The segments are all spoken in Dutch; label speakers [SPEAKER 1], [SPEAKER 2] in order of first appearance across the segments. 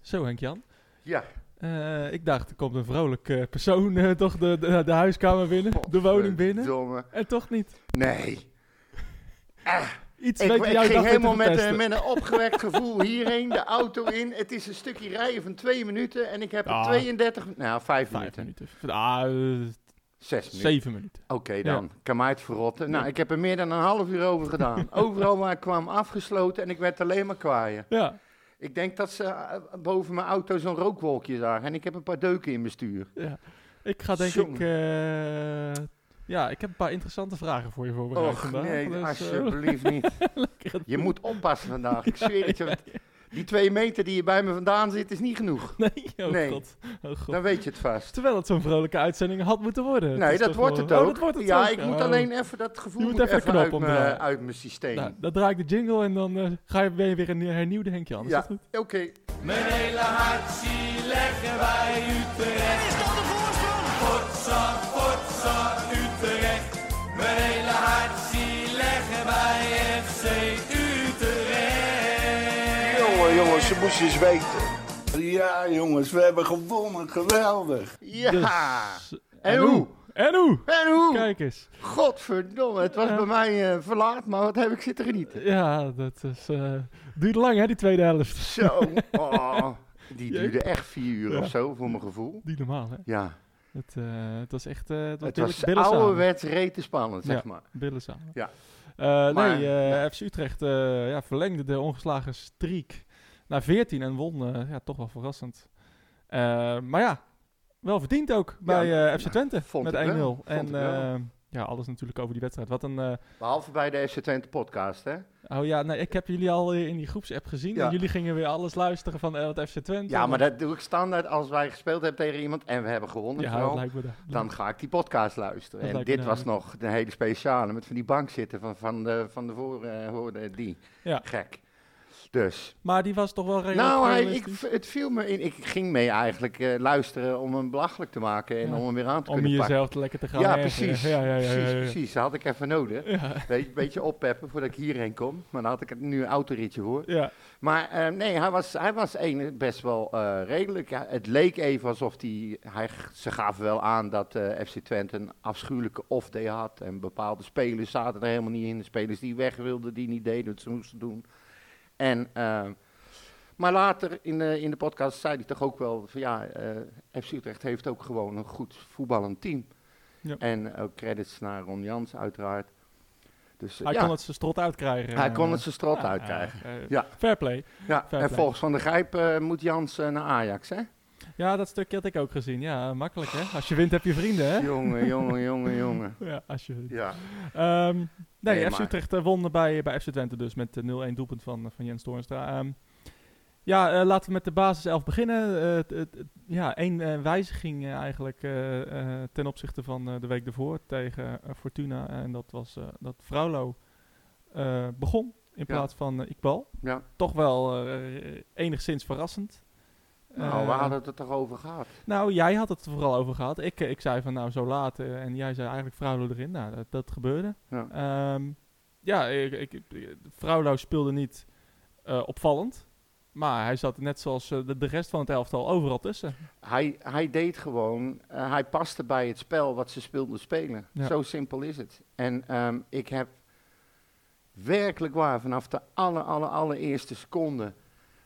[SPEAKER 1] Zo, Henk-Jan.
[SPEAKER 2] Ja.
[SPEAKER 1] Eh, ik dacht, er komt een vrolijk eh, persoon eh, toch de, de, de huiskamer binnen, de woning binnen.
[SPEAKER 2] Verdomme.
[SPEAKER 1] En toch niet.
[SPEAKER 2] Nee.
[SPEAKER 1] Iets
[SPEAKER 2] Ik,
[SPEAKER 1] weet
[SPEAKER 2] ik
[SPEAKER 1] jou
[SPEAKER 2] ging
[SPEAKER 1] dacht
[SPEAKER 2] helemaal met, eh,
[SPEAKER 1] de
[SPEAKER 2] met een opgewekt gevoel hierheen, de auto in. Het is een stukje rijden van twee minuten en ik heb er
[SPEAKER 1] Ah.
[SPEAKER 2] 32, nou vijf
[SPEAKER 1] Vijf
[SPEAKER 2] minuten,
[SPEAKER 1] minuten. Ah, eh,
[SPEAKER 2] zes minuten.
[SPEAKER 1] zeven minuten.
[SPEAKER 2] Oké dan, kan mij het verrotten. Nou,
[SPEAKER 1] Ja.
[SPEAKER 2] ik heb er meer dan een half uur over gedaan. Overal waar ik kwam afgesloten en ik werd alleen maar kwaaien.
[SPEAKER 1] Ja,
[SPEAKER 2] Ik denk dat ze eh, boven mijn auto zo'n rookwolkje zagen en ik heb een paar deuken in mijn stuur.
[SPEAKER 1] ja. Ik ga denk ik...
[SPEAKER 2] Jongen.
[SPEAKER 1] eh, ja, ik heb een paar interessante vragen voor je voorbereid
[SPEAKER 2] Och
[SPEAKER 1] vandaag.
[SPEAKER 2] nee,
[SPEAKER 1] dus, eh,
[SPEAKER 2] alsjeblieft niet.
[SPEAKER 1] lekker het-
[SPEAKER 2] Je moet oppassen vandaag. Ik zweer het je. want Die twee meter die je bij me vandaan zit, is niet genoeg.
[SPEAKER 1] Nee, oh
[SPEAKER 2] Nee.
[SPEAKER 1] god. Oh god.
[SPEAKER 2] Dan weet je het vast.
[SPEAKER 1] Terwijl het zo'n vrolijke uitzending had moeten worden. Het
[SPEAKER 2] Nee,
[SPEAKER 1] is
[SPEAKER 2] dat
[SPEAKER 1] toch
[SPEAKER 2] wordt
[SPEAKER 1] wel-
[SPEAKER 2] het
[SPEAKER 1] Oh,
[SPEAKER 2] ook.
[SPEAKER 1] dat wordt het
[SPEAKER 2] ja,
[SPEAKER 1] ook.
[SPEAKER 2] ik moet
[SPEAKER 1] Oh.
[SPEAKER 2] alleen even dat gevoel
[SPEAKER 1] Je moet
[SPEAKER 2] moet
[SPEAKER 1] even de
[SPEAKER 2] even
[SPEAKER 1] knop
[SPEAKER 2] uit,
[SPEAKER 1] omdraaien.
[SPEAKER 2] mijn, eh, uit mijn systeem.
[SPEAKER 1] Nou, dan draai ik de jingle en dan eh, ga je, ben je weer een hernieuwde Henkje Jan. Is
[SPEAKER 2] Ja.
[SPEAKER 1] dat goed?
[SPEAKER 2] Oké,
[SPEAKER 3] Mijn hele hart zie leggen wij Utrecht. Is dat de voorsprong? Potsa, potsa, Utrecht. Mijn hele hart zie leggen wij FC Utrecht.
[SPEAKER 4] Jongen, jongens, ze moesten eens weten. Ja, jongens, we hebben gewonnen. Geweldig.
[SPEAKER 2] ja.
[SPEAKER 1] Dus,
[SPEAKER 2] En hoe?
[SPEAKER 1] En hoe?
[SPEAKER 2] En hoe?
[SPEAKER 1] Kijk eens.
[SPEAKER 2] Godverdomme, het was
[SPEAKER 1] Ja.
[SPEAKER 2] bij mij eh, verlaat, maar wat heb ik zitten genieten.
[SPEAKER 1] Ja, dat is, eh, duurde lang hè, die tweede helft.
[SPEAKER 2] Zo, oh, die
[SPEAKER 1] Jeuk.
[SPEAKER 2] duurde echt vier uur
[SPEAKER 1] Ja.
[SPEAKER 2] of zo, voor mijn gevoel.
[SPEAKER 1] Niet normaal hè.
[SPEAKER 2] Ja,
[SPEAKER 1] Het, eh, het was echt, eh het was,
[SPEAKER 2] het was
[SPEAKER 1] billen, billen samen.
[SPEAKER 2] ouderwets rete spannend, zeg
[SPEAKER 1] Ja.
[SPEAKER 2] maar.
[SPEAKER 1] Billen samen.
[SPEAKER 2] Ja.
[SPEAKER 1] Eh,
[SPEAKER 2] Maar,
[SPEAKER 1] nee, eh, FC Utrecht eh, ja, verlengde de ongeslagen streak naar 14 en won eh, ja, toch wel verrassend. Eh, maar ja, wel verdiend ook bij eh, FC Twente
[SPEAKER 2] vond
[SPEAKER 1] met 1-0.
[SPEAKER 2] ik wel,
[SPEAKER 1] En
[SPEAKER 2] vond ik wel.
[SPEAKER 1] eh, ja, alles natuurlijk over die wedstrijd. Wat een... eh,
[SPEAKER 2] Behalve bij de FC Twente podcast, hè.
[SPEAKER 1] Oh ja, nee, ik heb jullie al eh, in die groepsapp gezien.
[SPEAKER 2] Ja.
[SPEAKER 1] En jullie gingen weer alles luisteren van eh, wat FC Twente.
[SPEAKER 2] Ja, maar dat doe ik standaard als wij gespeeld hebben tegen iemand en we hebben gewonnen.
[SPEAKER 1] Ja,
[SPEAKER 2] vooral.
[SPEAKER 1] dat lijkt me dat.
[SPEAKER 2] dan ga ik die podcast luisteren.
[SPEAKER 1] Dat
[SPEAKER 2] En
[SPEAKER 1] lijkt me nou
[SPEAKER 2] dit was
[SPEAKER 1] duidelijk.
[SPEAKER 2] nog een hele speciale met van die bank zitten van, van de, van de voor, eh, hoorde die.
[SPEAKER 1] Ja.
[SPEAKER 2] Gek. Dus.
[SPEAKER 1] Maar die was toch wel redelijk...
[SPEAKER 2] nou, hij, ik,
[SPEAKER 1] realistisch?
[SPEAKER 2] het viel me in. Ik ging mee eigenlijk eh, luisteren om hem belachelijk te maken en
[SPEAKER 1] Ja.
[SPEAKER 2] om hem weer aan te
[SPEAKER 1] Om
[SPEAKER 2] kunnen pakken.
[SPEAKER 1] jezelf te lekker te gaan
[SPEAKER 2] Ja,
[SPEAKER 1] ergeren.
[SPEAKER 2] precies.
[SPEAKER 1] Ja, ja, ja, ja, ja.
[SPEAKER 2] Precies, precies. Dat had ik even nodig.
[SPEAKER 1] Ja,
[SPEAKER 2] Weet je, Een beetje oppeppen voordat ik hierheen kom. Maar dan had ik het nu een autoritje hoor.
[SPEAKER 1] ja.
[SPEAKER 2] Maar eh, nee, hij was, hij was een, best wel eh, redelijk. Ja, het leek even alsof die, hij. Ze gaven wel aan dat eh, FC Twente een afschuwelijke off-day had. En bepaalde spelers zaten er helemaal niet in. De spelers die weg wilden, die niet deden wat ze moesten doen. En, eh, maar later in de, in de podcast zei hij toch ook wel van ja, eh, FC Utrecht heeft ook gewoon een goed voetballend team.
[SPEAKER 1] Ja.
[SPEAKER 2] En ook credits naar Ron Jans uiteraard. Dus, eh,
[SPEAKER 1] Hij
[SPEAKER 2] ja,
[SPEAKER 1] kon het zijn strot uitkrijgen.
[SPEAKER 2] hij
[SPEAKER 1] eh,
[SPEAKER 2] kon het zijn strot
[SPEAKER 1] ja,
[SPEAKER 2] uitkrijgen.
[SPEAKER 1] eh,
[SPEAKER 2] Ja.
[SPEAKER 1] Fair play.
[SPEAKER 2] Ja,
[SPEAKER 1] Fair
[SPEAKER 2] en
[SPEAKER 1] play.
[SPEAKER 2] volgens Van der Grijp eh, moet Jans eh, naar Ajax, hè?
[SPEAKER 1] Ja, dat stukje had ik ook gezien. Ja, makkelijk hè. Als je wint heb je vrienden hè.
[SPEAKER 2] Jongen, jongen, jongen, jongen.
[SPEAKER 1] Ja, als je wint.
[SPEAKER 2] Ja.
[SPEAKER 1] Ehm, nee,
[SPEAKER 2] Nee,
[SPEAKER 1] FC
[SPEAKER 2] maar-
[SPEAKER 1] Utrecht eh, won bij, bij FC Twente dus met eh, 0-1 doelpunt van, eh, van Jens Toornstra. Ehm, ja, eh, laten we met de basiself beginnen. Eh, het- het- het- ja, één eh, wijziging eh, eigenlijk eh, eh, ten opzichte van eh, de week ervoor tegen eh, Fortuna. En dat was eh, dat Fraulo eh, begon in
[SPEAKER 2] Ja.
[SPEAKER 1] plaats van eh, Iqbal.
[SPEAKER 2] Ja.
[SPEAKER 1] Toch wel eh, enigszins verrassend.
[SPEAKER 2] Nou, we
[SPEAKER 1] Eh,
[SPEAKER 2] hadden het er toch over gehad.
[SPEAKER 1] nou, jij had het er vooral over gehad. Ik, eh, ik zei van nou zo laat eh, en jij zei eigenlijk Fraulo erin. Nou, dat, dat gebeurde.
[SPEAKER 2] Ja.
[SPEAKER 1] Ehm, ja, ik, ik, ik- Fraulo speelde niet eh, opvallend. Maar hij zat net zoals eh, de, de rest van het elftal overal tussen.
[SPEAKER 2] Hij, hij deed gewoon, eh, hij paste bij het spel wat ze speelden spelen.
[SPEAKER 1] Ja.
[SPEAKER 2] Zo simpel is het. En ehm, ik heb werkelijk waar, vanaf de aller, aller, allereerste seconde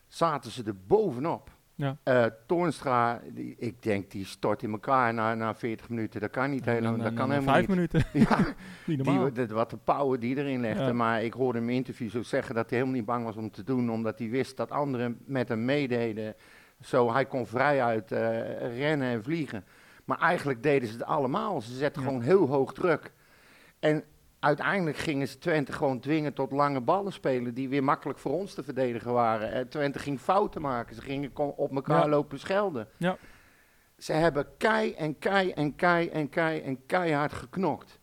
[SPEAKER 2] zaten ze er bovenop.
[SPEAKER 1] Ja.
[SPEAKER 2] Eh, Toornstra, die, ik denk die stort in elkaar na, na 40 minuten. Dat kan niet helemaal,
[SPEAKER 1] En,
[SPEAKER 2] nou, dat
[SPEAKER 1] eh,
[SPEAKER 2] kan
[SPEAKER 1] na
[SPEAKER 2] helemaal
[SPEAKER 1] Vijf
[SPEAKER 2] niet.
[SPEAKER 1] minuten.
[SPEAKER 2] Ja.
[SPEAKER 1] niet
[SPEAKER 2] Die,
[SPEAKER 1] normaal.
[SPEAKER 2] wa- dat- wat de power die erin legde.
[SPEAKER 1] Ja.
[SPEAKER 2] Maar ik hoorde hem in interviews ook zeggen dat hij helemaal niet bang was om te doen. Omdat hij wist dat anderen met hem meededen. Zo, hij kon vrijuit eh, rennen en vliegen. Maar eigenlijk deden ze het allemaal. Ze zetten
[SPEAKER 1] Ja.
[SPEAKER 2] gewoon heel hoog druk. En uiteindelijk gingen ze Twente gewoon dwingen tot lange ballen spelen. Die weer makkelijk voor ons te verdedigen waren. Eh, Twente ging fouten maken. Ze gingen kon- op elkaar
[SPEAKER 1] Ja.
[SPEAKER 2] lopen schelden.
[SPEAKER 1] Ja.
[SPEAKER 2] Ze hebben kei en kei en kei en kei en keihard geknokt.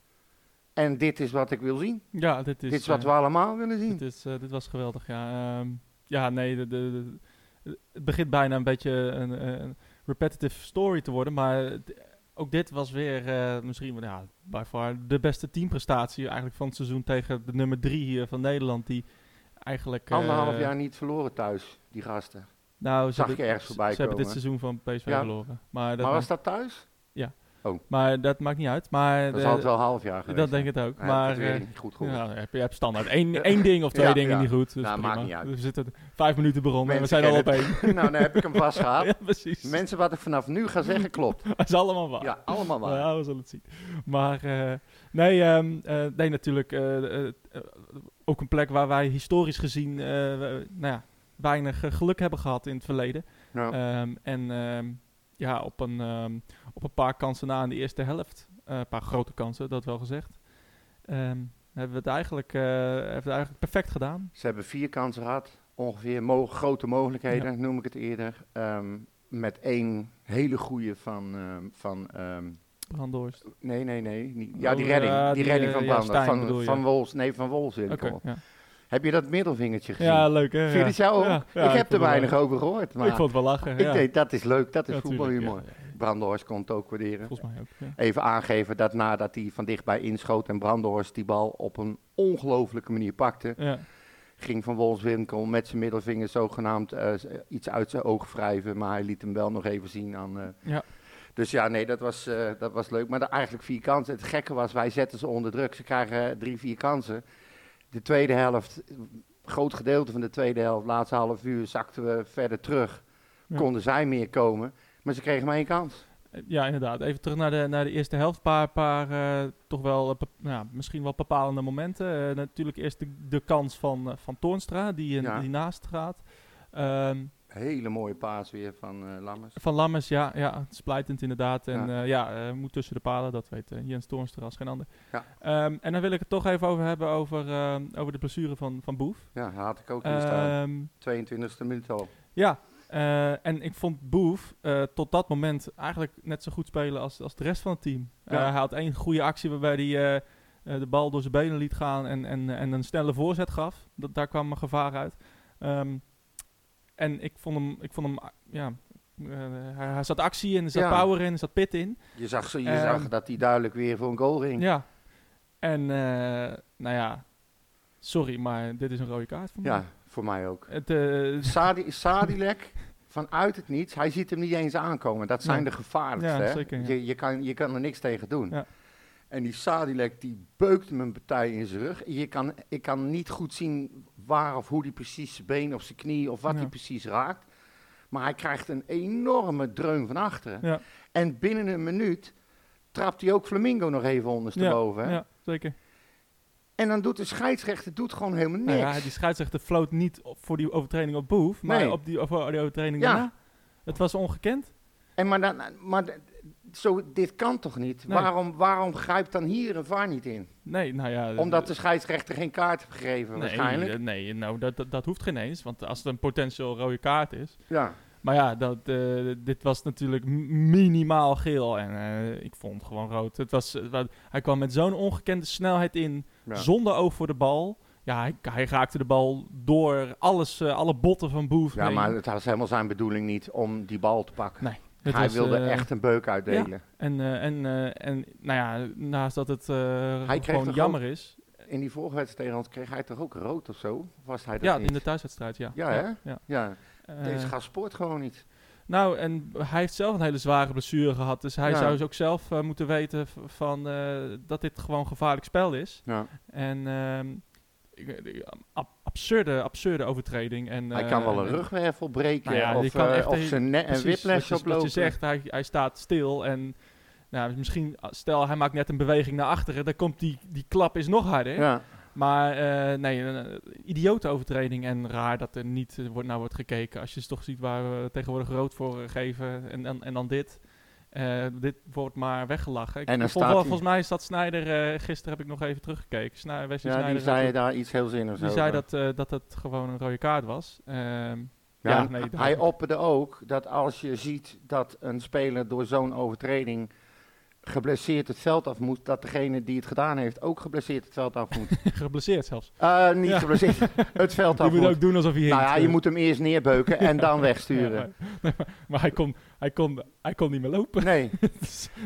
[SPEAKER 2] En dit is wat ik wil zien.
[SPEAKER 1] ja, dit is,
[SPEAKER 2] dit is wat
[SPEAKER 1] eh,
[SPEAKER 2] we allemaal willen zien.
[SPEAKER 1] dit, is, eh, dit was geweldig, ja. Ehm, ja, nee, de, de, de- het begint bijna een beetje een, een repetitive story te worden. Maar het- ook dit was weer eh, misschien wel, ja, by far de beste teamprestatie eigenlijk van het seizoen tegen de nummer drie eh, van Nederland. Die eigenlijk... eh,
[SPEAKER 2] Anderhalf jaar niet verloren thuis, die gasten.
[SPEAKER 1] Nou, ze,
[SPEAKER 2] Zag
[SPEAKER 1] hebben,
[SPEAKER 2] ik ergens
[SPEAKER 1] ze-
[SPEAKER 2] voorbij
[SPEAKER 1] ze hebben dit
[SPEAKER 2] komen.
[SPEAKER 1] seizoen van PSV
[SPEAKER 2] Ja.
[SPEAKER 1] verloren. Maar dat,
[SPEAKER 2] maar was
[SPEAKER 1] maakt,
[SPEAKER 2] dat thuis?
[SPEAKER 1] maar dat maakt niet uit. Maar
[SPEAKER 2] Dat
[SPEAKER 1] de-
[SPEAKER 2] is altijd wel een half jaar geweest.
[SPEAKER 1] dat denk ik het ook.
[SPEAKER 2] Ja,
[SPEAKER 1] maar
[SPEAKER 2] heb ik het weer
[SPEAKER 1] eh,
[SPEAKER 2] niet goed gehoord.
[SPEAKER 1] ja, heb, je hebt standaard één, één ding of twee
[SPEAKER 2] Ja,
[SPEAKER 1] dingen
[SPEAKER 2] ja.
[SPEAKER 1] niet goed. Dus
[SPEAKER 2] Nou,
[SPEAKER 1] prima.
[SPEAKER 2] maakt niet uit.
[SPEAKER 1] We zitten vijf minuten begonnen en we
[SPEAKER 2] Mensen
[SPEAKER 1] zijn al op
[SPEAKER 2] kennen
[SPEAKER 1] één.
[SPEAKER 2] nou, dan heb ik hem vast gehad.
[SPEAKER 1] Ja, precies.
[SPEAKER 2] Mensen, wat ik vanaf nu ga zeggen klopt.
[SPEAKER 1] Dat is allemaal waar.
[SPEAKER 2] Ja, allemaal waar.
[SPEAKER 1] Ja, we zullen het zien. Maar eh, nee, ehm, eh, nee, natuurlijk eh, eh, eh, ook een plek waar wij historisch gezien eh, we- nou ja, weinig eh, geluk hebben gehad in het verleden.
[SPEAKER 2] Nou,
[SPEAKER 1] Ehm, en ehm, ja, op een, ehm, op een paar kansen na in de eerste helft, eh, een paar grote kansen, dat wel gezegd, ehm, hebben we het eigenlijk, eh, hebben we het eigenlijk perfect gedaan.
[SPEAKER 2] Ze hebben vier kansen gehad, ongeveer mo- grote mogelijkheden, noem ik het eerder. Ehm, met één hele goede van. ehm, van ehm,
[SPEAKER 1] Brandhorst.
[SPEAKER 2] nee, nee, nee. niet- ja, die
[SPEAKER 1] Oh,
[SPEAKER 2] redding.
[SPEAKER 1] ja,
[SPEAKER 2] die
[SPEAKER 1] die,
[SPEAKER 2] redding
[SPEAKER 1] eh,
[SPEAKER 2] van
[SPEAKER 1] ja,
[SPEAKER 2] Branden.
[SPEAKER 1] Stijn bedoel
[SPEAKER 2] van,
[SPEAKER 1] je.
[SPEAKER 2] van Wols. Nee, van Wols. in
[SPEAKER 1] Oké,
[SPEAKER 2] kom op.
[SPEAKER 1] ja.
[SPEAKER 2] Heb je dat middelvingertje gezien?
[SPEAKER 1] ja, leuk hè?
[SPEAKER 2] Vind je
[SPEAKER 1] Ja.
[SPEAKER 2] het jou ook?
[SPEAKER 1] Ja, ja,
[SPEAKER 2] ik heb
[SPEAKER 1] vond
[SPEAKER 2] er
[SPEAKER 1] het wel-
[SPEAKER 2] weinig over gehoord. Maar
[SPEAKER 1] Ik vond het wel lachen. ja.
[SPEAKER 2] denk dat is leuk, dat is
[SPEAKER 1] Ja, tuurlijk,
[SPEAKER 2] voetbalhumor.
[SPEAKER 1] ja, ja.
[SPEAKER 2] Brandenhorst kon het ook waarderen.
[SPEAKER 1] Volgens mij ook, ja.
[SPEAKER 2] Even aangeven dat nadat hij van dichtbij inschoot en Brandenhorst die bal op een ongelofelijke manier pakte,
[SPEAKER 1] Ja.
[SPEAKER 2] ging Van Wolfswinkel met zijn middelvinger zogenaamd eh, z- iets uit zijn oog wrijven, maar hij liet hem wel nog even zien aan... eh,
[SPEAKER 1] Ja.
[SPEAKER 2] Dus ja, nee, dat was, eh, dat was leuk. Maar de, eigenlijk vier kansen. Het gekke was, wij zetten ze onder druk. Ze krijgen eh, drie, vier kansen. De tweede helft, een groot gedeelte van de tweede helft, laatste half uur, zakten we verder terug.
[SPEAKER 1] Ja.
[SPEAKER 2] Konden zij meer komen, maar ze kregen maar één kans.
[SPEAKER 1] Ja, inderdaad. Even terug naar de, naar de eerste helft. Paar, paar eh, toch wel, eh, bep- nou, ja, misschien wel bepalende momenten. Eh, natuurlijk eerst de, de kans van, eh, van Toornstra, die, eh,
[SPEAKER 2] Ja.
[SPEAKER 1] die naast gaat. Ehm,
[SPEAKER 2] Hele mooie paas weer van eh, Lammers.
[SPEAKER 1] van Lammers, ja, ja, splijtend inderdaad. En ja, ja eh, moet tussen de palen, dat weet eh, Jens Toornstra als geen ander.
[SPEAKER 2] Ja.
[SPEAKER 1] Ehm, en dan wil ik het toch even over hebben over, ehm, over de blessure van, van Boef.
[SPEAKER 2] Ja, had ik ook hier staan.
[SPEAKER 1] Ehm,
[SPEAKER 2] 22e minuut al.
[SPEAKER 1] Ja, eh, en ik vond Boef eh, tot dat moment eigenlijk net zo goed spelen als, als de rest van het team.
[SPEAKER 2] Ja.
[SPEAKER 1] Eh, hij had één goede actie waarbij hij eh, eh, de bal door zijn benen liet gaan en, en, en een snelle voorzet gaf. Dat, daar kwam een gevaar uit. Ehm, en ik vond hem, ik vond hem ah, ja, eh, hij, hij zat actie in, er zat
[SPEAKER 2] Ja.
[SPEAKER 1] power in, er zat pit in.
[SPEAKER 2] Je zag, ze- je
[SPEAKER 1] Ehm.
[SPEAKER 2] zag dat hij duidelijk weer voor een goal ging.
[SPEAKER 1] Ja. En, eh, nou ja, sorry, maar dit is een rode kaart voor mij.
[SPEAKER 2] Ja, voor mij ook.
[SPEAKER 1] Het, eh,
[SPEAKER 2] Sadi Sadilek vanuit het niets, hij ziet hem niet eens aankomen. Dat zijn
[SPEAKER 1] Nee.
[SPEAKER 2] de gevaarlijkste.
[SPEAKER 1] Ja,
[SPEAKER 2] hè?
[SPEAKER 1] zeker, ja.
[SPEAKER 2] je, je, kan, je kan er niks tegen doen.
[SPEAKER 1] Ja.
[SPEAKER 2] En die Sadilek die beukt hem een partij in zijn rug. Je kan, ik kan niet goed zien waar of hoe die precies zijn been of zijn knie of wat
[SPEAKER 1] Ja.
[SPEAKER 2] hij precies raakt. Maar hij krijgt een enorme dreun van achteren.
[SPEAKER 1] Ja.
[SPEAKER 2] En binnen een minuut trapt hij ook Flamingo nog even ondersteboven.
[SPEAKER 1] ja,
[SPEAKER 2] hè?
[SPEAKER 1] ja, zeker.
[SPEAKER 2] En dan doet de scheidsrechter doet gewoon helemaal niks.
[SPEAKER 1] Nou ja, die scheidsrechter floot niet op- voor die overtreding op Boef, maar
[SPEAKER 2] Nee.
[SPEAKER 1] op die, op die overtreding
[SPEAKER 2] Ja.
[SPEAKER 1] daarna. Het was ongekend.
[SPEAKER 2] En maar dan, maar d- zo, dit kan toch niet?
[SPEAKER 1] Nee.
[SPEAKER 2] Waarom, waarom grijpt dan hier een VAR niet in?
[SPEAKER 1] Nee, nou ja...
[SPEAKER 2] Omdat
[SPEAKER 1] eh,
[SPEAKER 2] de scheidsrechter geen kaart heeft gegeven,
[SPEAKER 1] nee,
[SPEAKER 2] waarschijnlijk.
[SPEAKER 1] eh, Nee, nou, dat, dat, dat hoeft geen eens, want als het een potentieel rode kaart is...
[SPEAKER 2] ja.
[SPEAKER 1] Maar ja, dat, eh, dit was natuurlijk m- minimaal geel en eh, ik vond het gewoon rood. Het was, eh, wat- hij kwam met zo'n ongekende snelheid in,
[SPEAKER 2] Ja.
[SPEAKER 1] zonder oog voor de bal. Ja, hij, hij raakte de bal door alles, eh, alle botten van Boef
[SPEAKER 2] ja,
[SPEAKER 1] heen.
[SPEAKER 2] maar het was helemaal zijn bedoeling niet om die bal te pakken.
[SPEAKER 1] Nee, Nou, Het
[SPEAKER 2] Hij
[SPEAKER 1] was,
[SPEAKER 2] wilde
[SPEAKER 1] eh,
[SPEAKER 2] echt een beuk uitdelen.
[SPEAKER 1] En, eh, en, eh, en nou ja, naast dat het eh,
[SPEAKER 2] kreeg
[SPEAKER 1] gewoon
[SPEAKER 2] toch
[SPEAKER 1] jammer is.
[SPEAKER 2] In die vorige wedstrijd tegen ons kreeg hij toch ook rood of zo? Of was hij dat
[SPEAKER 1] Ja,
[SPEAKER 2] niet?
[SPEAKER 1] in de thuiswedstrijd, ja.
[SPEAKER 2] Ja, hè?
[SPEAKER 1] ja.
[SPEAKER 2] ja.
[SPEAKER 1] Eh,
[SPEAKER 2] Deze gast spoort gewoon niet.
[SPEAKER 1] nou, en hij heeft zelf een hele zware blessure gehad. Dus hij
[SPEAKER 2] Ja.
[SPEAKER 1] zou dus ook zelf eh, moeten weten v- van, eh, dat dit gewoon een gevaarlijk spel is.
[SPEAKER 2] Ja.
[SPEAKER 1] En ehm, ik- ik- ab- absurde, absurde overtreding. En,
[SPEAKER 2] hij
[SPEAKER 1] eh,
[SPEAKER 2] kan wel een
[SPEAKER 1] en-
[SPEAKER 2] rugwervel breken
[SPEAKER 1] Nou ja, die
[SPEAKER 2] of,
[SPEAKER 1] kan
[SPEAKER 2] eh,
[SPEAKER 1] echt
[SPEAKER 2] of
[SPEAKER 1] een-
[SPEAKER 2] zijn nek en
[SPEAKER 1] precies wat
[SPEAKER 2] whiplash
[SPEAKER 1] je, wat
[SPEAKER 2] oplopen.
[SPEAKER 1] je zegt, hij, hij staat stil en nou, misschien, stel hij maakt net een beweging naar achteren, dan komt die, die klap is nog harder.
[SPEAKER 2] Ja.
[SPEAKER 1] Maar eh, nee, een eh, idiote overtreding en raar dat er niet eh, wordt, naar wordt gekeken. Als je toch ziet waar we tegenwoordig rood voor eh, geven en, en, en dan dit. Eh, dit wordt maar weggelachen. Ik
[SPEAKER 2] En dan
[SPEAKER 1] vond
[SPEAKER 2] staat
[SPEAKER 1] wel-
[SPEAKER 2] hij-
[SPEAKER 1] volgens mij is dat Snijder, eh, gisteren heb ik nog even teruggekeken. Snij, Wesley
[SPEAKER 2] ja, die
[SPEAKER 1] Sneijder
[SPEAKER 2] zei
[SPEAKER 1] had-
[SPEAKER 2] daar iets heel zinnigs
[SPEAKER 1] nou, die zei
[SPEAKER 2] over.
[SPEAKER 1] dat, eh, dat het gewoon een rode kaart was. Ehm,
[SPEAKER 2] Ja,
[SPEAKER 1] Ja,
[SPEAKER 2] en
[SPEAKER 1] nee, dat-
[SPEAKER 2] hij opperde ook dat als je ziet dat een speler door zo'n overtreding geblesseerd het veld af moet, dat degene die het gedaan heeft ook geblesseerd het veld af moet.
[SPEAKER 1] Geblesseerd zelfs.
[SPEAKER 2] Eh, niet
[SPEAKER 1] Ja.
[SPEAKER 2] geblesseerd, het veld
[SPEAKER 1] Je
[SPEAKER 2] af
[SPEAKER 1] moet
[SPEAKER 2] moet.
[SPEAKER 1] ook doen alsof hij
[SPEAKER 2] Nou
[SPEAKER 1] hinkt,
[SPEAKER 2] ja,
[SPEAKER 1] eh.
[SPEAKER 2] je moet hem eerst neerbeuken en dan
[SPEAKER 1] Ja,
[SPEAKER 2] wegsturen.
[SPEAKER 1] maar- nee, maar maar hij, kon, hij, kon, hij kon niet meer lopen.
[SPEAKER 2] Nee.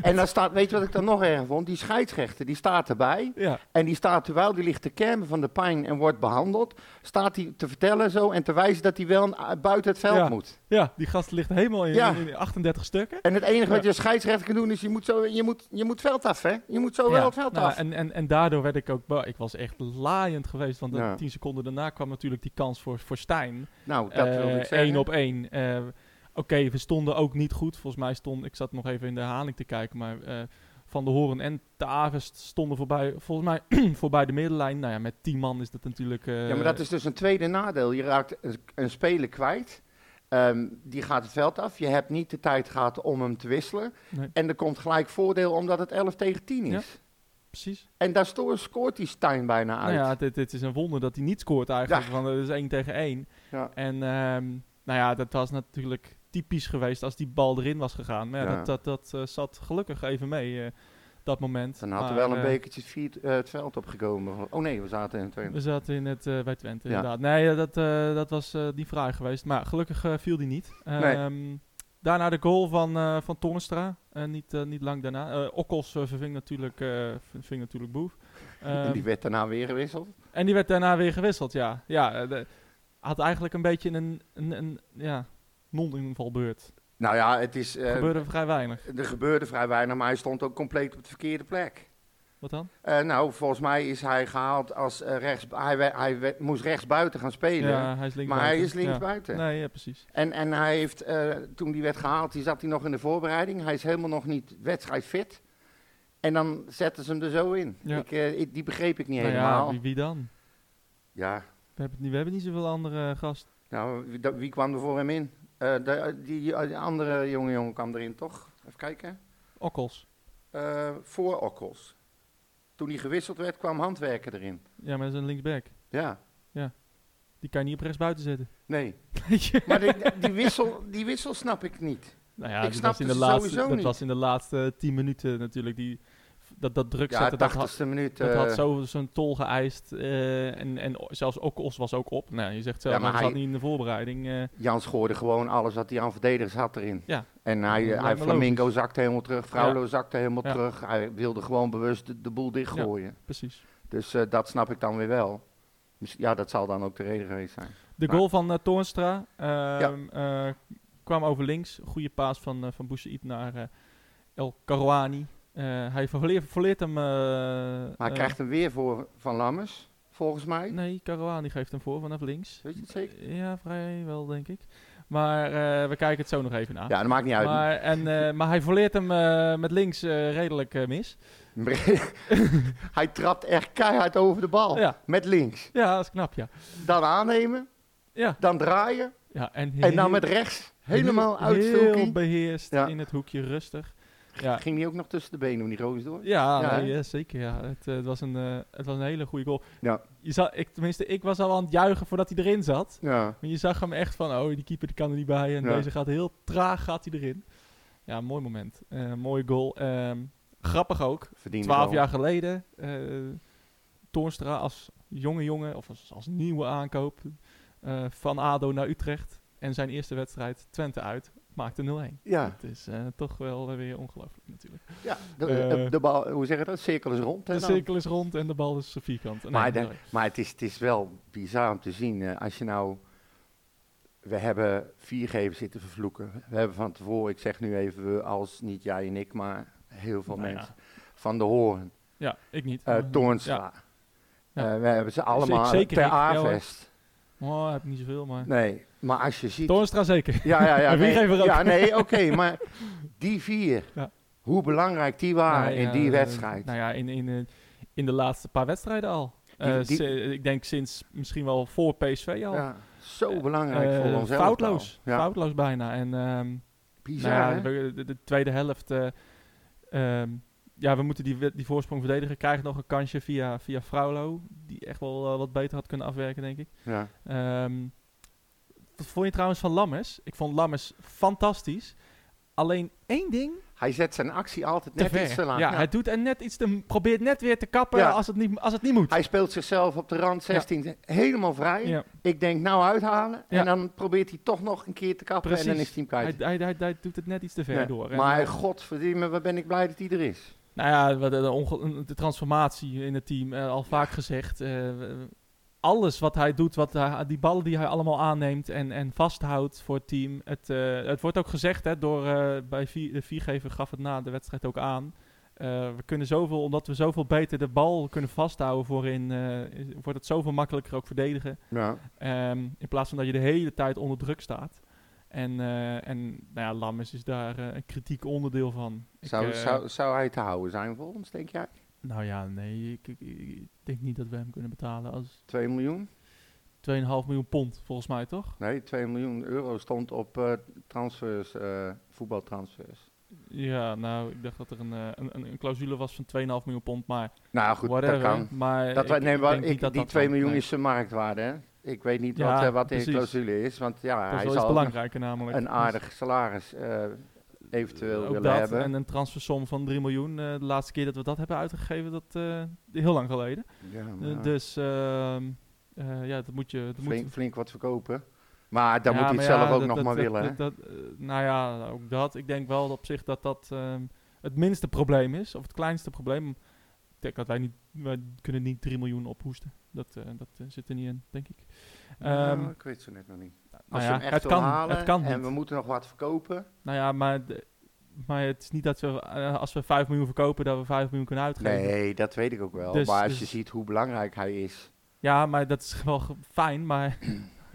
[SPEAKER 2] En dan staat, weet je wat ik dan nog erger vond? Die scheidsrechter, die staat erbij.
[SPEAKER 1] Ja,
[SPEAKER 2] En die staat, terwijl die ligt te kermen van de pijn en wordt behandeld, staat hij te vertellen zo en te wijzen dat hij wel eh, buiten het veld
[SPEAKER 1] Ja.
[SPEAKER 2] moet.
[SPEAKER 1] ja, die gast ligt helemaal in,
[SPEAKER 2] Ja.
[SPEAKER 1] in 38 stukken.
[SPEAKER 2] En het enige wat
[SPEAKER 1] Ja.
[SPEAKER 2] je scheidsrechter kan doen is, je moet, zo, je moet, je moet veld af, hè? Je moet zo
[SPEAKER 1] Ja,
[SPEAKER 2] Oh, wel het veld
[SPEAKER 1] nou,
[SPEAKER 2] af.
[SPEAKER 1] En, en, en daardoor werd ik ook bang. Ik was echt laaiend geweest, want
[SPEAKER 2] Ja.
[SPEAKER 1] de tien seconden daarna kwam natuurlijk die kans voor, voor Stijn.
[SPEAKER 2] nou, dat wil ik
[SPEAKER 1] Eh,
[SPEAKER 2] zeggen.
[SPEAKER 1] één op één. Eh, Oké, we stonden ook niet goed. Volgens mij stond, ik zat nog even in de herhaling te kijken, maar eh, Van de Horen en Taves stonden voorbij, volgens mij voorbij de middenlijn. Nou ja, met tien man is dat natuurlijk... eh,
[SPEAKER 2] Ja, maar dat is dus een tweede nadeel. Je raakt een, een speler kwijt. Ehm, die gaat het veld af. Je hebt niet de tijd gehad om hem te wisselen.
[SPEAKER 1] Nee.
[SPEAKER 2] En er komt gelijk voordeel omdat het 11 tegen 10 is.
[SPEAKER 1] Precies.
[SPEAKER 2] En daar sto- scoort die Stijn bijna uit.
[SPEAKER 1] Nou ja, dit, dit is een wonder dat hij niet scoort eigenlijk, want het is één tegen één.
[SPEAKER 2] Ja.
[SPEAKER 1] En ehm, nou ja, dat was natuurlijk typisch geweest als die bal erin was gegaan. Maar ja,
[SPEAKER 2] Ja.
[SPEAKER 1] dat, dat, dat eh, zat gelukkig even mee, eh, dat moment.
[SPEAKER 2] Dan had er
[SPEAKER 1] Maar,
[SPEAKER 2] wel een
[SPEAKER 1] eh,
[SPEAKER 2] bekertje het, vier- eh, het veld opgekomen. Oh nee, we zaten in het tweede.
[SPEAKER 1] We zaten in het, eh, bij Twente,
[SPEAKER 2] Ja.
[SPEAKER 1] inderdaad. Nee, eh, dat, eh, dat was eh, die vraag geweest. Maar gelukkig eh, viel die niet. Ehm, Daarna de goal van, eh van Tornstra. Eh, niet, eh, niet lang daarna. Eh, Okkels eh, verving natuurlijk, eh, verving natuurlijk Boef.
[SPEAKER 2] en
[SPEAKER 1] Ehm,
[SPEAKER 2] die werd daarna weer gewisseld.
[SPEAKER 1] En die werd daarna weer gewisseld, ja. Ja, eh, de- had eigenlijk een beetje een, een, een ja, non-invalbeurt.
[SPEAKER 2] Nou ja, het is, eh,
[SPEAKER 1] Gebeurde vrij weinig.
[SPEAKER 2] er gebeurde vrij weinig, maar hij stond ook compleet op de verkeerde plek.
[SPEAKER 1] Wat dan?
[SPEAKER 2] Eh, nou, volgens mij is hij gehaald als eh, rechts... Hij, we- hij we- moest rechtsbuiten gaan spelen,
[SPEAKER 1] Ja, hij is links
[SPEAKER 2] maar hij is linksbuiten.
[SPEAKER 1] Nee, ja, precies.
[SPEAKER 2] En, en hij heeft, eh, toen die werd gehaald, die zat hij nog in de voorbereiding. Hij is helemaal nog niet wedstrijdfit. En dan zetten ze hem er zo in.
[SPEAKER 1] Ja.
[SPEAKER 2] Ik, eh, ik- die begreep ik niet
[SPEAKER 1] Nou
[SPEAKER 2] helemaal.
[SPEAKER 1] ja, wie, wie dan?
[SPEAKER 2] Ja,
[SPEAKER 1] We hebben, het niet, we hebben niet zoveel andere eh, gasten.
[SPEAKER 2] nou, wie, dat- wie kwam er voor hem in? Eh, de- die, eh, die andere jonge jongen kwam erin, toch? Even kijken.
[SPEAKER 1] Okkels.
[SPEAKER 2] Eh, voor Okkels. Toen hij gewisseld werd, kwam Handwerker erin.
[SPEAKER 1] Ja, maar dat is een linksback.
[SPEAKER 2] Ja,
[SPEAKER 1] Die kan je niet op rechtsbuiten zetten.
[SPEAKER 2] nee.
[SPEAKER 1] Weet je?
[SPEAKER 2] Maar die, die, wissel, die wissel snap ik niet.
[SPEAKER 1] nou ja,
[SPEAKER 2] Ik
[SPEAKER 1] dat,
[SPEAKER 2] snap
[SPEAKER 1] was in, de
[SPEAKER 2] het
[SPEAKER 1] laatste,
[SPEAKER 2] sowieso
[SPEAKER 1] dat
[SPEAKER 2] niet.
[SPEAKER 1] was in de laatste tien minuten natuurlijk. Die, dat, dat druk
[SPEAKER 2] Ja,
[SPEAKER 1] zetten, dat had,
[SPEAKER 2] 80ste minuut.
[SPEAKER 1] dat
[SPEAKER 2] eh,
[SPEAKER 1] had zo- zo'n tol geëist. eh, en, en o- zelfs Okkels was ook op. Nou, je zegt zelf,
[SPEAKER 2] Ja, maar
[SPEAKER 1] hij zat
[SPEAKER 2] hij-
[SPEAKER 1] niet in de voorbereiding. eh.
[SPEAKER 2] Jans gooide gewoon alles wat hij aan verdedigers had erin.
[SPEAKER 1] Ja.
[SPEAKER 2] En
[SPEAKER 1] Ja,
[SPEAKER 2] hij,
[SPEAKER 1] dat
[SPEAKER 2] hij
[SPEAKER 1] lijkt me
[SPEAKER 2] Flamingo zakte helemaal terug, Fraulo zakte helemaal
[SPEAKER 1] Ja.
[SPEAKER 2] terug. Hij wilde gewoon bewust de, de boel dichtgooien.
[SPEAKER 1] Precies.
[SPEAKER 2] Dus eh, dat snap ik dan weer wel. Dus ja, dat zal dan ook de reden geweest zijn.
[SPEAKER 1] De
[SPEAKER 2] Maar-
[SPEAKER 1] goal van eh, Toornstra ehm, eh, kwam over links. Goede paas van, eh van Boussaïd naar eh, El Karouani. Eh, hij verleert, verleert hem... eh,
[SPEAKER 2] Maar hij
[SPEAKER 1] eh,
[SPEAKER 2] krijgt hem weer voor van Lammers, volgens mij.
[SPEAKER 1] Nee, Karouani geeft hem voor vanaf links.
[SPEAKER 2] Weet je het zeker?
[SPEAKER 1] Ja, vrij wel, denk ik. Maar eh, we kijken het zo nog even na.
[SPEAKER 2] Ja, dat maakt niet uit.
[SPEAKER 1] Maar, en, eh, maar hij verleert hem eh, met links eh, redelijk eh, mis.
[SPEAKER 2] hij trapt echt keihard over de bal.
[SPEAKER 1] Ja.
[SPEAKER 2] Met links.
[SPEAKER 1] Ja, dat is knap, ja.
[SPEAKER 2] Dan aannemen,
[SPEAKER 1] Ja,
[SPEAKER 2] dan draaien
[SPEAKER 1] ja en,
[SPEAKER 2] en
[SPEAKER 1] heel-
[SPEAKER 2] dan met rechts. Helemaal
[SPEAKER 1] heel-
[SPEAKER 2] uit
[SPEAKER 1] Heel
[SPEAKER 2] Sulky.
[SPEAKER 1] beheerst
[SPEAKER 2] Ja.
[SPEAKER 1] in het hoekje, rustig. Ja,
[SPEAKER 2] Ging hij ook nog tussen de benen om die roos door?
[SPEAKER 1] Ja,
[SPEAKER 2] Ja,
[SPEAKER 1] nee,
[SPEAKER 2] hè?
[SPEAKER 1] ja, zeker. Ja. Het, eh, het, was een, eh, het was een hele goede goal.
[SPEAKER 2] Ja.
[SPEAKER 1] Je zag, ik, tenminste, ik was al aan het juichen voordat hij erin zat.
[SPEAKER 2] Ja.
[SPEAKER 1] Maar je zag hem echt van, oh, die keeper die kan er niet bij. En
[SPEAKER 2] Ja.
[SPEAKER 1] deze gaat heel traag gaat hij erin. Ja, mooi moment. Eh mooie goal. Ehm, grappig ook.
[SPEAKER 2] Verdiende
[SPEAKER 1] Twaalf
[SPEAKER 2] goal.
[SPEAKER 1] jaar geleden. eh Toornstra als jonge jongen, of als, als nieuwe aankoop. eh, van ADO naar Utrecht. En zijn eerste wedstrijd, Twente uit, maakte 0-1.
[SPEAKER 2] Ja.
[SPEAKER 1] Het is eh, toch wel eh, weer ongelooflijk natuurlijk.
[SPEAKER 2] Ja, de,
[SPEAKER 1] Eh,
[SPEAKER 2] eh, de bal, hoe zeg je dat? De cirkel is rond. hè,
[SPEAKER 1] De
[SPEAKER 2] dan?
[SPEAKER 1] cirkel is rond en de bal is vierkant. Nee,
[SPEAKER 2] maar de-
[SPEAKER 1] nee.
[SPEAKER 2] maar het, is, het is wel bizar om te zien. eh, als je nou. We hebben viergevers zitten vervloeken. We hebben van tevoren, ik zeg nu even we, als niet jij en ik, maar heel veel
[SPEAKER 1] Nou ja.
[SPEAKER 2] mensen. Van de Hoorn,
[SPEAKER 1] Ja, ik niet.
[SPEAKER 2] eh
[SPEAKER 1] Maar-
[SPEAKER 2] Toornstra.
[SPEAKER 1] Ja.
[SPEAKER 2] Eh, we hebben ze allemaal
[SPEAKER 1] zeker
[SPEAKER 2] per
[SPEAKER 1] ik, ja hoor.
[SPEAKER 2] Avest.
[SPEAKER 1] Oh, ik heb niet zoveel, maar...
[SPEAKER 2] nee, maar als je ziet.
[SPEAKER 1] Toornstra zeker.
[SPEAKER 2] Ja, ja, ja.
[SPEAKER 1] En wie
[SPEAKER 2] nee,
[SPEAKER 1] geven er ook?
[SPEAKER 2] Ja, nee, oké, maar die vier.
[SPEAKER 1] Ja.
[SPEAKER 2] Hoe belangrijk die waren
[SPEAKER 1] Nee,
[SPEAKER 2] Ah, in
[SPEAKER 1] eh,
[SPEAKER 2] die wedstrijd.
[SPEAKER 1] Nou ja, in, in, eh, in de laatste paar wedstrijden al.
[SPEAKER 2] Die-
[SPEAKER 1] Eh,
[SPEAKER 2] die-
[SPEAKER 1] si- ik denk sinds misschien wel voor PSV al.
[SPEAKER 2] ja, zo
[SPEAKER 1] Eh,
[SPEAKER 2] belangrijk
[SPEAKER 1] Eh,
[SPEAKER 2] voor ons elftal.
[SPEAKER 1] foutloos.
[SPEAKER 2] Ja.
[SPEAKER 1] Foutloos bijna. En ehm,
[SPEAKER 2] Bizar,
[SPEAKER 1] nou ja,
[SPEAKER 2] hè?
[SPEAKER 1] we- de, de tweede helft... eh, ehm, ja, we moeten die, we- die voorsprong verdedigen. Krijgen nog een kansje via, via Fraulo. Die echt wel eh, wat beter had kunnen afwerken, denk ik.
[SPEAKER 2] Ja.
[SPEAKER 1] Ehm, wat vond je trouwens van Lammers? Ik vond Lammers fantastisch. alleen één ding
[SPEAKER 2] Hij zet zijn actie altijd
[SPEAKER 1] te
[SPEAKER 2] net
[SPEAKER 1] ver.
[SPEAKER 2] iets te laat.
[SPEAKER 1] ja,
[SPEAKER 2] Ja.
[SPEAKER 1] hij doet en net iets te, probeert net weer te kappen
[SPEAKER 2] Ja.
[SPEAKER 1] als, het niet, als het niet moet.
[SPEAKER 2] Hij speelt zichzelf op de rand 16 helemaal vrij.
[SPEAKER 1] Ja.
[SPEAKER 2] Ik denk, nou uithalen.
[SPEAKER 1] Ja.
[SPEAKER 2] En dan probeert hij toch nog een keer te kappen
[SPEAKER 1] Precies.
[SPEAKER 2] en dan is hij hem
[SPEAKER 1] hij,
[SPEAKER 2] kwijt.
[SPEAKER 1] hij, hij, hij doet het net iets te ver
[SPEAKER 2] Nee.
[SPEAKER 1] door. En,
[SPEAKER 2] Maar
[SPEAKER 1] eh,
[SPEAKER 2] godverdomme, wat ben ik blij dat hij er is.
[SPEAKER 1] Nou ja, wat, eh, de, onge- de transformatie in het team, eh, al vaak gezegd. eh, alles wat hij doet, wat hij- die ballen die hij allemaal aanneemt en, en vasthoudt voor het team. Het, eh, het wordt ook gezegd hè, door, eh, bij vi- de viergever gaf het na de wedstrijd ook aan. Eh, we kunnen zoveel, omdat we zoveel beter de bal kunnen vasthouden voorin, eh, is- wordt het zoveel makkelijker ook verdedigen.
[SPEAKER 2] Ja.
[SPEAKER 1] Ehm, in plaats van dat je de hele tijd onder druk staat. En, eh, en nou ja, Lammers is daar eh, een kritiek onderdeel van. Ik,
[SPEAKER 2] Zou,
[SPEAKER 1] eh,
[SPEAKER 2] zou, zou hij te houden zijn voor ons, denk jij?
[SPEAKER 1] Nou ja, nee, ik, ik, ik denk niet dat we hem kunnen betalen als
[SPEAKER 2] 2 miljoen?
[SPEAKER 1] 2,5 miljoen pond, volgens mij toch?
[SPEAKER 2] Nee, 2 miljoen euro stond op eh, transfers, eh, voetbaltransfers.
[SPEAKER 1] Ja, nou, ik dacht dat er een, eh, een, een, een clausule was van 2,5 miljoen pond, maar
[SPEAKER 2] Nou goed,
[SPEAKER 1] whatever.
[SPEAKER 2] dat kan.
[SPEAKER 1] Maar
[SPEAKER 2] Dat
[SPEAKER 1] ik-
[SPEAKER 2] wij, nee,
[SPEAKER 1] ik
[SPEAKER 2] maar
[SPEAKER 1] denk
[SPEAKER 2] ik-
[SPEAKER 1] niet dat
[SPEAKER 2] die
[SPEAKER 1] dat
[SPEAKER 2] 2
[SPEAKER 1] kan.
[SPEAKER 2] miljoen
[SPEAKER 1] Nee,
[SPEAKER 2] is zijn marktwaarde, hè? Ik weet niet wat,
[SPEAKER 1] Ja,
[SPEAKER 2] eh, wat de
[SPEAKER 1] precies.
[SPEAKER 2] clausule is, want ja,
[SPEAKER 1] Dat is
[SPEAKER 2] hij
[SPEAKER 1] wel iets
[SPEAKER 2] zal ook nog
[SPEAKER 1] belangrijker namelijk.
[SPEAKER 2] een aardig salaris eh,
[SPEAKER 1] Dus
[SPEAKER 2] eventueel
[SPEAKER 1] ook
[SPEAKER 2] willen
[SPEAKER 1] dat,
[SPEAKER 2] hebben.
[SPEAKER 1] En een transfersom van 3 miljoen. eh, de laatste keer dat we dat hebben uitgegeven, dat eh, heel lang geleden.
[SPEAKER 2] ja,
[SPEAKER 1] Eh,
[SPEAKER 2] maar
[SPEAKER 1] dus ehm, eh, ja, dat moet je... Dat moet,
[SPEAKER 2] flink, flink wat verkopen. Maar dan
[SPEAKER 1] Ja,
[SPEAKER 2] moet hij
[SPEAKER 1] maar
[SPEAKER 2] het zelf
[SPEAKER 1] ja,
[SPEAKER 2] ook
[SPEAKER 1] dat-
[SPEAKER 2] nog
[SPEAKER 1] dat-
[SPEAKER 2] maar
[SPEAKER 1] dat-
[SPEAKER 2] willen. hè?
[SPEAKER 1] dat- dat, eh, nou ja, ook dat. Ik denk wel op zich dat dat ehm, het minste probleem is. Of het kleinste probleem. Ik denk dat wij niet... Wij kunnen niet 3 miljoen ophoesten. Dat, eh, dat eh, zit er niet in, denk ik. Ehm,
[SPEAKER 2] Nou, ik weet ze net nog niet.
[SPEAKER 1] nou
[SPEAKER 2] Als
[SPEAKER 1] ja,
[SPEAKER 2] je hem echt
[SPEAKER 1] het
[SPEAKER 2] wil
[SPEAKER 1] kan,
[SPEAKER 2] halen
[SPEAKER 1] het kan
[SPEAKER 2] en
[SPEAKER 1] niet.
[SPEAKER 2] we moeten nog wat verkopen.
[SPEAKER 1] Nou ja, maar, de- maar het is niet dat we... eh, als we 5 miljoen verkopen, dat we 5 miljoen kunnen uitgeven.
[SPEAKER 2] Nee, dat weet ik ook wel.
[SPEAKER 1] Dus-
[SPEAKER 2] maar als
[SPEAKER 1] dus-
[SPEAKER 2] je ziet hoe belangrijk hij is.
[SPEAKER 1] Ja, maar dat is wel ge- fijn, maar...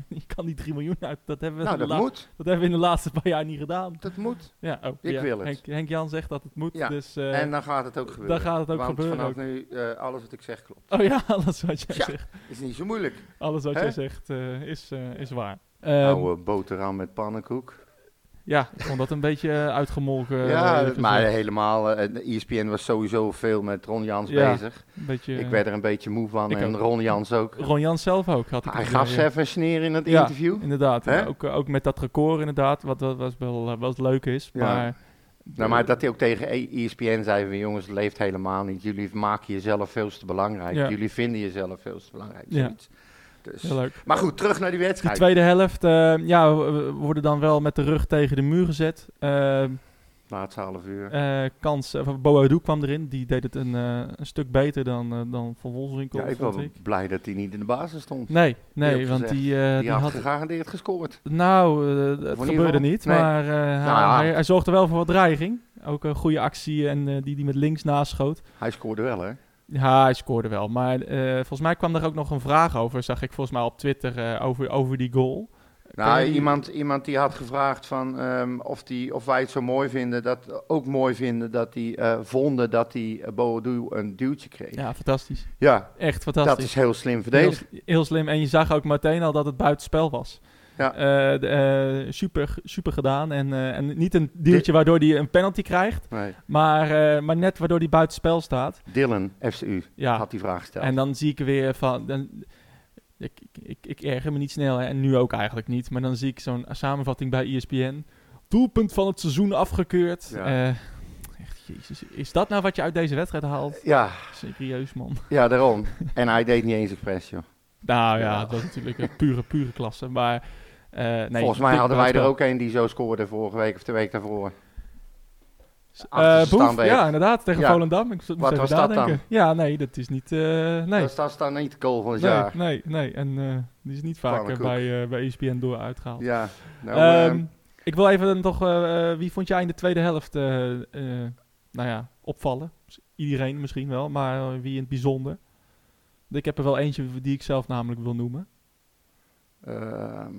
[SPEAKER 1] Je kan niet 3 miljoen uit. Dat hebben, we
[SPEAKER 2] Nou,
[SPEAKER 1] de
[SPEAKER 2] dat
[SPEAKER 1] Dus la-
[SPEAKER 2] moet.
[SPEAKER 1] dat hebben we in de laatste paar jaar niet gedaan.
[SPEAKER 2] Dat moet.
[SPEAKER 1] Ja, oh,
[SPEAKER 2] Ik
[SPEAKER 1] ja.
[SPEAKER 2] wil het.
[SPEAKER 1] Henk, Henk Jan zegt dat het moet.
[SPEAKER 2] Ja,
[SPEAKER 1] Dus, eh,
[SPEAKER 2] en dan gaat het ook gebeuren.
[SPEAKER 1] dan gaat het ook
[SPEAKER 2] Want
[SPEAKER 1] gebeuren
[SPEAKER 2] vanaf
[SPEAKER 1] ook.
[SPEAKER 2] nu, eh, alles wat ik zeg klopt.
[SPEAKER 1] Oh ja, alles wat jij
[SPEAKER 2] Tja.
[SPEAKER 1] zegt,
[SPEAKER 2] Is niet zo moeilijk.
[SPEAKER 1] alles wat
[SPEAKER 2] Hè? Nou, eh,
[SPEAKER 1] jij zegt eh, is, eh, is waar. Ehm,
[SPEAKER 2] Oude boterham met pannenkoek.
[SPEAKER 1] ja, ik vond dat een beetje eh, uitgemolken. eh,
[SPEAKER 2] ja,
[SPEAKER 1] eerlijk
[SPEAKER 2] maar
[SPEAKER 1] gezegd.
[SPEAKER 2] helemaal. eh, ESPN was sowieso veel met Ron Jans
[SPEAKER 1] Ja,
[SPEAKER 2] bezig.
[SPEAKER 1] Een beetje,
[SPEAKER 2] eh, Ik werd er een beetje moe van.
[SPEAKER 1] ik
[SPEAKER 2] En
[SPEAKER 1] ook.
[SPEAKER 2] Ron Jans ook.
[SPEAKER 1] Ron Jans zelf ook. Had ik
[SPEAKER 2] Hij
[SPEAKER 1] het
[SPEAKER 2] gaf
[SPEAKER 1] idee,
[SPEAKER 2] ze even sneer in het
[SPEAKER 1] Ja.
[SPEAKER 2] interview.
[SPEAKER 1] ja. Inderdaad,
[SPEAKER 2] Hè?
[SPEAKER 1] ja, ook, ook met dat record inderdaad, wat, wat, wat wel eh, wat leuk is.
[SPEAKER 2] Ja.
[SPEAKER 1] Maar,
[SPEAKER 2] Nou, maar dat hij ook tegen E- ESPN zei van jongens, het leeft helemaal niet. Jullie maken jezelf veel te belangrijk.
[SPEAKER 1] Ja.
[SPEAKER 2] Jullie vinden jezelf veel te belangrijk.
[SPEAKER 1] Ja.
[SPEAKER 2] zoiets. Dus.
[SPEAKER 1] heel leuk.
[SPEAKER 2] Maar goed, terug naar die
[SPEAKER 1] De
[SPEAKER 2] wedstrijd.
[SPEAKER 1] tweede helft, eh, ja, we- we worden dan wel met de rug tegen de muur gezet. Ehm,
[SPEAKER 2] Laatste half uur.
[SPEAKER 1] eh kans, eh, van Boadu kwam erin, die deed het een, eh, een stuk beter dan, eh, dan Van Wolfswinkel,
[SPEAKER 2] ja, ik
[SPEAKER 1] vond
[SPEAKER 2] was
[SPEAKER 1] ik.
[SPEAKER 2] blij dat hij niet in de basis stond.
[SPEAKER 1] Nee,
[SPEAKER 2] Die
[SPEAKER 1] nee,
[SPEAKER 2] had
[SPEAKER 1] want
[SPEAKER 2] gezegd,
[SPEAKER 1] die, eh,
[SPEAKER 2] die,
[SPEAKER 1] die
[SPEAKER 2] had
[SPEAKER 1] had...
[SPEAKER 2] gegarandeerd gescoord.
[SPEAKER 1] Nou, eh, het
[SPEAKER 2] ieder
[SPEAKER 1] gebeurde
[SPEAKER 2] geval-
[SPEAKER 1] niet,
[SPEAKER 2] nee. Nou
[SPEAKER 1] maar eh, hij,
[SPEAKER 2] ja.
[SPEAKER 1] hij, hij zorgde wel voor wat dreiging. Ook een goede actie en eh, die die met links naschoot.
[SPEAKER 2] Hij scoorde wel, hè?
[SPEAKER 1] Ja, hij scoorde wel. Maar eh, volgens mij kwam er ook nog een vraag over, zag ik volgens mij op Twitter, eh, over, over die goal. Ken
[SPEAKER 2] Nou,
[SPEAKER 1] je die-
[SPEAKER 2] iemand, iemand die had gevraagd van, ehm, of, die, of wij het zo mooi vinden, dat ook mooi vinden dat die eh, vonden dat die eh, Boadu een duwtje kreeg. Ja,
[SPEAKER 1] Ja, fantastisch. Echt
[SPEAKER 2] dat
[SPEAKER 1] fantastisch.
[SPEAKER 2] is heel slim
[SPEAKER 1] heel,
[SPEAKER 2] verdedigd.
[SPEAKER 1] heel slim. En je zag ook meteen al dat het buitenspel was.
[SPEAKER 2] Ja.
[SPEAKER 1] Eh, de, eh, super, super gedaan. En, eh, en niet een duwtje waardoor hij een penalty krijgt,
[SPEAKER 2] Nee.
[SPEAKER 1] maar, eh, maar net waardoor hij buitenspel staat.
[SPEAKER 2] Dylan, FCU,
[SPEAKER 1] Ja,
[SPEAKER 2] had die vraag gesteld.
[SPEAKER 1] En dan zie ik weer van. Dan, ik, ik- ik, ik erger me niet snel hè, en nu ook eigenlijk niet. Maar dan zie ik zo'n samenvatting bij E ESPN. Doelpunt van het seizoen afgekeurd.
[SPEAKER 2] Ja.
[SPEAKER 1] Eh, echt, jezus. Is dat nou wat je uit deze wedstrijd haalt?
[SPEAKER 2] Ja,
[SPEAKER 1] Serieus, man.
[SPEAKER 2] ja, daarom. en hij deed niet eens expres, joh.
[SPEAKER 1] Nou ja,
[SPEAKER 2] Ja.
[SPEAKER 1] dat is natuurlijk een pure, pure klasse. Maar eh, nee,
[SPEAKER 2] Volgens mij
[SPEAKER 1] dik
[SPEAKER 2] hadden wij er
[SPEAKER 1] buitenspel.
[SPEAKER 2] ook een die zo scoorde vorige week of de week daarvoor.
[SPEAKER 1] Eh,
[SPEAKER 2] achter
[SPEAKER 1] Boef,
[SPEAKER 2] standbeeld.
[SPEAKER 1] ja, inderdaad, tegen
[SPEAKER 2] Ja.
[SPEAKER 1] Volendam. Ik moest
[SPEAKER 2] Wat
[SPEAKER 1] even
[SPEAKER 2] was dat
[SPEAKER 1] nadenken. Ja, nee, dat is niet... eh, nee.
[SPEAKER 2] Dus dat is dan niet de goal van het
[SPEAKER 1] nee,
[SPEAKER 2] jaar.
[SPEAKER 1] nee, nee. En eh, die is niet vaker
[SPEAKER 2] Pannenkoek.
[SPEAKER 1] bij, eh, bij ESPN door uitgehaald.
[SPEAKER 2] Ja, nou,
[SPEAKER 1] Ehm,
[SPEAKER 2] ehm,
[SPEAKER 1] ik wil even dan toch, eh, eh, wie vond jij in de tweede helft, eh, eh, nou ja, opvallen? Dus Iedereen misschien wel, maar eh, wie in het bijzonder? Ik heb er wel eentje die ik zelf namelijk wil noemen.
[SPEAKER 2] ehm,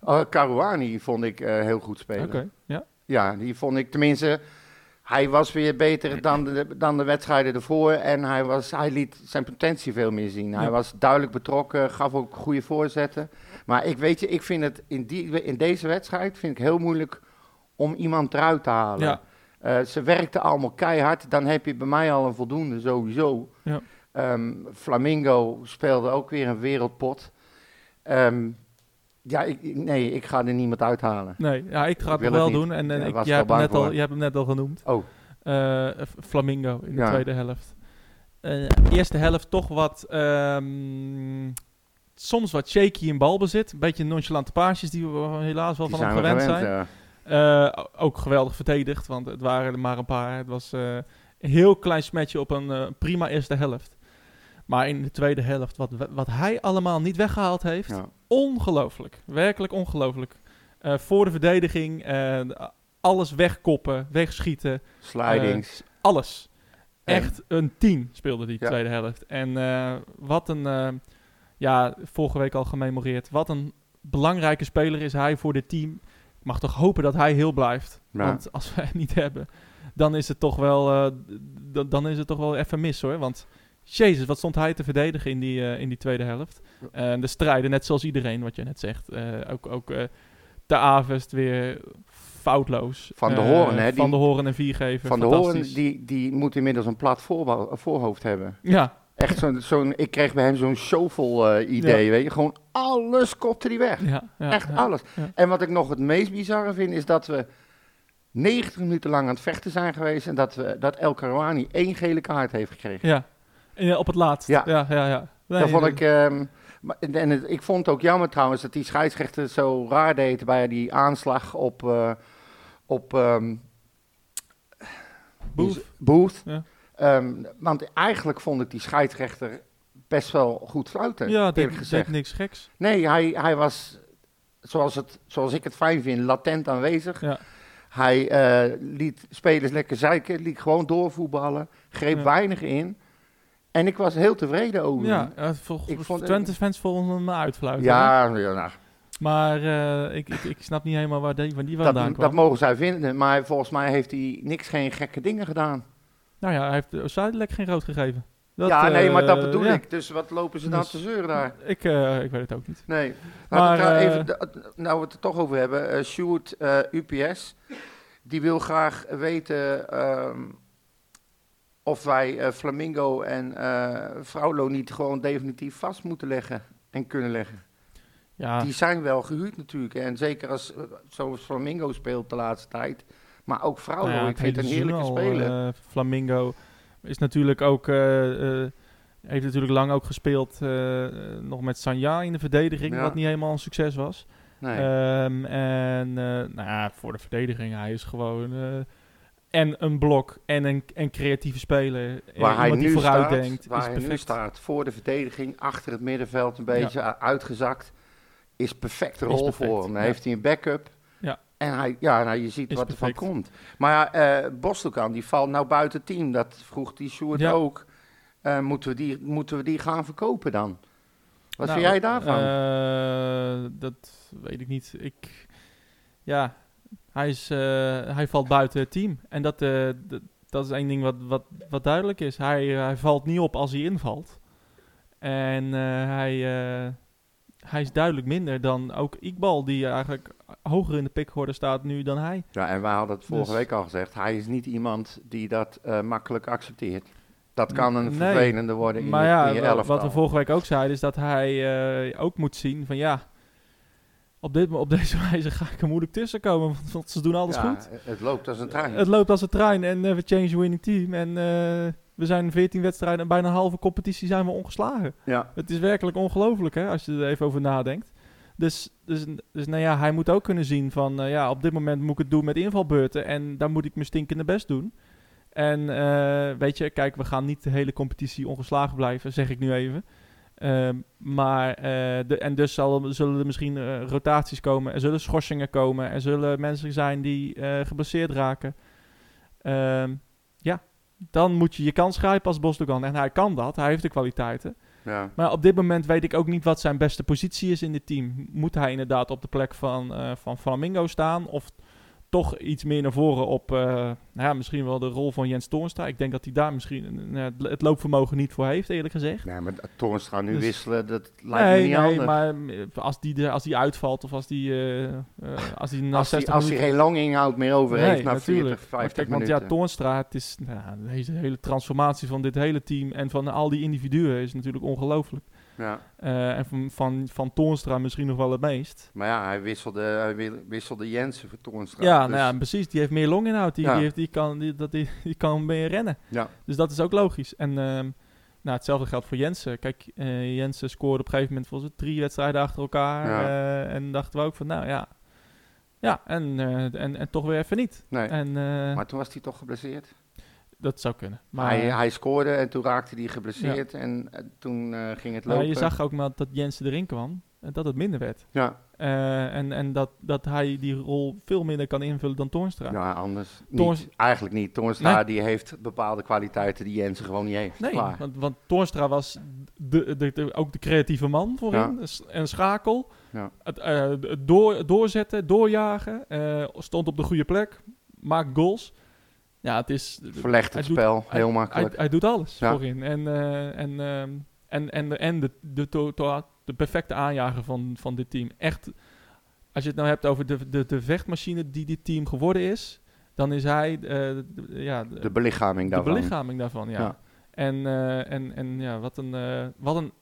[SPEAKER 2] oh, Caruani vond ik eh, heel
[SPEAKER 1] Oké,
[SPEAKER 2] goed spelen.
[SPEAKER 1] ja.
[SPEAKER 2] Ja, die vond ik tenminste. Hij was weer beter dan de, dan de wedstrijden ervoor. En hij, was, hij liet zijn potentie veel meer zien. Hij
[SPEAKER 1] Ja.
[SPEAKER 2] was duidelijk betrokken, gaf ook goede voorzetten. Maar ik weet je, ik vind het in, die, in deze wedstrijd vind ik heel moeilijk om iemand eruit te halen.
[SPEAKER 1] Ja.
[SPEAKER 2] Eh, ze werkten allemaal keihard. Dan heb je bij mij al een voldoende sowieso.
[SPEAKER 1] Ja.
[SPEAKER 2] Ehm, Flamingo speelde ook weer een wereldpot. Ehm, Ja, ik, ik- nee, ik ga er niemand uithalen.
[SPEAKER 1] Nee, ja, ik ga het
[SPEAKER 2] wil
[SPEAKER 1] nog
[SPEAKER 2] het
[SPEAKER 1] wel
[SPEAKER 2] niet.
[SPEAKER 1] doen. En, en
[SPEAKER 2] Ja,
[SPEAKER 1] ik-
[SPEAKER 2] was
[SPEAKER 1] jij,
[SPEAKER 2] er
[SPEAKER 1] hebt hem
[SPEAKER 2] bang
[SPEAKER 1] net al,
[SPEAKER 2] voor.
[SPEAKER 1] jij hebt hem net al genoemd.
[SPEAKER 2] Oh.
[SPEAKER 1] Eh, F- Flamingo in de
[SPEAKER 2] Ja.
[SPEAKER 1] tweede helft. Eh, eerste helft toch wat... ehm, soms wat shaky in balbezit. Een beetje nonchalante paasjes die we helaas wel
[SPEAKER 2] Die
[SPEAKER 1] van hem
[SPEAKER 2] zijn we
[SPEAKER 1] gewend,
[SPEAKER 2] gewend.
[SPEAKER 1] zijn.
[SPEAKER 2] ja.
[SPEAKER 1] Eh, o- ook geweldig verdedigd, want het waren er maar een paar. Het was eh, een heel klein smetje op een eh, prima eerste helft. Maar in de tweede helft, wat, we- wat hij allemaal niet weggehaald heeft,
[SPEAKER 2] Ja.
[SPEAKER 1] ongelooflijk. Werkelijk ongelooflijk. Eh, voor de verdediging, eh, alles wegkoppen, wegschieten,
[SPEAKER 2] Slidings.
[SPEAKER 1] Eh, alles.
[SPEAKER 2] En-
[SPEAKER 1] Echt een 10 speelde die
[SPEAKER 2] Ja.
[SPEAKER 1] tweede helft. En eh, wat een, eh, ja, vorige week al gememoreerd, wat een belangrijke speler is hij voor dit team. Ik mag toch hopen dat hij heel blijft.
[SPEAKER 2] Ja.
[SPEAKER 1] Want als we hem niet hebben, dan is het toch wel, eh, d- dan is het toch wel even mis hoor. Want jezus, wat stond hij te verdedigen in die, eh, in die tweede helft. Eh, En de strijden, net zoals iedereen, wat je net zegt. Eh, ook ook eh de Avest weer foutloos.
[SPEAKER 2] Van de
[SPEAKER 1] Eh,
[SPEAKER 2] Hoorn, hè,
[SPEAKER 1] Van
[SPEAKER 2] die-
[SPEAKER 1] de Horen en Viergever,
[SPEAKER 2] van de Hoorn,
[SPEAKER 1] fantastisch.
[SPEAKER 2] die, die moet inmiddels een plat voorbo- voorhoofd hebben.
[SPEAKER 1] Ja,
[SPEAKER 2] Echt zo'n, zo'n, ik kreeg bij hem zo'n shovel eh, idee, weet je. Gewoon alles kopte hij weg.
[SPEAKER 1] ja, ja,
[SPEAKER 2] Echt
[SPEAKER 1] ja.
[SPEAKER 2] alles.
[SPEAKER 1] ja.
[SPEAKER 2] En wat ik nog het meest bizarre vind, is dat we 90 minuten lang aan het vechten zijn geweest en dat, we, dat El Karouani één gele kaart heeft gekregen.
[SPEAKER 1] Ja. En, ja, op het laatst. Ja,
[SPEAKER 2] Ja.
[SPEAKER 1] ja, ja. ja. Nee,
[SPEAKER 2] dat vond ik, ehm, maar- en het- ik vond het ook jammer trouwens dat die scheidsrechter zo raar deed bij die aanslag op, eh, op ehm,
[SPEAKER 1] Boef.
[SPEAKER 2] Booth.
[SPEAKER 1] Ja.
[SPEAKER 2] Ehm, want eigenlijk vond ik die scheidsrechter best wel goed fluiten,
[SPEAKER 1] Ja,
[SPEAKER 2] eerlijk
[SPEAKER 1] deed,
[SPEAKER 2] gezegd.
[SPEAKER 1] deed niks geks.
[SPEAKER 2] Nee, hij, hij was, zoals, het, zoals ik het fijn vind, latent aanwezig.
[SPEAKER 1] Ja.
[SPEAKER 2] Hij eh, liet spelers lekker zeiken, liet gewoon doorvoetballen, greep
[SPEAKER 1] Ja.
[SPEAKER 2] weinig in. En ik was heel tevreden over
[SPEAKER 1] Ja,
[SPEAKER 2] hem.
[SPEAKER 1] eh, vol-
[SPEAKER 2] Ik vond-
[SPEAKER 1] Twente fans vonden hem uitfluiten. hè?
[SPEAKER 2] Ja, ja, nou,
[SPEAKER 1] Maar eh, ik, ik, ik snap niet helemaal waar die, waar die vandaan
[SPEAKER 2] dat,
[SPEAKER 1] kwam.
[SPEAKER 2] dat mogen zij vinden. Maar volgens mij heeft hij niks, geen gekke dingen gedaan.
[SPEAKER 1] nou ja, hij heeft eh, Zuidelijk geen rood gegeven. Dat,
[SPEAKER 2] ja, nee, maar dat
[SPEAKER 1] eh,
[SPEAKER 2] bedoel
[SPEAKER 1] ja.
[SPEAKER 2] ik. Dus wat lopen ze dan
[SPEAKER 1] Dus-
[SPEAKER 2] te zeuren daar?
[SPEAKER 1] Ik, eh, ik weet het ook niet.
[SPEAKER 2] Nee.
[SPEAKER 1] Maar,
[SPEAKER 2] Maar, nou,
[SPEAKER 1] eh,
[SPEAKER 2] even, de- nou we het er toch over hebben. eh Sjoerd, eh, UPS, die wil graag weten ehm, of wij eh, Flamingo en eh Fraulo niet gewoon definitief vast moeten leggen en kunnen leggen.
[SPEAKER 1] Ja,
[SPEAKER 2] Die zijn wel gehuurd natuurlijk. En zeker als eh, zoals Flamingo speelt de laatste tijd. Maar ook Fraulo,
[SPEAKER 1] nou ja,
[SPEAKER 2] ik
[SPEAKER 1] het
[SPEAKER 2] vind het een
[SPEAKER 1] hele
[SPEAKER 2] heerlijke
[SPEAKER 1] seizoen al,
[SPEAKER 2] speler.
[SPEAKER 1] eh, Flamingo is natuurlijk ook... eh, eh, heeft natuurlijk lang ook gespeeld eh, eh, nog met Sanja in de verdediging,
[SPEAKER 2] Ja.
[SPEAKER 1] wat niet helemaal een succes was.
[SPEAKER 2] nee.
[SPEAKER 1] Ehm, en eh, nou ja, voor de verdediging, hij is gewoon eh, en een blok en een en creatieve speler. Eh,
[SPEAKER 2] Waar hij,
[SPEAKER 1] iemand die
[SPEAKER 2] nu
[SPEAKER 1] vooruit
[SPEAKER 2] staat,
[SPEAKER 1] denkt,
[SPEAKER 2] waar
[SPEAKER 1] is
[SPEAKER 2] hij
[SPEAKER 1] perfect.
[SPEAKER 2] nu staat, voor de verdediging, achter het middenveld, een beetje u- uitgezakt, is perfecte
[SPEAKER 1] Is
[SPEAKER 2] rol
[SPEAKER 1] perfect,
[SPEAKER 2] voor hem. Dan
[SPEAKER 1] ja.
[SPEAKER 2] heeft hij een backup.
[SPEAKER 1] Ja.
[SPEAKER 2] En hij, ja, nou, je ziet
[SPEAKER 1] Is
[SPEAKER 2] wat er van
[SPEAKER 1] perfect.
[SPEAKER 2] komt. Maar eh Bostelkan, die valt nou buiten team. Dat vroeg die Sjoerd
[SPEAKER 1] Ja.
[SPEAKER 2] ook. Eh, moeten, we die, moeten we die gaan verkopen dan? Wat
[SPEAKER 1] Nou,
[SPEAKER 2] vind jij daarvan?
[SPEAKER 1] eh, dat weet ik niet. Ik, ja, hij, is, eh, hij valt buiten het team. En dat, eh, dat, dat is één ding wat, wat, wat duidelijk is. Hij, eh, hij valt niet op als hij invalt. En eh, hij, eh, hij is duidelijk minder dan ook Iqbal, die eigenlijk hoger in de pickorde staat nu dan hij.
[SPEAKER 2] ja, en wij hadden het vorige
[SPEAKER 1] dus-
[SPEAKER 2] week al gezegd. Hij is niet iemand die dat eh, makkelijk accepteert. Dat kan een
[SPEAKER 1] Nee.
[SPEAKER 2] vervelende worden in,
[SPEAKER 1] Maar
[SPEAKER 2] je,
[SPEAKER 1] ja,
[SPEAKER 2] in je
[SPEAKER 1] wa- wat we
[SPEAKER 2] elftal.
[SPEAKER 1] vorige week ook zeiden, is dat hij eh, ook moet zien van ja, op, dit, op deze wijze ga ik er moeilijk tussen komen, want, want ze doen alles
[SPEAKER 2] Ja,
[SPEAKER 1] goed.
[SPEAKER 2] Het loopt als een trein.
[SPEAKER 1] Het loopt als een trein en eh, we change the winning team en eh, we zijn 14 wedstrijden en bijna een halve competitie zijn we ongeslagen.
[SPEAKER 2] ja.
[SPEAKER 1] Het is werkelijk ongelooflijk hè, als je er even over nadenkt. Dus, dus, dus nou ja, hij moet ook kunnen zien van eh, ja, op dit moment moet ik het doen met invalbeurten en daar moet ik mijn stinkende best doen. En eh, weet je, kijk, we gaan niet de hele competitie ongeslagen blijven, zeg ik nu even. Ehm, maar, eh, de, en dus zal, zullen er misschien eh, rotaties komen, er zullen schorsingen komen, er zullen mensen zijn die eh, geblesseerd raken. Ehm, ja, dan moet je je kans grijpen als Bosdogan. En hij kan dat, hij heeft de kwaliteiten.
[SPEAKER 2] Ja.
[SPEAKER 1] Maar op dit moment weet ik ook niet wat zijn beste positie is in dit team. Moet hij inderdaad op de plek van, eh, van Flamingo staan? Of toch iets meer naar voren op eh, nou ja, misschien wel de rol van Jens Toornstra? Ik denk dat hij daar misschien eh, het- het loopvermogen niet voor heeft, eerlijk gezegd.
[SPEAKER 2] Nee, maar dat Toornstra nu
[SPEAKER 1] Dus-
[SPEAKER 2] wisselen, dat lijkt me
[SPEAKER 1] nee,
[SPEAKER 2] niet
[SPEAKER 1] nee,
[SPEAKER 2] handig.
[SPEAKER 1] maar eh, als die, er- als die uitvalt of als die, eh, eh, als die na
[SPEAKER 2] als hij
[SPEAKER 1] 60
[SPEAKER 2] als hij
[SPEAKER 1] minuten...
[SPEAKER 2] geen lang inhoud meer over
[SPEAKER 1] Nee,
[SPEAKER 2] heeft na
[SPEAKER 1] natuurlijk.
[SPEAKER 2] 40,
[SPEAKER 1] Maar
[SPEAKER 2] 50
[SPEAKER 1] kijk, want
[SPEAKER 2] minuten.
[SPEAKER 1] ja, Toornstra, het is, nou, deze hele transformatie van dit hele team en van al die individuen is natuurlijk ongelooflijk.
[SPEAKER 2] Ja.
[SPEAKER 1] Eh, en van, van, van Toornstra misschien nog wel het meest.
[SPEAKER 2] Maar ja, hij wisselde, hij wi- wisselde Jensen voor Toornstra.
[SPEAKER 1] Ja,
[SPEAKER 2] dus-
[SPEAKER 1] nou ja, precies. Die heeft meer longinhoud. Die,
[SPEAKER 2] Ja.
[SPEAKER 1] die, heeft, die, kan, die, dat, die, die kan meer rennen.
[SPEAKER 2] Ja.
[SPEAKER 1] Dus dat is ook logisch. En ehm, nou, hetzelfde geldt voor Jensen. Kijk, eh, Jensen scoorde op een gegeven moment volgens mij drie wedstrijden achter elkaar.
[SPEAKER 2] Ja.
[SPEAKER 1] eh, en dachten we ook van, nou ja. Ja, en, eh, en, en toch weer even niet.
[SPEAKER 2] Nee.
[SPEAKER 1] En eh,
[SPEAKER 2] Maar toen was hij toch geblesseerd.
[SPEAKER 1] dat zou kunnen. Maar
[SPEAKER 2] hij, hij scoorde en toen raakte hij geblesseerd en eh, toen eh, ging het
[SPEAKER 1] maar
[SPEAKER 2] lopen.
[SPEAKER 1] je zag ook maar dat Jensen erin kwam en dat het minder werd.
[SPEAKER 2] Ja,
[SPEAKER 1] Eh, en en dat, dat hij die rol veel minder kan invullen dan Toornstra.
[SPEAKER 2] ja nou, anders
[SPEAKER 1] Toorns-
[SPEAKER 2] niet. Eigenlijk niet. Toornstra
[SPEAKER 1] Nee.
[SPEAKER 2] die heeft bepaalde kwaliteiten die Jensen gewoon niet heeft.
[SPEAKER 1] Nee,
[SPEAKER 2] Klaar.
[SPEAKER 1] want, want Toornstra was de, de, de- ook de creatieve man voorin. Een s- Een schakel.
[SPEAKER 2] Ja.
[SPEAKER 1] Het, eh, het door, doorzetten, doorjagen. eh, stond op de goede plek. Maakt goals. Ja, het is...
[SPEAKER 2] Verlegt het
[SPEAKER 1] Hij doet-
[SPEAKER 2] spel,
[SPEAKER 1] hij-
[SPEAKER 2] heel
[SPEAKER 1] Hij,
[SPEAKER 2] makkelijk.
[SPEAKER 1] hij doet alles
[SPEAKER 2] Ja.
[SPEAKER 1] voorin. En, eh, en, ehm, en, en, en de, de, to- to- de perfecte aanjager van, van dit team. Echt, als je het nou hebt over de, de, de vechtmachine die dit team geworden is... dan is hij eh, de- de- ja,
[SPEAKER 2] de belichaming
[SPEAKER 1] de
[SPEAKER 2] daarvan.
[SPEAKER 1] belichaming daarvan, ja.
[SPEAKER 2] Ja.
[SPEAKER 1] En, eh, en, en ja, wat een, eh, wat een,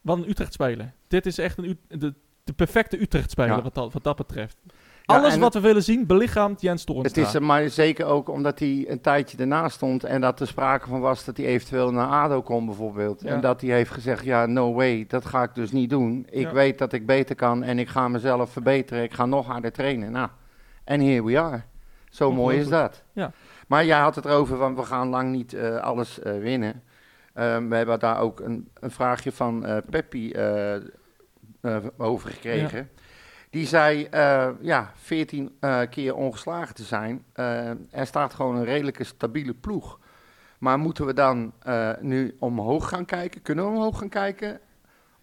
[SPEAKER 1] wat een Utrecht-speler. Dit is echt een, Ut- de, de perfecte Utrecht-speler
[SPEAKER 2] Ja.
[SPEAKER 1] wat, dat, wat dat betreft.
[SPEAKER 2] Ja,
[SPEAKER 1] Alles
[SPEAKER 2] en
[SPEAKER 1] wat we willen zien, belichaamt Jens Toornstra.
[SPEAKER 2] Het is eh, maar zeker ook omdat hij een tijdje ernaast stond en dat er sprake van was dat hij eventueel naar ADO kon bijvoorbeeld.
[SPEAKER 1] Ja.
[SPEAKER 2] En dat hij heeft gezegd, ja, no way, dat ga ik dus niet doen. Ik
[SPEAKER 1] Ja.
[SPEAKER 2] weet dat ik beter kan en ik ga mezelf verbeteren. Ik ga nog harder trainen. Nou, en here we are. Zo mooi is dat.
[SPEAKER 1] Ja.
[SPEAKER 2] Maar jij had het erover van we gaan lang niet eh, alles eh, winnen. Ehm, we hebben daar ook een, een vraagje van eh Peppi eh, eh, over gekregen. Die zei, eh, ja, 14 eh, keer ongeslagen te zijn. Eh, er staat gewoon een redelijke stabiele ploeg. Maar moeten we dan eh, nu omhoog gaan kijken? Kunnen we omhoog gaan kijken?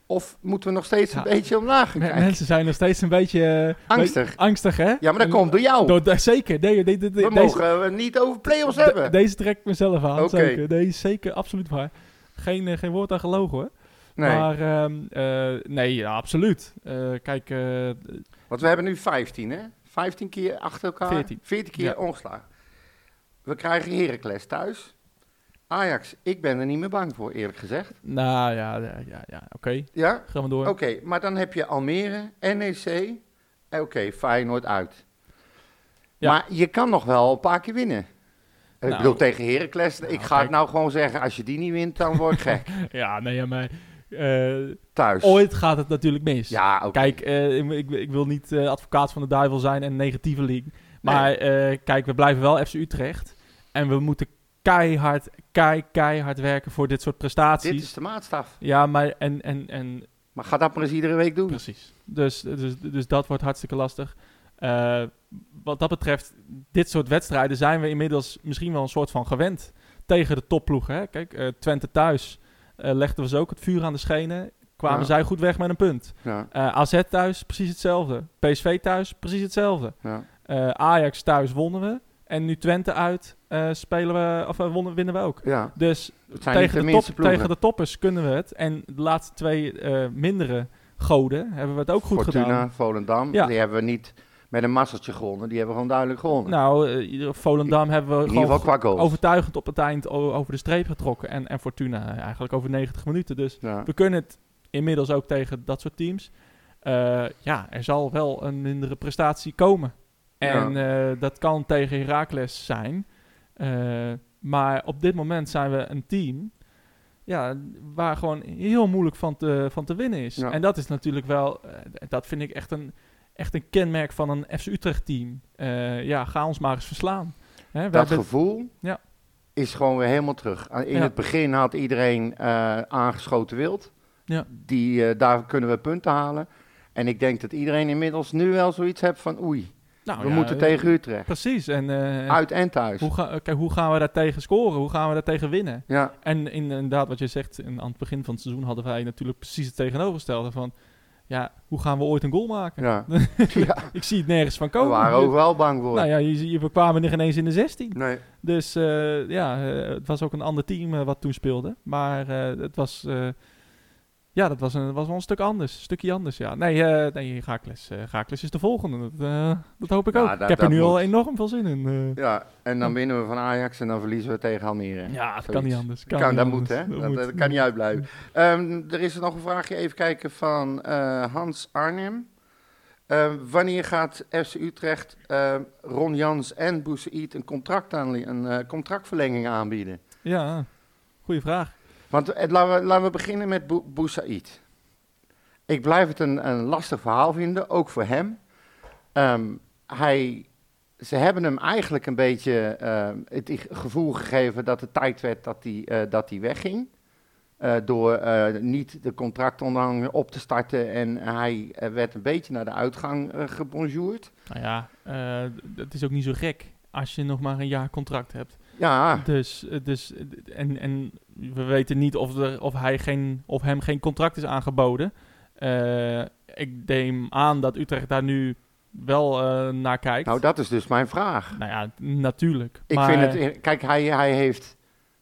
[SPEAKER 2] Of moeten we nog steeds een
[SPEAKER 1] Ja.
[SPEAKER 2] beetje omlaag gaan
[SPEAKER 1] Me-
[SPEAKER 2] kijken?
[SPEAKER 1] Mensen zijn nog steeds een beetje... eh,
[SPEAKER 2] Angstig.
[SPEAKER 1] beetje angstig, hè?
[SPEAKER 2] Ja, maar dat
[SPEAKER 1] En-
[SPEAKER 2] komt door jou.
[SPEAKER 1] door- door- zeker. Nee, de- de- de-
[SPEAKER 2] we
[SPEAKER 1] deze,
[SPEAKER 2] mogen het niet over play-offs
[SPEAKER 1] de-
[SPEAKER 2] hebben.
[SPEAKER 1] deze trek ik mezelf aan,
[SPEAKER 2] Oké.
[SPEAKER 1] zeker. Nee, zeker, absoluut waar. Geen, eh, geen woord aan gelogen, hoor.
[SPEAKER 2] nee,
[SPEAKER 1] Maar ehm, eh, nee, ja, absoluut. Eh, kijk, eh,
[SPEAKER 2] want we hebben nu 15, hè? 15 keer achter elkaar.
[SPEAKER 1] 14.
[SPEAKER 2] 14 keer
[SPEAKER 1] Ja.
[SPEAKER 2] ongeslagen. We krijgen Heracles thuis. Ajax, ik ben er niet meer bang voor, eerlijk gezegd.
[SPEAKER 1] nou ja, ja, ja, ja, oké.
[SPEAKER 2] Ja?
[SPEAKER 1] Gaan we door.
[SPEAKER 2] Oké, maar dan heb je Almere, NEC. en Eh, Oké, Feyenoord uit.
[SPEAKER 1] Ja.
[SPEAKER 2] Maar je kan nog wel een paar keer winnen. ik
[SPEAKER 1] Nou.
[SPEAKER 2] bedoel, tegen Heracles. ik ga het
[SPEAKER 1] kijk.
[SPEAKER 2] nou gewoon zeggen, als je die niet wint, dan word ik gek.
[SPEAKER 1] Ja, nee, ja, maar eh,
[SPEAKER 2] Thuis.
[SPEAKER 1] ooit gaat het natuurlijk mis.
[SPEAKER 2] Ja, oké.
[SPEAKER 1] Kijk, eh, ik, ik, ik wil niet eh, advocaat van de duivel zijn en negatieve league. Maar eh, kijk, we blijven wel FC Utrecht. En we moeten keihard, kei, keihard werken voor dit soort prestaties.
[SPEAKER 2] Dit is de maatstaf.
[SPEAKER 1] Ja, maar en, en, en
[SPEAKER 2] Maar ga dat maar eens iedere week doen.
[SPEAKER 1] Precies. Dus, dus, dus dat wordt hartstikke lastig. Eh, wat dat betreft, dit soort wedstrijden zijn we inmiddels misschien wel een soort van gewend tegen de topploegen. Hè? Kijk, eh, Twente thuis eh, legden we ze ook het vuur aan de schenen. Kwamen
[SPEAKER 2] Ja.
[SPEAKER 1] zij goed weg met een punt.
[SPEAKER 2] Ja,
[SPEAKER 1] Eh, AZ thuis, precies hetzelfde. PSV thuis, precies hetzelfde.
[SPEAKER 2] ja.
[SPEAKER 1] Eh, Ajax thuis wonnen we. En nu Twente uit eh, spelen we, of, eh, wonnen, winnen we ook.
[SPEAKER 2] ja.
[SPEAKER 1] Dus
[SPEAKER 2] Het zijn niet de
[SPEAKER 1] tegen de,
[SPEAKER 2] minste
[SPEAKER 1] top,
[SPEAKER 2] ploegen.
[SPEAKER 1] tegen de toppers kunnen we het. En de laatste twee eh, mindere goden hebben we het ook goed
[SPEAKER 2] Fortuna,
[SPEAKER 1] gedaan.
[SPEAKER 2] Volendam,
[SPEAKER 1] Ja.
[SPEAKER 2] die hebben we niet met een masseltje gewonnen. Die hebben we gewoon duidelijk gewonnen.
[SPEAKER 1] Nou, eh, ieder- Volendam hebben we
[SPEAKER 2] in ieder
[SPEAKER 1] gewoon
[SPEAKER 2] geval qua goals.
[SPEAKER 1] overtuigend op het eind o- over de streep getrokken. En, en Fortuna eh, eigenlijk over 90 minuten. Dus
[SPEAKER 2] Ja.
[SPEAKER 1] we kunnen het inmiddels ook tegen dat soort teams. Eh, ja, er zal wel een mindere prestatie komen. En eh, dat kan tegen Heracles zijn. Eh, maar op dit moment zijn we een team ja, waar gewoon heel moeilijk van te, van te winnen is.
[SPEAKER 2] Ja.
[SPEAKER 1] En dat is natuurlijk wel, eh, dat vind ik echt een, echt een kenmerk van een FC Utrecht team. Eh, ja, ga ons maar eens verslaan. Hè, we
[SPEAKER 2] dat
[SPEAKER 1] hebben-
[SPEAKER 2] gevoel
[SPEAKER 1] Ja.
[SPEAKER 2] is gewoon weer helemaal terug. Uh, In
[SPEAKER 1] Ja.
[SPEAKER 2] het begin had iedereen eh, aangeschoten wild.
[SPEAKER 1] Ja.
[SPEAKER 2] Die, eh, daar kunnen we punten halen. En ik denk dat iedereen inmiddels nu wel zoiets heeft van oei,
[SPEAKER 1] nou
[SPEAKER 2] we
[SPEAKER 1] ja,
[SPEAKER 2] moeten
[SPEAKER 1] eh,
[SPEAKER 2] tegen Utrecht.
[SPEAKER 1] Precies. En, eh,
[SPEAKER 2] Uit en thuis.
[SPEAKER 1] hoe, ga, kijk, hoe gaan we daar tegen scoren? Hoe gaan we daar tegen winnen?
[SPEAKER 2] Ja,
[SPEAKER 1] En inderdaad, wat je zegt, in, aan het begin van het seizoen hadden wij natuurlijk precies het tegenovergestelde van, ja, hoe gaan we ooit een goal maken?
[SPEAKER 2] ja. ja.
[SPEAKER 1] Ik zie het nergens van
[SPEAKER 2] We
[SPEAKER 1] komen. Dus-
[SPEAKER 2] waren ook wel bang voor.
[SPEAKER 1] Nou ja, je, zie- we kwamen er ineens in de 16.
[SPEAKER 2] Nee.
[SPEAKER 1] Dus eh, ja, eh, het was ook een ander team eh, wat toen speelde. Maar eh, het was eh, Ja, dat was, een, was wel een stuk anders. Een stukje anders, ja. Nee, eh nee Gaakles, eh, Gaakles is de volgende. Dat, eh, dat hoop ik
[SPEAKER 2] Ja,
[SPEAKER 1] ook.
[SPEAKER 2] dat-
[SPEAKER 1] ik heb er
[SPEAKER 2] dat
[SPEAKER 1] nu al
[SPEAKER 2] moet.
[SPEAKER 1] enorm veel zin in. eh.
[SPEAKER 2] Ja, en dan winnen we van Ajax en dan verliezen we tegen Almere.
[SPEAKER 1] ja, dat kan
[SPEAKER 2] zoiets.
[SPEAKER 1] niet anders.
[SPEAKER 2] Kan,
[SPEAKER 1] Kan
[SPEAKER 2] dat
[SPEAKER 1] niet
[SPEAKER 2] moet,
[SPEAKER 1] anders.
[SPEAKER 2] hè? Dat, dat
[SPEAKER 1] Dus moet.
[SPEAKER 2] kan niet uitblijven. Ehm, er is nog een vraagje, even kijken, van eh, Hans Arnhem. Ehm, wanneer gaat FC Utrecht ehm, Ron Jans en Boussaïd een, contract aanle- een eh, contractverlenging aanbieden?
[SPEAKER 1] Ja, goede vraag.
[SPEAKER 2] Want eh, laten, we, laten we beginnen met Bou- Boussaïd. Ik blijf het een, een lastig verhaal vinden, ook voor hem. Ehm, hij, ze hebben hem eigenlijk een beetje ehm, het i- gevoel gegeven dat het tijd werd dat hij, eh, dat hij wegging. Eh, door eh, niet de contractonderhandelingen op te starten. En hij eh, werd een beetje naar de uitgang eh, gebonjourd.
[SPEAKER 1] Nou ja, eh, d- het is ook niet zo gek als je nog maar een jaar contract hebt.
[SPEAKER 2] Ja,
[SPEAKER 1] Dus, eh, dus eh, d- en, en we weten niet of, er, of, hij geen, of hem geen contract is aangeboden. Eh, ik neem aan dat Utrecht daar nu wel eh, naar kijkt.
[SPEAKER 2] nou dat is dus mijn vraag.
[SPEAKER 1] Nou ja, t- natuurlijk.
[SPEAKER 2] Ik
[SPEAKER 1] Maar-
[SPEAKER 2] vind het. Kijk, hij, hij heeft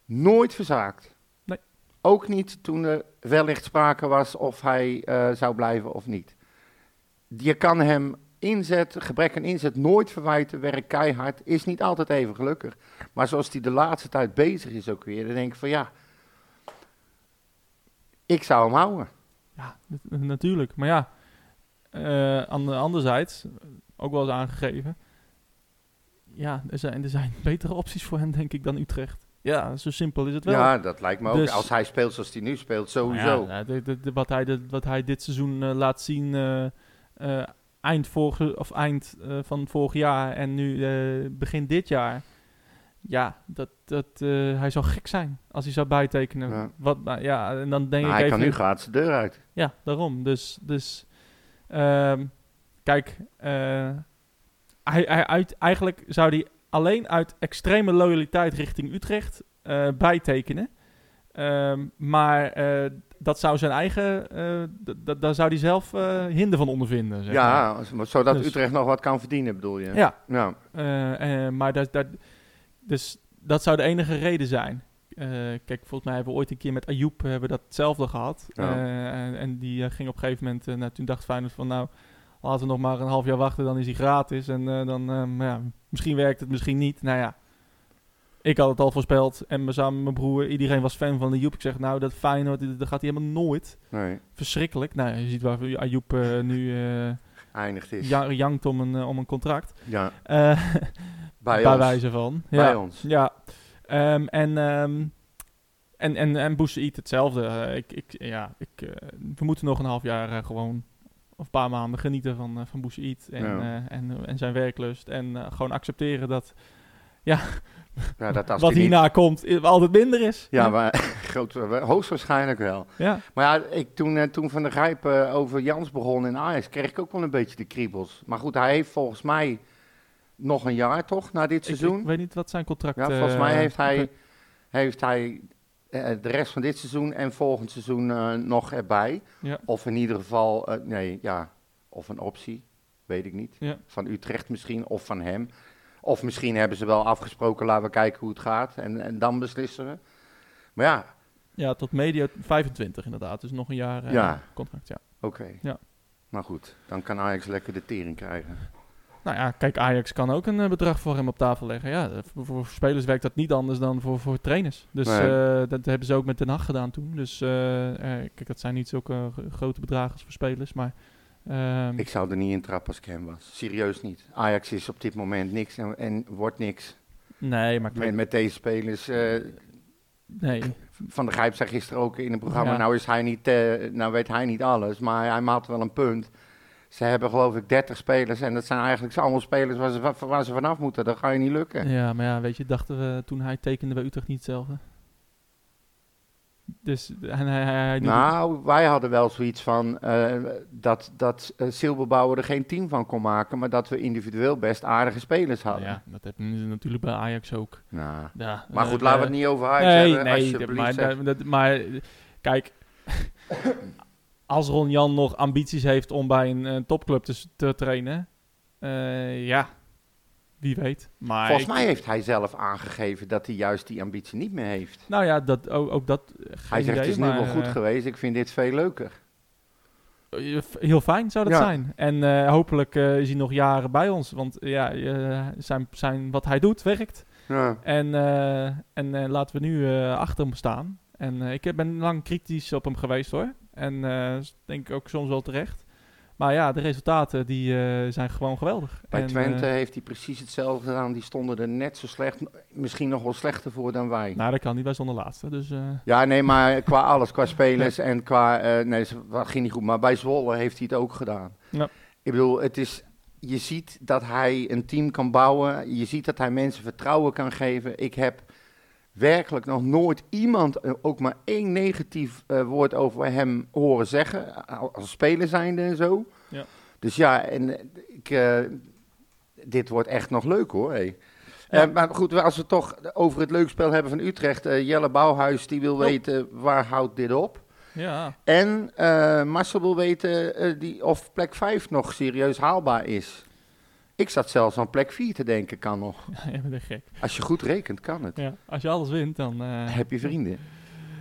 [SPEAKER 2] nooit verzaakt.
[SPEAKER 1] Nee.
[SPEAKER 2] Ook niet toen er wellicht sprake was of hij eh, zou blijven of niet. Je kan hem inzet, gebrek aan inzet, nooit verwijten. Werkt keihard, is niet altijd even gelukkig. Maar zoals hij de laatste tijd bezig is ook weer, dan denk ik van ja. Ik zou hem houden.
[SPEAKER 1] Ja, nat- natuurlijk. Maar ja, eh, aan de anderzijds, ook wel eens aangegeven. Ja, er zijn, er zijn betere opties voor hem, denk ik, dan Utrecht. Ja, zo simpel is het wel.
[SPEAKER 2] Ja, dat lijkt me ook.
[SPEAKER 1] Dus-
[SPEAKER 2] Als hij speelt zoals hij nu speelt,
[SPEAKER 1] Nou
[SPEAKER 2] sowieso.
[SPEAKER 1] ja, nou, de- de- de- wat, hij, de- wat hij dit seizoen eh, laat zien, eh, eh, eind, vorige, of eind eh, van vorig jaar en nu eh, begin dit jaar. Ja, dat, dat, eh, hij zou gek zijn als hij zou bijtekenen.
[SPEAKER 2] Ja.
[SPEAKER 1] Wat, nou, ja, en dan denk
[SPEAKER 2] Maar
[SPEAKER 1] ik
[SPEAKER 2] hij
[SPEAKER 1] even...
[SPEAKER 2] kan nu gratis de deur uit.
[SPEAKER 1] Ja, daarom. Dus, dus ehm, kijk, eh, hij, hij uit, eigenlijk zou hij alleen uit extreme loyaliteit richting Utrecht eh, bijtekenen. Ehm, maar eh, dat zou zijn eigen, eh, d- d- daar zou hij zelf eh, hinder van ondervinden. Zeg maar.
[SPEAKER 2] Ja, zodat
[SPEAKER 1] Dus-
[SPEAKER 2] Utrecht nog wat kan verdienen, bedoel je?
[SPEAKER 1] ja.
[SPEAKER 2] ja.
[SPEAKER 1] Eh, eh, maar dat, dat, dus dat zou de enige reden zijn. Eh, kijk, volgens mij hebben we ooit een keer met Ayoub eh, hebben we datzelfde gehad.
[SPEAKER 2] Ja.
[SPEAKER 1] Eh, en, en die eh, ging op een gegeven moment, eh, nou, toen dacht Feyenoord van nou, laten we nog maar een half jaar wachten, dan is hij gratis. En eh, dan, eh, maar ja, misschien werkt het, misschien niet. Nou ja, ik had het al voorspeld en me- samen met mijn broer, iedereen was fan van Ayoub. Ik zeg nou, dat Feyenoord, dat dat gaat hij helemaal nooit.
[SPEAKER 2] Nee,
[SPEAKER 1] Verschrikkelijk. Nou, ja, je ziet waar Ayoub eh, nu eh
[SPEAKER 2] eindigt is. Ja,
[SPEAKER 1] ja- jankt om een, eh, om een contract. Eh,
[SPEAKER 2] bij,
[SPEAKER 1] bij
[SPEAKER 2] ons.
[SPEAKER 1] wijze van.
[SPEAKER 2] Bij
[SPEAKER 1] ja.
[SPEAKER 2] ons.
[SPEAKER 1] Ja. Ehm, en, ehm en, en, en Boussaïd hetzelfde. Eh, ik, ik, ja, ik, eh, we moeten nog een half jaar eh, gewoon, of een paar maanden genieten van, eh van Boussaïd en,
[SPEAKER 2] Ja.
[SPEAKER 1] eh, en, en zijn werklust. En eh, gewoon accepteren dat
[SPEAKER 2] Ja, dat als
[SPEAKER 1] wat
[SPEAKER 2] die niet-
[SPEAKER 1] hierna komt i- altijd minder is.
[SPEAKER 2] Ja, maar groot, hoogstwaarschijnlijk wel.
[SPEAKER 1] ja.
[SPEAKER 2] Maar ja, ik, toen, eh, toen Van der Grijp eh, over Jans begon in Ajax, kreeg ik ook wel een beetje de kriebels. Maar goed, hij heeft volgens mij nog een jaar toch, na dit
[SPEAKER 1] Ik,
[SPEAKER 2] seizoen?
[SPEAKER 1] ik weet niet wat zijn contract...
[SPEAKER 2] ja, volgens
[SPEAKER 1] eh,
[SPEAKER 2] mij heeft hij,
[SPEAKER 1] oké.
[SPEAKER 2] heeft hij eh, de rest van dit seizoen en volgend seizoen eh, nog erbij.
[SPEAKER 1] Ja.
[SPEAKER 2] Of in ieder geval, eh, nee, ja, of een optie, weet ik niet.
[SPEAKER 1] Ja.
[SPEAKER 2] Van Utrecht misschien, of van hem. Of misschien hebben ze wel afgesproken, laten we kijken hoe het gaat. En, en dan beslissen we. Maar ja,
[SPEAKER 1] Ja, tot medio 25 inderdaad. Dus nog een jaar eh,
[SPEAKER 2] Ja.
[SPEAKER 1] contract, ja.
[SPEAKER 2] oké.
[SPEAKER 1] Ja.
[SPEAKER 2] Maar goed, dan kan Ajax lekker de tering krijgen.
[SPEAKER 1] Nou ja, kijk, Ajax kan ook een eh, bedrag voor hem op tafel leggen. Ja, eh, voor, voor spelers werkt dat niet anders dan voor, voor trainers. Dus
[SPEAKER 2] Nee.
[SPEAKER 1] eh, dat hebben ze ook met Den Haag gedaan toen. Dus eh, eh, kijk, dat zijn niet zulke eh, grote bedragen als voor spelers, maar... ehm,
[SPEAKER 2] Ik zou er niet in trappen als ik hem was. Serieus niet. Ajax is op dit moment niks en, en wordt niks.
[SPEAKER 1] nee, maar kijk,
[SPEAKER 2] Met, met deze spelers... eh,
[SPEAKER 1] nee.
[SPEAKER 2] Van der Grijp zei gisteren ook in het programma,
[SPEAKER 1] Ja.
[SPEAKER 2] nou, is hij niet, eh, nou weet hij niet alles, maar hij maakt wel een punt. Ze hebben geloof ik 30 spelers en dat zijn eigenlijk allemaal spelers waar ze, va- waar ze vanaf moeten. Dat ga je niet lukken.
[SPEAKER 1] Ja, maar ja, weet je, dachten we toen hij tekende bij Utrecht niet hetzelfde. Dus eh, en hij, hij, hij doet het-
[SPEAKER 2] Nou, wij hadden wel zoiets van eh, dat, dat eh, Silberbouwer er geen team van kon maken, maar dat we individueel best aardige spelers
[SPEAKER 1] Nou
[SPEAKER 2] hadden.
[SPEAKER 1] ja, dat hebben ze natuurlijk bij Ajax ook.
[SPEAKER 2] Nou.
[SPEAKER 1] Ja,
[SPEAKER 2] Maar
[SPEAKER 1] eh,
[SPEAKER 2] goed, laten we
[SPEAKER 1] eh,
[SPEAKER 2] het niet over Ajax
[SPEAKER 1] Nee,
[SPEAKER 2] hebben,
[SPEAKER 1] nee, dat-
[SPEAKER 2] alsjeblieft.
[SPEAKER 1] maar,
[SPEAKER 2] zeg.
[SPEAKER 1] dat, dat- maar eh, kijk, als Ron Jan nog ambities heeft om bij een eh, topclub te, s- te trainen, eh, ja, Wie weet. Maar
[SPEAKER 2] Volgens
[SPEAKER 1] ik-
[SPEAKER 2] mij heeft hij zelf aangegeven dat hij juist die ambitie niet meer heeft.
[SPEAKER 1] Nou ja, dat, ook, ook dat. eh, Geen
[SPEAKER 2] Hij zegt,
[SPEAKER 1] idee,
[SPEAKER 2] het is nu
[SPEAKER 1] maar,
[SPEAKER 2] wel goed
[SPEAKER 1] eh,
[SPEAKER 2] geweest, ik vind dit veel leuker.
[SPEAKER 1] eh, f- Heel fijn zou dat
[SPEAKER 2] Ja.
[SPEAKER 1] zijn. En eh, hopelijk eh, is hij nog jaren bij ons. Want eh, ja, eh, zijn, zijn, wat hij doet werkt.
[SPEAKER 2] Ja.
[SPEAKER 1] En, eh, en eh, laten we nu eh, achter hem staan. En eh, ik heb- ben lang kritisch op hem geweest hoor. En eh, s- denk ik ook soms wel terecht. Maar ja, de resultaten die eh, zijn gewoon geweldig.
[SPEAKER 2] Bij
[SPEAKER 1] En,
[SPEAKER 2] Twente
[SPEAKER 1] eh,
[SPEAKER 2] heeft hij precies hetzelfde gedaan. Die stonden er net zo slecht, misschien nog wel slechter voor dan wij.
[SPEAKER 1] nou, dat kan niet, wij zonder laatste. Dus eh,
[SPEAKER 2] Ja, nee, maar qua alles, qua spelers en qua... eh, nee, ze- dat ging niet goed. Maar bij Zwolle heeft hij het ook gedaan.
[SPEAKER 1] Ja.
[SPEAKER 2] Ik bedoel, het is... Je ziet dat hij een team kan bouwen. Je ziet dat hij mensen vertrouwen kan geven. Ik heb werkelijk nog nooit iemand eh, ook maar één negatief eh, woord over hem horen zeggen. a- Als speler zijnde en zo.
[SPEAKER 1] Ja.
[SPEAKER 2] Dus ja, en eh, ik, eh, dit wordt echt nog leuk hoor. hé. Eh, maar goed, als we het toch over het leukspel hebben van Utrecht. eh, Jelle Bouwhuis die wil weten waar houdt dit op.
[SPEAKER 1] ja,
[SPEAKER 2] En eh, Marcel wil weten eh, die, of plek 5 nog serieus haalbaar is. Ik zat zelfs aan plek 4 te denken, kan nog.
[SPEAKER 1] je bent echt gek.
[SPEAKER 2] Als je goed rekent, kan het.
[SPEAKER 1] Ja, als je alles wint, dan... eh,
[SPEAKER 2] Heb oh je vrienden.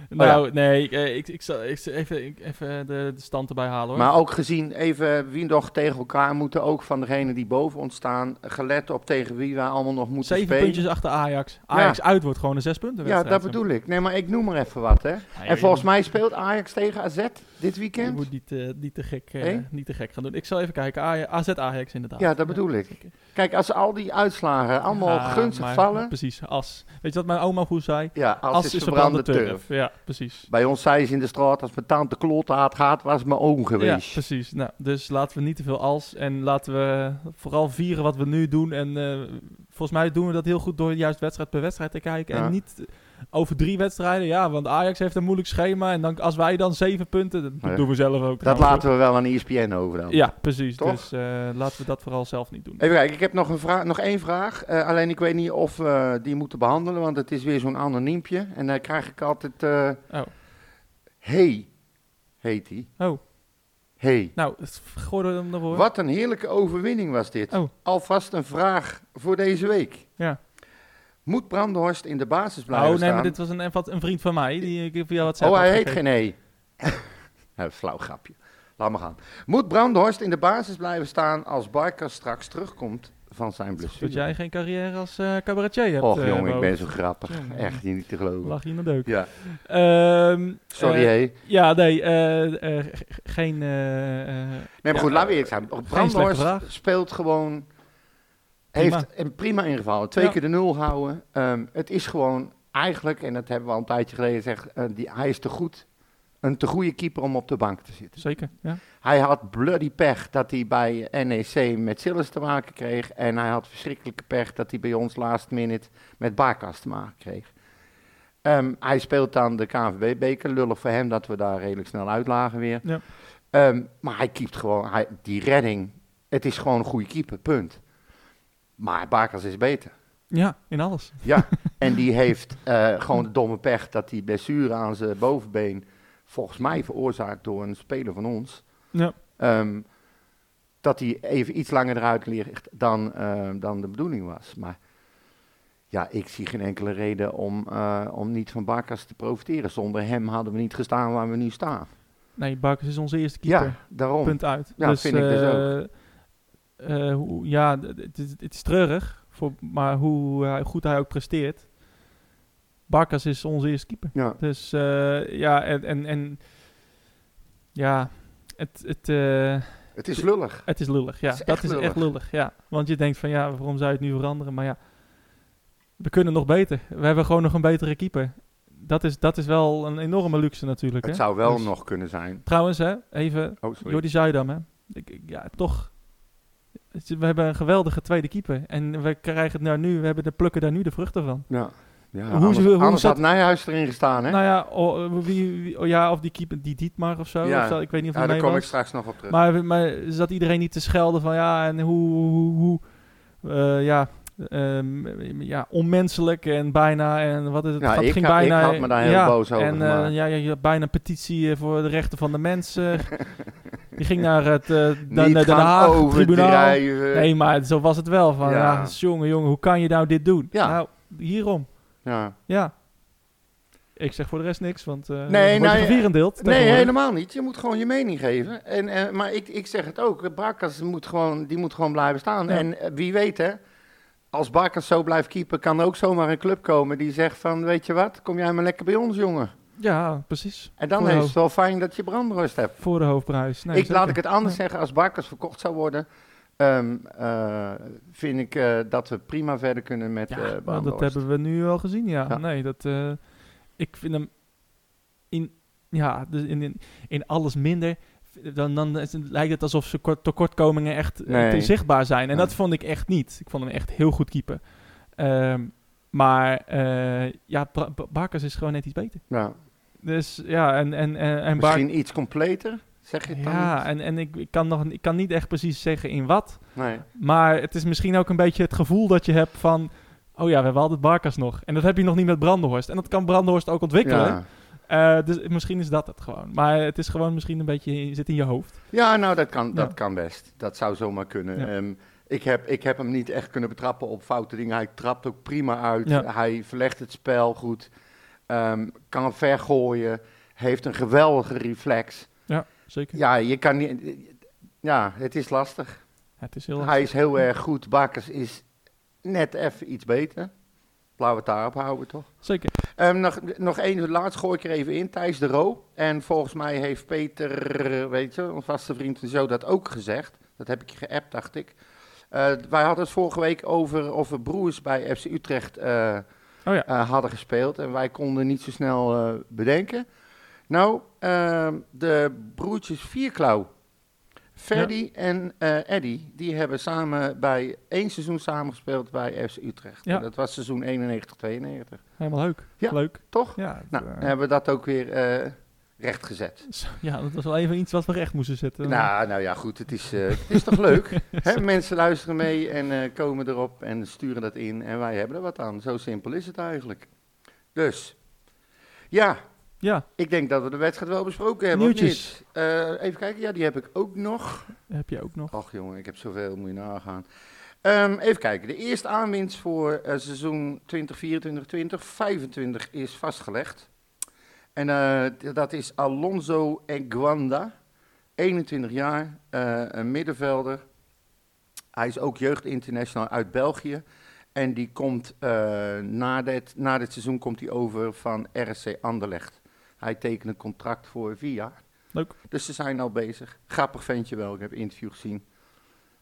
[SPEAKER 1] nou, nee, ik, eh, ik, ik, zal ik, zal even, ik- even de, de stand erbij halen hoor.
[SPEAKER 2] Maar ook gezien, even wie nog tegen elkaar moeten, ook van degene die boven ons staan, gelet op tegen wie wij allemaal nog moeten
[SPEAKER 1] Zeven
[SPEAKER 2] spelen.
[SPEAKER 1] puntjes achter Ajax. Ajax uit wordt gewoon een zes punten
[SPEAKER 2] Ja, dat bedoel ik. Nee, maar ik noem maar even wat, hè. En volgens mij speelt Ajax tegen AZ dit
[SPEAKER 1] Je
[SPEAKER 2] weekend.
[SPEAKER 1] moet niet, eh, niet, te gek, eh,
[SPEAKER 2] Nee?
[SPEAKER 1] niet te gek gaan doen. Ik zal even kijken. Ah Aj- AZ Ajax inderdaad.
[SPEAKER 2] Ja, dat bedoel ik.
[SPEAKER 1] oké.
[SPEAKER 2] Kijk, als al die uitslagen allemaal
[SPEAKER 1] Ja,
[SPEAKER 2] gunstig
[SPEAKER 1] Ah, maar-
[SPEAKER 2] vallen...
[SPEAKER 1] Precies, as. Weet je wat mijn oma goed zei?
[SPEAKER 2] Ja, als, is, verbrande turf.
[SPEAKER 1] Ja, precies.
[SPEAKER 2] Bij ons zei ze in de straat, als mijn tante klootaard gaat, was mijn oom
[SPEAKER 1] Ja,
[SPEAKER 2] geweest.
[SPEAKER 1] precies. Nou, dus laten we niet te veel als. En laten we vooral vieren wat we nu doen. En eh, volgens mij doen we dat heel goed door juist wedstrijd per wedstrijd te kijken.
[SPEAKER 2] Ja.
[SPEAKER 1] En niet over drie wedstrijden. Ja, want Ajax heeft een moeilijk schema. En dan, als wij dan zeven punten, dat
[SPEAKER 2] Ja.
[SPEAKER 1] doen we zelf ook.
[SPEAKER 2] dat
[SPEAKER 1] trouwens, hoor.
[SPEAKER 2] laten we wel aan E ESPN over dan.
[SPEAKER 1] Nou, Ja, precies.
[SPEAKER 2] Toch?
[SPEAKER 1] Dus eh, laten we dat vooral zelf niet doen.
[SPEAKER 2] Even kijken, ik heb nog, een vra- nog één vraag. Eh, alleen ik weet niet of we die moeten behandelen, want het is weer zo'n anoniempje. En dan krijg ik altijd... eh
[SPEAKER 1] Oh.
[SPEAKER 2] Hey, heet die.
[SPEAKER 1] Oh,
[SPEAKER 2] Hey.
[SPEAKER 1] nou, het- gooi er hem ervoor.
[SPEAKER 2] Wat een heerlijke overwinning was dit.
[SPEAKER 1] Oh.
[SPEAKER 2] Alvast een vraag voor deze week.
[SPEAKER 1] Ja.
[SPEAKER 2] Moet Brandenhorst in de basis
[SPEAKER 1] Oh,
[SPEAKER 2] blijven
[SPEAKER 1] nee,
[SPEAKER 2] staan?
[SPEAKER 1] maar dit was een, wat- een vriend van mij. Die ik via WhatsApp
[SPEAKER 2] Oh,
[SPEAKER 1] had
[SPEAKER 2] hij heet
[SPEAKER 1] gegeven.
[SPEAKER 2] geen E. Nou, Flauw grapje. Laat maar gaan. Moet Brandhorst in de basis blijven staan als Barker straks terugkomt van zijn blessure?
[SPEAKER 1] Dat jij geen carrière als eh cabaretier hebt.
[SPEAKER 2] Och
[SPEAKER 1] eh,
[SPEAKER 2] jongen, ik
[SPEAKER 1] Mo.
[SPEAKER 2] ben zo grappig.
[SPEAKER 1] Jongen.
[SPEAKER 2] Echt niet te geloven.
[SPEAKER 1] Lach je in de deuk.
[SPEAKER 2] Ja.
[SPEAKER 1] Ehm,
[SPEAKER 2] Sorry,
[SPEAKER 1] eh,
[SPEAKER 2] hé.
[SPEAKER 1] Ja, nee, eh, eh, ge- geen... eh, eh,
[SPEAKER 2] Nee, maar goed,
[SPEAKER 1] ja,
[SPEAKER 2] laten we eerlijk zijn.
[SPEAKER 1] slechte
[SPEAKER 2] Brandhorst
[SPEAKER 1] vraag.
[SPEAKER 2] speelt gewoon...
[SPEAKER 1] Prima.
[SPEAKER 2] Heeft een prima ingevallen. Twee
[SPEAKER 1] Ja.
[SPEAKER 2] keer de nul houden. Ehm, het is gewoon eigenlijk, en dat hebben we al een tijdje geleden gezegd... eh, die, hij is te goed, een te goede keeper om op de bank te zitten.
[SPEAKER 1] zeker, ja.
[SPEAKER 2] Hij had bloody pech dat hij bij NEC met Sillis te maken kreeg. En hij had verschrikkelijke pech dat hij bij ons last minute met Barkas te maken kreeg. Ehm, hij speelt aan de KNVB-beker. Lullig voor hem dat we daar redelijk snel uitlagen weer.
[SPEAKER 1] Ja.
[SPEAKER 2] Ehm, maar hij keept gewoon, hij, die redding. Het is gewoon een goede keeper, punt. Maar Barkas is beter.
[SPEAKER 1] Ja, in alles.
[SPEAKER 2] Ja, en die heeft eh, gewoon de domme pech dat die blessure aan zijn bovenbeen, volgens mij veroorzaakt door een speler van ons,
[SPEAKER 1] Ja.
[SPEAKER 2] ehm, dat hij even iets langer eruit ligt dan, ehm, dan de bedoeling was. Maar ja, ik zie geen enkele reden om, eh, om niet van Barkas te profiteren. Zonder hem hadden we niet gestaan waar we nu staan.
[SPEAKER 1] Nee, Barkers is onze eerste keeper.
[SPEAKER 2] Ja, daarom.
[SPEAKER 1] Punt uit.
[SPEAKER 2] Ja,
[SPEAKER 1] dus,
[SPEAKER 2] vind ik dus
[SPEAKER 1] eh,
[SPEAKER 2] ook.
[SPEAKER 1] eh, hoe, ja, d- het is, het is treurig, voor, maar hoe hij- goed hij ook presteert. Barkas is onze eerste keeper.
[SPEAKER 2] Ja.
[SPEAKER 1] Dus eh, ja, en, en, en ja, het, het, eh,
[SPEAKER 2] Het is lullig.
[SPEAKER 1] het is lullig. Ja,
[SPEAKER 2] Het is
[SPEAKER 1] dat
[SPEAKER 2] echt
[SPEAKER 1] is
[SPEAKER 2] lullig.
[SPEAKER 1] echt lullig. Ja, want je denkt van ja, waarom zou je het nu veranderen? Maar ja, we kunnen nog beter. We hebben gewoon nog een betere keeper. Dat is, dat is wel een enorme luxe natuurlijk.
[SPEAKER 2] Het
[SPEAKER 1] hè?
[SPEAKER 2] zou wel
[SPEAKER 1] Dus-
[SPEAKER 2] nog kunnen zijn.
[SPEAKER 1] Trouwens, hè, even
[SPEAKER 2] Oh, sorry.
[SPEAKER 1] Jordi Zuidam, hè? Ik, ik- ja, toch. Het is- We hebben een geweldige tweede keeper. En we krijgen het nou nu, we hebben de plukken daar nu de vruchten van.
[SPEAKER 2] Ja. Ja,
[SPEAKER 1] Hoe-
[SPEAKER 2] anders,
[SPEAKER 1] hoe
[SPEAKER 2] anders
[SPEAKER 1] zat-
[SPEAKER 2] had Nijhuis erin gestaan, hè?
[SPEAKER 1] Nou ja, o- eh, wie, wie- oh ja, of die keeper, die Dietmar of zo.
[SPEAKER 2] Ja.
[SPEAKER 1] of zo, ik weet niet of
[SPEAKER 2] ja,
[SPEAKER 1] hij
[SPEAKER 2] daar
[SPEAKER 1] mee
[SPEAKER 2] kom ik
[SPEAKER 1] was.
[SPEAKER 2] eh, straks nog op terug.
[SPEAKER 1] Maar, maar zat iedereen niet te schelden van ja, en hoe, hoe, hoe eh, ja, ehm, ja, onmenselijk en bijna, en wat is het,
[SPEAKER 2] Ja,
[SPEAKER 1] wat
[SPEAKER 2] ik
[SPEAKER 1] ging
[SPEAKER 2] had- ik
[SPEAKER 1] bijna.
[SPEAKER 2] had me daar heel
[SPEAKER 1] ja,
[SPEAKER 2] boos over
[SPEAKER 1] En eh,
[SPEAKER 2] gemaakt.
[SPEAKER 1] ja, ja, je had bijna een petitie eh, voor de rechten van de mensen. Die ging naar het eh Den,
[SPEAKER 2] Niet
[SPEAKER 1] Den
[SPEAKER 2] gaan
[SPEAKER 1] Haag tribunaal.
[SPEAKER 2] overdrijven.
[SPEAKER 1] Nee, maar zo was het wel. Van,
[SPEAKER 2] Ja.
[SPEAKER 1] ja. jongen, jongen, hoe kan je nou dit doen?
[SPEAKER 2] Ja.
[SPEAKER 1] Nou, hierom.
[SPEAKER 2] Ja.
[SPEAKER 1] Ja. Ik zeg voor de rest niks, want eh
[SPEAKER 2] Nee,
[SPEAKER 1] wordt
[SPEAKER 2] nou
[SPEAKER 1] je
[SPEAKER 2] ja.
[SPEAKER 1] gevierendeeld.
[SPEAKER 2] Nee,
[SPEAKER 1] tegenwoordig.
[SPEAKER 2] helemaal niet. Je moet gewoon je mening geven. En, eh, maar ik, ik zeg het ook. Barkas moet gewoon, die moet gewoon blijven staan.
[SPEAKER 1] Ja.
[SPEAKER 2] En eh, wie weet, hè. Als Barkas zo blijft keeper, kan er ook zomaar een club komen die zegt van... Weet je wat, kom jij maar lekker bij ons, jongen.
[SPEAKER 1] Ja, precies.
[SPEAKER 2] En dan
[SPEAKER 1] Voor de
[SPEAKER 2] is
[SPEAKER 1] hoofd-
[SPEAKER 2] het wel fijn dat je brandrust hebt.
[SPEAKER 1] Voor de hoofdprijs. Nee,
[SPEAKER 2] ik,
[SPEAKER 1] zeker.
[SPEAKER 2] laat ik het anders zeggen, als Barkas verkocht zou worden, ehm, eh, vind ik eh, dat we prima verder kunnen met
[SPEAKER 1] Ja,
[SPEAKER 2] eh
[SPEAKER 1] maar dat
[SPEAKER 2] Baanbos.
[SPEAKER 1] hebben we nu al gezien, ja.
[SPEAKER 2] Ja.
[SPEAKER 1] Nee, dat, eh, ik vind hem in, ja, dus in, in, in alles minder. Dan, dan is het- lijkt het alsof ze kort, tekortkomingen echt eh,
[SPEAKER 2] Nee.
[SPEAKER 1] te zichtbaar zijn. En
[SPEAKER 2] Nee.
[SPEAKER 1] dat vond ik echt niet. Ik vond hem echt heel goed keeper. Ehm, maar eh, ja, Bra- Ba- Barkas is gewoon net iets beter.
[SPEAKER 2] Ja.
[SPEAKER 1] Dus ja, en, en, en, en Barkas...
[SPEAKER 2] Misschien iets completer, zeg je het dan
[SPEAKER 1] Ja,
[SPEAKER 2] niet?
[SPEAKER 1] en, en ik, ik, kan nog, ik kan niet echt precies zeggen in wat.
[SPEAKER 2] Nee.
[SPEAKER 1] Maar het is misschien ook een beetje het gevoel dat je hebt van... Oh ja, we hebben altijd Barkas nog. En dat heb je nog niet met Brandenhorst. En dat kan Brandenhorst ook ontwikkelen.
[SPEAKER 2] Ja.
[SPEAKER 1] Eh, dus misschien is dat het gewoon. Maar het is gewoon misschien een beetje... zit in je hoofd.
[SPEAKER 2] ja, nou dat kan, dat
[SPEAKER 1] Ja.
[SPEAKER 2] kan best. Dat zou zomaar kunnen.
[SPEAKER 1] Ja.
[SPEAKER 2] Ehm, ik, heb, ik heb hem niet echt kunnen betrappen op foute dingen. Hij trapt ook prima uit.
[SPEAKER 1] Ja.
[SPEAKER 2] Hij verlegt het spel goed. Ehm, kan vergooien. Heeft een geweldige reflex.
[SPEAKER 1] Zeker.
[SPEAKER 2] Ja, je kan niet... Ja, het is lastig.
[SPEAKER 1] het is heel...
[SPEAKER 2] Hij is heel erg goed. Bakers is net even iets beter. Laten we het daarop houden, toch?
[SPEAKER 1] Zeker.
[SPEAKER 2] Ehm, nog, nog één, laatst gooi ik er even in. Thijs de Roo. En volgens mij heeft Peter, weet je, ons vaste vriend en zo, dat ook gezegd. Dat heb ik je geappt, dacht ik. Eh, wij hadden het vorige week over of we broers bij FC Utrecht eh,
[SPEAKER 1] Oh ja.
[SPEAKER 2] eh, hadden gespeeld. En wij konden niet zo snel eh, bedenken. Nou, ehm, de broertjes Vierklauw. Ferdy en eh Eddy, die hebben samen bij één seizoen samengespeeld bij FC Utrecht.
[SPEAKER 1] Ja.
[SPEAKER 2] En Dat was seizoen 91-92.
[SPEAKER 1] Helemaal leuk.
[SPEAKER 2] Ja.
[SPEAKER 1] Leuk.
[SPEAKER 2] Toch?
[SPEAKER 1] Ja, het,
[SPEAKER 2] Nou,
[SPEAKER 1] eh,
[SPEAKER 2] dan hebben we dat ook weer recht rechtgezet.
[SPEAKER 1] zo- ja, dat was wel even iets wat we recht moesten zetten.
[SPEAKER 2] Nou, nou ja, goed, het is, eh, het is toch leuk? Hè, mensen luisteren mee en eh, komen erop en sturen dat in en wij hebben er wat aan. Zo simpel is het eigenlijk. Dus, ja,
[SPEAKER 1] Ja,
[SPEAKER 2] ik denk dat we de wedstrijd wel besproken hebben. of
[SPEAKER 1] Nieuwtjes.
[SPEAKER 2] niet? Eh, even kijken, ja, die heb ik ook nog.
[SPEAKER 1] heb je ook nog.
[SPEAKER 2] Och jongen, ik heb zoveel, moet je nagaan. Ehm, even kijken, de eerste aanwinst voor eh, seizoen 2024-2025 is vastgelegd. En eh, d- dat is Alonso Enguanda, 21 jaar, eh, een middenvelder. Hij is ook jeugdinternational uit België. En die komt eh, na, dit, na dit seizoen komt hij over van RSC Anderlecht. Hij tekent een contract voor vier jaar.
[SPEAKER 1] Leuk.
[SPEAKER 2] Dus ze zijn al bezig. Grappig ventje wel, ik heb een interview gezien.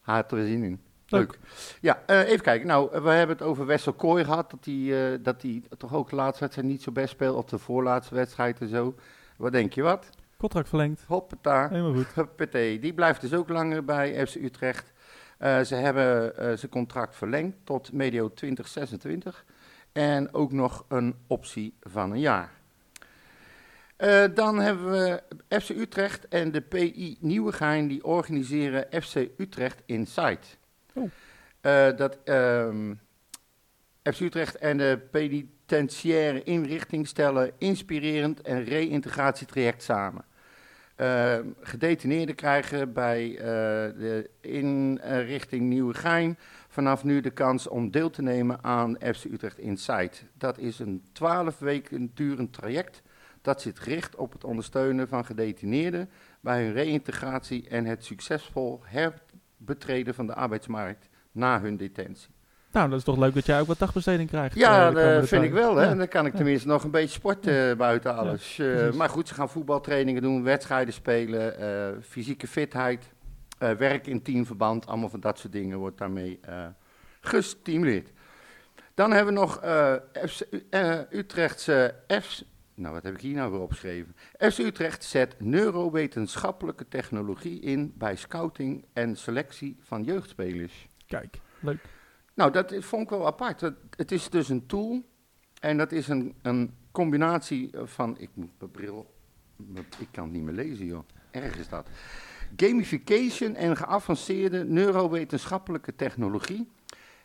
[SPEAKER 2] Hij had er zin in.
[SPEAKER 1] Leuk.
[SPEAKER 2] Leuk. Ja, eh, even kijken. Nou, eh, we hebben het over Wessel Kooi gehad. Dat hij eh, dat hij toch ook de laatste wedstrijd niet zo best speelt. Of de voorlaatste wedstrijd en zo. Wat denk je wat?
[SPEAKER 1] Contract verlengd.
[SPEAKER 2] Hoppata.
[SPEAKER 1] Helemaal goed.
[SPEAKER 2] Huppatee. Die blijft dus ook langer bij FC Utrecht. Eh, ze hebben eh, zijn contract verlengd tot medio 2026. En ook nog een optie van een jaar. Eh, dan hebben we FC Utrecht en de PI Nieuwegein die organiseren FC Utrecht Inside.
[SPEAKER 1] Oh.
[SPEAKER 2] Eh, dat ehm, FC Utrecht en de penitentiaire inrichting stellen inspirerend en reïntegratietraject samen. Eh, gedetineerden krijgen bij eh, de inrichting Nieuwegein vanaf nu de kans om deel te nemen aan FC Utrecht Inside. Dat is een 12 weken durend traject dat zich richt op het ondersteunen van gedetineerden bij hun reïntegratie en het succesvol herbetreden van de arbeidsmarkt na hun detentie.
[SPEAKER 1] Nou, dat is toch leuk dat jij ook wat dagbesteding krijgt. eh,
[SPEAKER 2] Ja,
[SPEAKER 1] de komende
[SPEAKER 2] dat vind ik
[SPEAKER 1] tijd.
[SPEAKER 2] wel. Hè?
[SPEAKER 1] Ja.
[SPEAKER 2] Dan kan ik tenminste nog een beetje sporten buiten alles. Eh,
[SPEAKER 1] precies.
[SPEAKER 2] maar goed, ze gaan voetbaltrainingen doen, wedstrijden spelen, eh, fysieke fitheid, eh, werk in teamverband. Allemaal van dat soort dingen wordt daarmee eh, gestimuleerd. Dan hebben we nog eh, FC, U- eh, Utrechtse F. Nou, wat heb ik hier nou weer opgeschreven? FC Utrecht zet neurowetenschappelijke technologie in bij scouting en selectie van jeugdspelers.
[SPEAKER 1] Kijk, leuk.
[SPEAKER 2] Nou, dat is- vond ik wel apart. Het, het is dus een tool en dat is een, een combinatie eh, van... Ik moet mijn bril... mijn- Ik kan het niet meer lezen, joh. Erg is dat. Gamification en geavanceerde neurowetenschappelijke technologie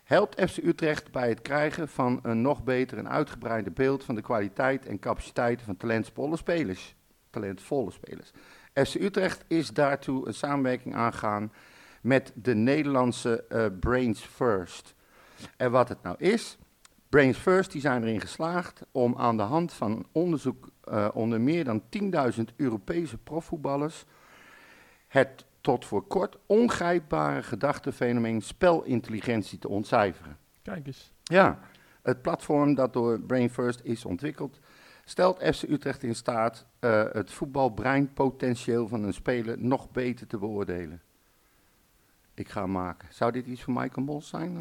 [SPEAKER 2] helpt FC Utrecht bij het krijgen van een nog beter en uitgebreider beeld van de kwaliteit en capaciteiten van talentvolle spelers. Talentvolle spelers. FC Utrecht is daartoe een samenwerking aangegaan met de Nederlandse eh, Brains First. En wat het nou is, Brains First die zijn erin geslaagd om aan de hand van onderzoek eh, onder meer dan 10.000 Europese profvoetballers het tot voor kort ongrijpbare gedachtenfenomeen spelintelligentie te ontcijferen.
[SPEAKER 1] Kijk eens.
[SPEAKER 2] Ja, het platform dat door Brain First is ontwikkeld, stelt FC Utrecht in staat eh, het voetbalbreinpotentieel van een speler nog beter te beoordelen. Ik ga hem maken. Zou dit iets voor Michael Bos zijn?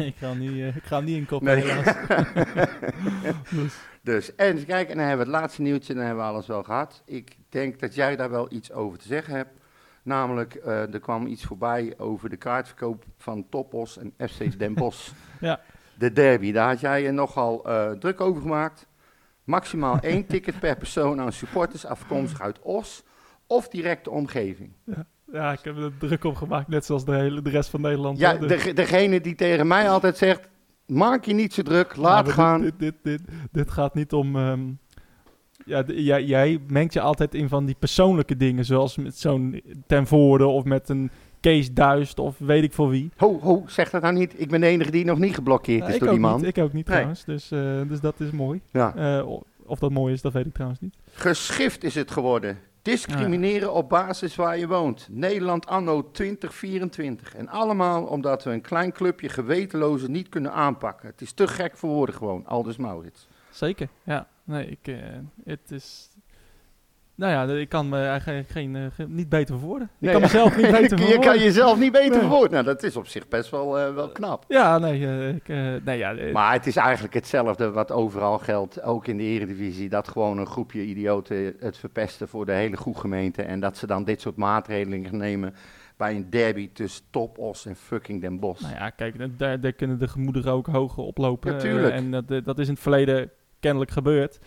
[SPEAKER 1] ik, ga hem niet, eh, ik ga hem niet inkoppen,
[SPEAKER 2] Nee.
[SPEAKER 1] helaas.
[SPEAKER 2] Dus, en eens kijken, en dan hebben we het laatste nieuwtje, dan hebben we alles wel gehad. Ik denk dat jij daar wel iets over te zeggen hebt. Namelijk, eh, er kwam iets voorbij over de kaartverkoop van Topos en FC Den Bosch.
[SPEAKER 1] Ja.
[SPEAKER 2] De derby, daar had jij je nogal eh, druk over gemaakt. Maximaal één ticket per persoon aan supporters afkomstig uit Os of directe omgeving.
[SPEAKER 1] Ja, ik heb er druk op gemaakt, net zoals de, hele, de rest van Nederland.
[SPEAKER 2] Ja,
[SPEAKER 1] hoor. Dus-
[SPEAKER 2] de, degene die tegen mij altijd zegt, maak je niet zo druk, laat
[SPEAKER 1] Ja, Nou, maar
[SPEAKER 2] gaan.
[SPEAKER 1] Dit, dit, dit, dit, dit gaat niet om. ehm, ja, d- jij, jij mengt je altijd in van die persoonlijke dingen, zoals met zo'n ten voorde of met een Kees Duist of weet ik voor wie.
[SPEAKER 2] Ho, ho, zeg dat nou niet. Ik ben de enige die nog niet geblokkeerd
[SPEAKER 1] Nou,
[SPEAKER 2] is
[SPEAKER 1] ik,
[SPEAKER 2] door
[SPEAKER 1] ook
[SPEAKER 2] die man.
[SPEAKER 1] Niet, ik ook niet
[SPEAKER 2] Nee.
[SPEAKER 1] trouwens, dus, eh, dus dat is mooi.
[SPEAKER 2] Ja.
[SPEAKER 1] Eh, o- of dat mooi is, dat weet ik trouwens niet.
[SPEAKER 2] Geschift is het geworden. Discrimineren
[SPEAKER 1] Ah,
[SPEAKER 2] op basis waar je woont. Nederland anno 2024. En allemaal omdat we een klein clubje gewetenlozen niet kunnen aanpakken. Het is te gek voor woorden gewoon, Aldus Maurits.
[SPEAKER 1] Zeker, ja. Nee, ik, eh, het is... Nou ja, ik kan me eigenlijk geen, eh, ge- niet beter verwoorden. Ik
[SPEAKER 2] Nee.
[SPEAKER 1] kan mezelf niet beter
[SPEAKER 2] je
[SPEAKER 1] verwoorden.
[SPEAKER 2] kan jezelf niet beter
[SPEAKER 1] Nee.
[SPEAKER 2] verwoorden. Nou, dat is op zich best wel, eh, wel knap.
[SPEAKER 1] Ja, nee, eh, ik, eh, nee ja, eh,
[SPEAKER 2] Maar het is eigenlijk hetzelfde wat overal geldt, ook in de eredivisie. Dat gewoon een groepje idioten het verpesten voor de hele goede gemeente. En dat ze dan dit soort maatregelen nemen bij een derby tussen Top Os en fucking Den Bosch.
[SPEAKER 1] Nou ja, kijk, da- daar, daar kunnen de gemoederen ook hoger oplopen.
[SPEAKER 2] Ja,
[SPEAKER 1] eh,
[SPEAKER 2] tuurlijk.
[SPEAKER 1] en dat, eh, dat is in het verleden kennelijk gebeurd.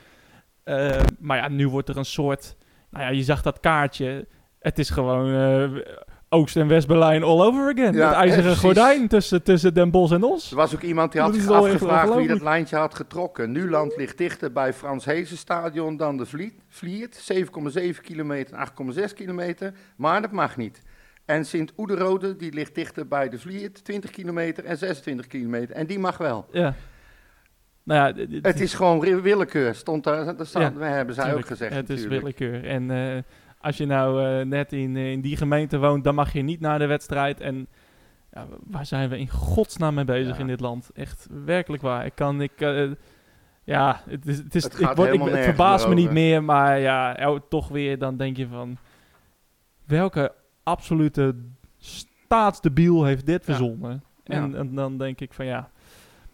[SPEAKER 1] Eh, maar ja, nu wordt er een soort... Nou ja, je zag dat kaartje. Het is gewoon eh, Oost- en West-Berlijn all over again.
[SPEAKER 2] Ja, eh,
[SPEAKER 1] het ijzeren
[SPEAKER 2] precies.
[SPEAKER 1] gordijn tussen, tussen Den Bosch en
[SPEAKER 2] Er
[SPEAKER 1] ons.
[SPEAKER 2] was ook iemand die had
[SPEAKER 1] Dat is
[SPEAKER 2] zich
[SPEAKER 1] wel echt
[SPEAKER 2] afgevraagd wie dat
[SPEAKER 1] ongelooflijk.
[SPEAKER 2] lijntje had getrokken. Nuland ligt dichter bij Frans Hezenstadion dan de Vliet. Vliert, 7,7 kilometer, 8,6 kilometer, maar dat mag niet. En Sint Oederode, die ligt dichter bij de Vliert, 20 kilometer en 26 kilometer. En die mag wel.
[SPEAKER 1] Ja. Nou ja, d- d-
[SPEAKER 2] Het is gewoon ri- willekeur, stond daar, dat staat,
[SPEAKER 1] Ja,
[SPEAKER 2] we hebben zij
[SPEAKER 1] Tuurlijk,
[SPEAKER 2] ook gezegd
[SPEAKER 1] Het is
[SPEAKER 2] natuurlijk.
[SPEAKER 1] willekeur. En eh, als je nou eh, net in, eh, in die gemeente woont, dan mag je niet naar de wedstrijd. En ja, waar zijn we in godsnaam mee bezig
[SPEAKER 2] Ja.
[SPEAKER 1] in dit land? Echt werkelijk waar. Ik kan, ik, eh, ja, het is, het is,
[SPEAKER 2] Het
[SPEAKER 1] ik
[SPEAKER 2] gaat
[SPEAKER 1] word, ik,
[SPEAKER 2] helemaal
[SPEAKER 1] het
[SPEAKER 2] nergens
[SPEAKER 1] verbaast me
[SPEAKER 2] meer
[SPEAKER 1] niet
[SPEAKER 2] over.
[SPEAKER 1] meer, maar ja, el- toch weer, dan denk je van, welke absolute staatsdebiel heeft dit
[SPEAKER 2] Ja.
[SPEAKER 1] verzonnen? En, en dan denk ik van ja,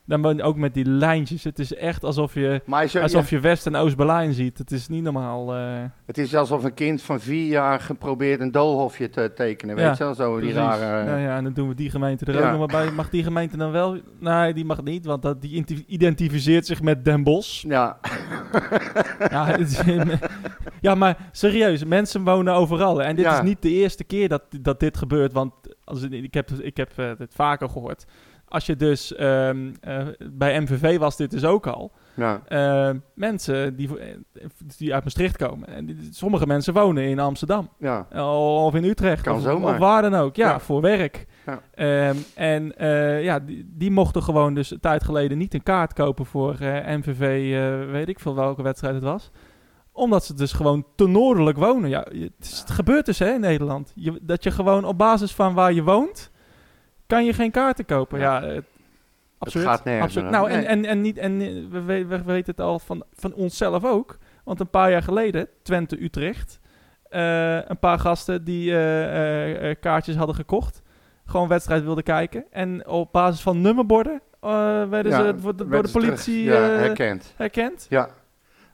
[SPEAKER 1] dan ben- ook met die lijntjes, het is echt alsof je...
[SPEAKER 2] Maar zo-
[SPEAKER 1] Alsof je West- en Oost-Berlijn ziet. Het is niet normaal. eh.
[SPEAKER 2] het is alsof een kind van vier jaar geprobeerd een doolhofje te tekenen,
[SPEAKER 1] Ja,
[SPEAKER 2] weet je wel? Zo Oh, die
[SPEAKER 1] Precies.
[SPEAKER 2] rare...
[SPEAKER 1] Nou ja, en dan doen we die gemeente er
[SPEAKER 2] Ja.
[SPEAKER 1] ook nog maar bij. Mag die gemeente dan wel? Nee, die mag niet, want dat, die inti- identificeert zich met Den Bosch.
[SPEAKER 2] ja.
[SPEAKER 1] ja, het is- ja, maar serieus, mensen wonen overal. En dit
[SPEAKER 2] Ja.
[SPEAKER 1] is niet de eerste keer dat, dat dit gebeurt, want als, ik heb, ik heb eh, dit vaker gehoord. Als je dus ehm, eh, bij MVV was dit dus ook al.
[SPEAKER 2] ja.
[SPEAKER 1] Eh, mensen die, eh, die uit Maastricht komen. En die- sommige mensen wonen in Amsterdam.
[SPEAKER 2] ja.
[SPEAKER 1] Of in Utrecht.
[SPEAKER 2] Kan
[SPEAKER 1] of,
[SPEAKER 2] zomaar.
[SPEAKER 1] of waar dan ook. Ja,
[SPEAKER 2] Ja.
[SPEAKER 1] voor werk.
[SPEAKER 2] Ja.
[SPEAKER 1] Ehm, en eh, ja, die, die mochten gewoon dus een tijd geleden niet een kaart kopen voor eh, MVV, eh, weet ik veel welke wedstrijd het was. Omdat ze dus gewoon te noordelijk wonen. Ja, je- het, is- het gebeurt dus hè, in Nederland. Je, dat je gewoon op basis van waar je woont, kan je geen kaarten kopen. Ja, het, absurd.
[SPEAKER 2] gaat nergens
[SPEAKER 1] Absurd.
[SPEAKER 2] meer
[SPEAKER 1] Nou,
[SPEAKER 2] over.
[SPEAKER 1] en, en,
[SPEAKER 2] Nee.
[SPEAKER 1] en, niet, en eh, we, we- we weten het al van, van onszelf ook. Want een paar jaar geleden, Twente-Utrecht, eh, een paar gasten die eh, eh, eh, kaartjes hadden gekocht. Gewoon wedstrijd wilden kijken. En op basis van nummerborden eh, werden
[SPEAKER 2] Ja,
[SPEAKER 1] ze door de, door
[SPEAKER 2] werden
[SPEAKER 1] de
[SPEAKER 2] ze terug,
[SPEAKER 1] politie
[SPEAKER 2] ja,
[SPEAKER 1] eh,
[SPEAKER 2] herkend.
[SPEAKER 1] herkend.
[SPEAKER 2] Ja.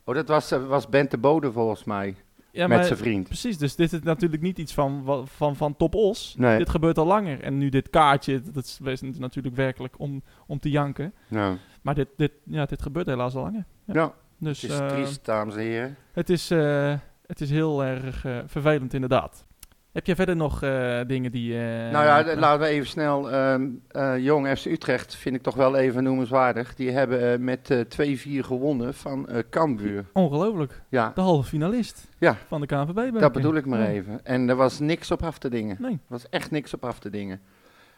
[SPEAKER 2] Oh, dat was, eh, was Bente Bode volgens mij.
[SPEAKER 1] Ja,
[SPEAKER 2] met
[SPEAKER 1] maar-
[SPEAKER 2] zijn vriend.
[SPEAKER 1] Precies, dus dit is natuurlijk niet iets van, wa- van, van Top Os.
[SPEAKER 2] Nee.
[SPEAKER 1] Dit gebeurt al langer. En nu dit kaartje, dat is, dat is natuurlijk werkelijk om, om te janken.
[SPEAKER 2] Ja.
[SPEAKER 1] Maar dit, dit, ja, dit gebeurt helaas al langer. Ja.
[SPEAKER 2] Ja,
[SPEAKER 1] Dus,
[SPEAKER 2] het is
[SPEAKER 1] eh,
[SPEAKER 2] triest, dames en heren.
[SPEAKER 1] Het is, eh, het is heel erg eh, vervelend, inderdaad. Heb jij verder nog eh, dingen die... eh,
[SPEAKER 2] nou ja, d- laten we even snel. ehm, eh, Jong FC Utrecht vind ik toch wel even noemenswaardig. Die hebben eh, met eh 2-4 gewonnen van eh Cambuur.
[SPEAKER 1] Ongelooflijk.
[SPEAKER 2] Ja,
[SPEAKER 1] De halve finalist
[SPEAKER 2] Ja.
[SPEAKER 1] van de KNVB. ben ik
[SPEAKER 2] dat
[SPEAKER 1] in.
[SPEAKER 2] bedoel ik maar
[SPEAKER 1] Ja.
[SPEAKER 2] even. En er was niks op af te dingen.
[SPEAKER 1] Nee.
[SPEAKER 2] Er was echt niks op af te dingen.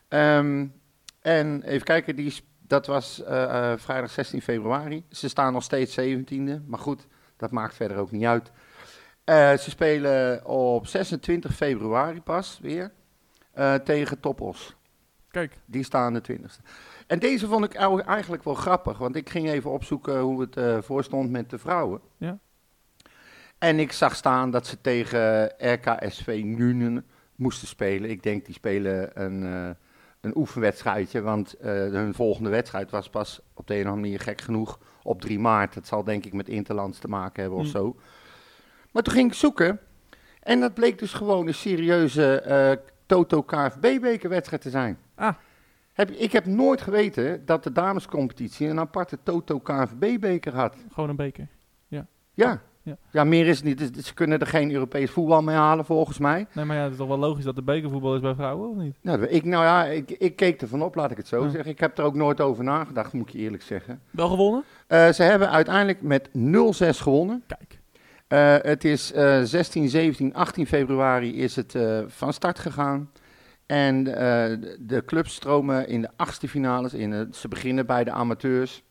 [SPEAKER 2] Ehm, en even kijken, die, sp- dat was eh, eh, vrijdag 16 februari. Ze staan nog steeds 17e, maar goed, dat maakt verder ook niet uit. Eh, ze spelen op 26 februari pas weer eh, tegen Topos.
[SPEAKER 1] Kijk,
[SPEAKER 2] Die staan de 20ste. En deze vond ik ou- eigenlijk wel grappig, want ik ging even opzoeken hoe het eh voorstond met de vrouwen.
[SPEAKER 1] Ja.
[SPEAKER 2] En ik zag staan dat ze tegen eh, RKSV Nuenen moesten spelen. Ik denk die spelen een, eh, een oefenwedstrijdje, want eh, hun volgende wedstrijd was pas op de een of andere manier gek genoeg op 3 maart. Dat zal denk ik met Interlands te maken hebben of
[SPEAKER 1] Hmm.
[SPEAKER 2] zo. Maar toen ging ik zoeken en dat bleek dus gewoon een serieuze eh, Toto KFB-bekerwedstrijd te zijn. Heb, ik heb nooit geweten dat de damescompetitie een aparte Toto KNVB-beker had.
[SPEAKER 1] gewoon een beker.
[SPEAKER 2] Ja.
[SPEAKER 1] Ja.
[SPEAKER 2] Ja. meer is het niet. Dus- dus Ze kunnen er geen Europees voetbal mee halen, volgens mij.
[SPEAKER 1] Nee, maar ja, het is toch wel logisch dat de bekervoetbal is bij vrouwen, of niet?
[SPEAKER 2] Nou, ik, nou ja, ik, ik keek ervan op, laat ik het zo
[SPEAKER 1] Ja.
[SPEAKER 2] zeggen. Ik heb er ook nooit over nagedacht, moet ik je eerlijk zeggen.
[SPEAKER 1] Wel gewonnen?
[SPEAKER 2] Eh, ze hebben uiteindelijk met 0-6 gewonnen.
[SPEAKER 1] Kijk.
[SPEAKER 2] Eh, het is eh, 16, 17, 18 februari is het eh, van start gegaan. En eh, de- de clubs stromen in de achtste finales in. Eh, ze beginnen bij de amateurs.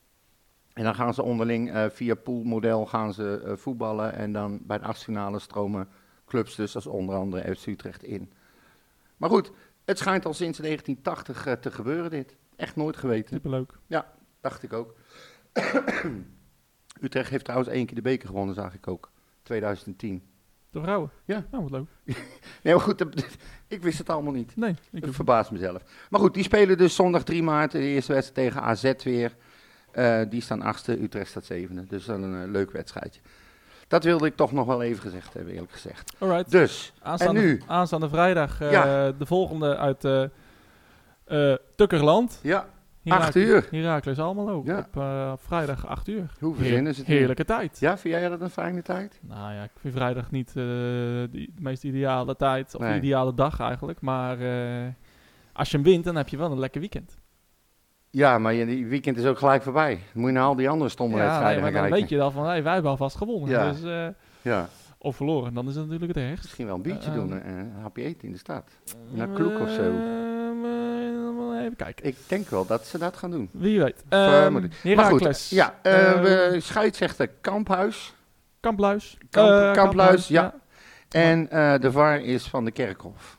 [SPEAKER 2] En dan gaan ze onderling eh, via poolmodel gaan ze eh, voetballen. En dan bij de achtste finale stromen clubs dus als onder andere FC Utrecht in. Maar goed, het schijnt al sinds 1980 eh, te gebeuren dit. Echt nooit geweten,
[SPEAKER 1] Superleuk.
[SPEAKER 2] dacht ik ook. Utrecht heeft trouwens één keer de beker gewonnen, zag ik ook. 2010.
[SPEAKER 1] De vrouwen?
[SPEAKER 2] Ja.
[SPEAKER 1] Nou, wat leuk.
[SPEAKER 2] Nee, maar goed, dat- ik wist het allemaal niet.
[SPEAKER 1] Nee, ik
[SPEAKER 2] Ik
[SPEAKER 1] heb...
[SPEAKER 2] verbaas mezelf. Maar goed, die spelen dus zondag 3 maart de eerste wedstrijd tegen AZ weer. Eh, die staan achtste, Utrecht staat zevende. Dus dan een eh, leuk wedstrijdje. Dat wilde ik toch nog wel even gezegd hebben, eerlijk gezegd.
[SPEAKER 1] Alright.
[SPEAKER 2] Dus,
[SPEAKER 1] Aanstaande,
[SPEAKER 2] en nu?
[SPEAKER 1] aanstaande vrijdag eh,
[SPEAKER 2] Ja.
[SPEAKER 1] de volgende uit eh eh, Tukkerland.
[SPEAKER 2] ja,
[SPEAKER 1] Herak-
[SPEAKER 2] acht uur.
[SPEAKER 1] Heracles Almelo
[SPEAKER 2] Ja.
[SPEAKER 1] op eh, vrijdag 8 uur.
[SPEAKER 2] Hoe
[SPEAKER 1] Heer-
[SPEAKER 2] verzinnen ze het nu?
[SPEAKER 1] Heerlijke tijd.
[SPEAKER 2] Ja, vind jij dat een fijne tijd?
[SPEAKER 1] Nou ja, ik vind vrijdag niet eh, de, de meest ideale tijd, of de
[SPEAKER 2] Nee.
[SPEAKER 1] ideale dag eigenlijk. Maar eh, als je hem wint, dan heb je wel een lekker weekend.
[SPEAKER 2] Ja, maar je die weekend is ook gelijk voorbij. Moet je naar al die andere stomme
[SPEAKER 1] ja, nee,
[SPEAKER 2] wedstrijden
[SPEAKER 1] maar
[SPEAKER 2] gaan
[SPEAKER 1] dan
[SPEAKER 2] kijken.
[SPEAKER 1] weet je dan van, hey, wij hebben alvast gewonnen.
[SPEAKER 2] Ja.
[SPEAKER 1] Dus, eh,
[SPEAKER 2] Ja,
[SPEAKER 1] of verloren, dan is het natuurlijk het ergst.
[SPEAKER 2] misschien wel een biertje
[SPEAKER 1] Eh,
[SPEAKER 2] doen en een hapje eten in de stad. Naar Kloek of zo.
[SPEAKER 1] Ehm, eh, even kijken.
[SPEAKER 2] Ik denk wel dat ze dat gaan doen.
[SPEAKER 1] Wie weet.
[SPEAKER 2] Vermoed
[SPEAKER 1] Ehm
[SPEAKER 2] ik. Maar goed,
[SPEAKER 1] Heracles.
[SPEAKER 2] Ja, eh
[SPEAKER 1] Ehm,
[SPEAKER 2] we- scheidsrechter Kamphuis.
[SPEAKER 1] Kampluis.
[SPEAKER 2] Kamp-
[SPEAKER 1] Eh,
[SPEAKER 2] Kampluis, ja. En eh, de VAR is van de Kerkhof.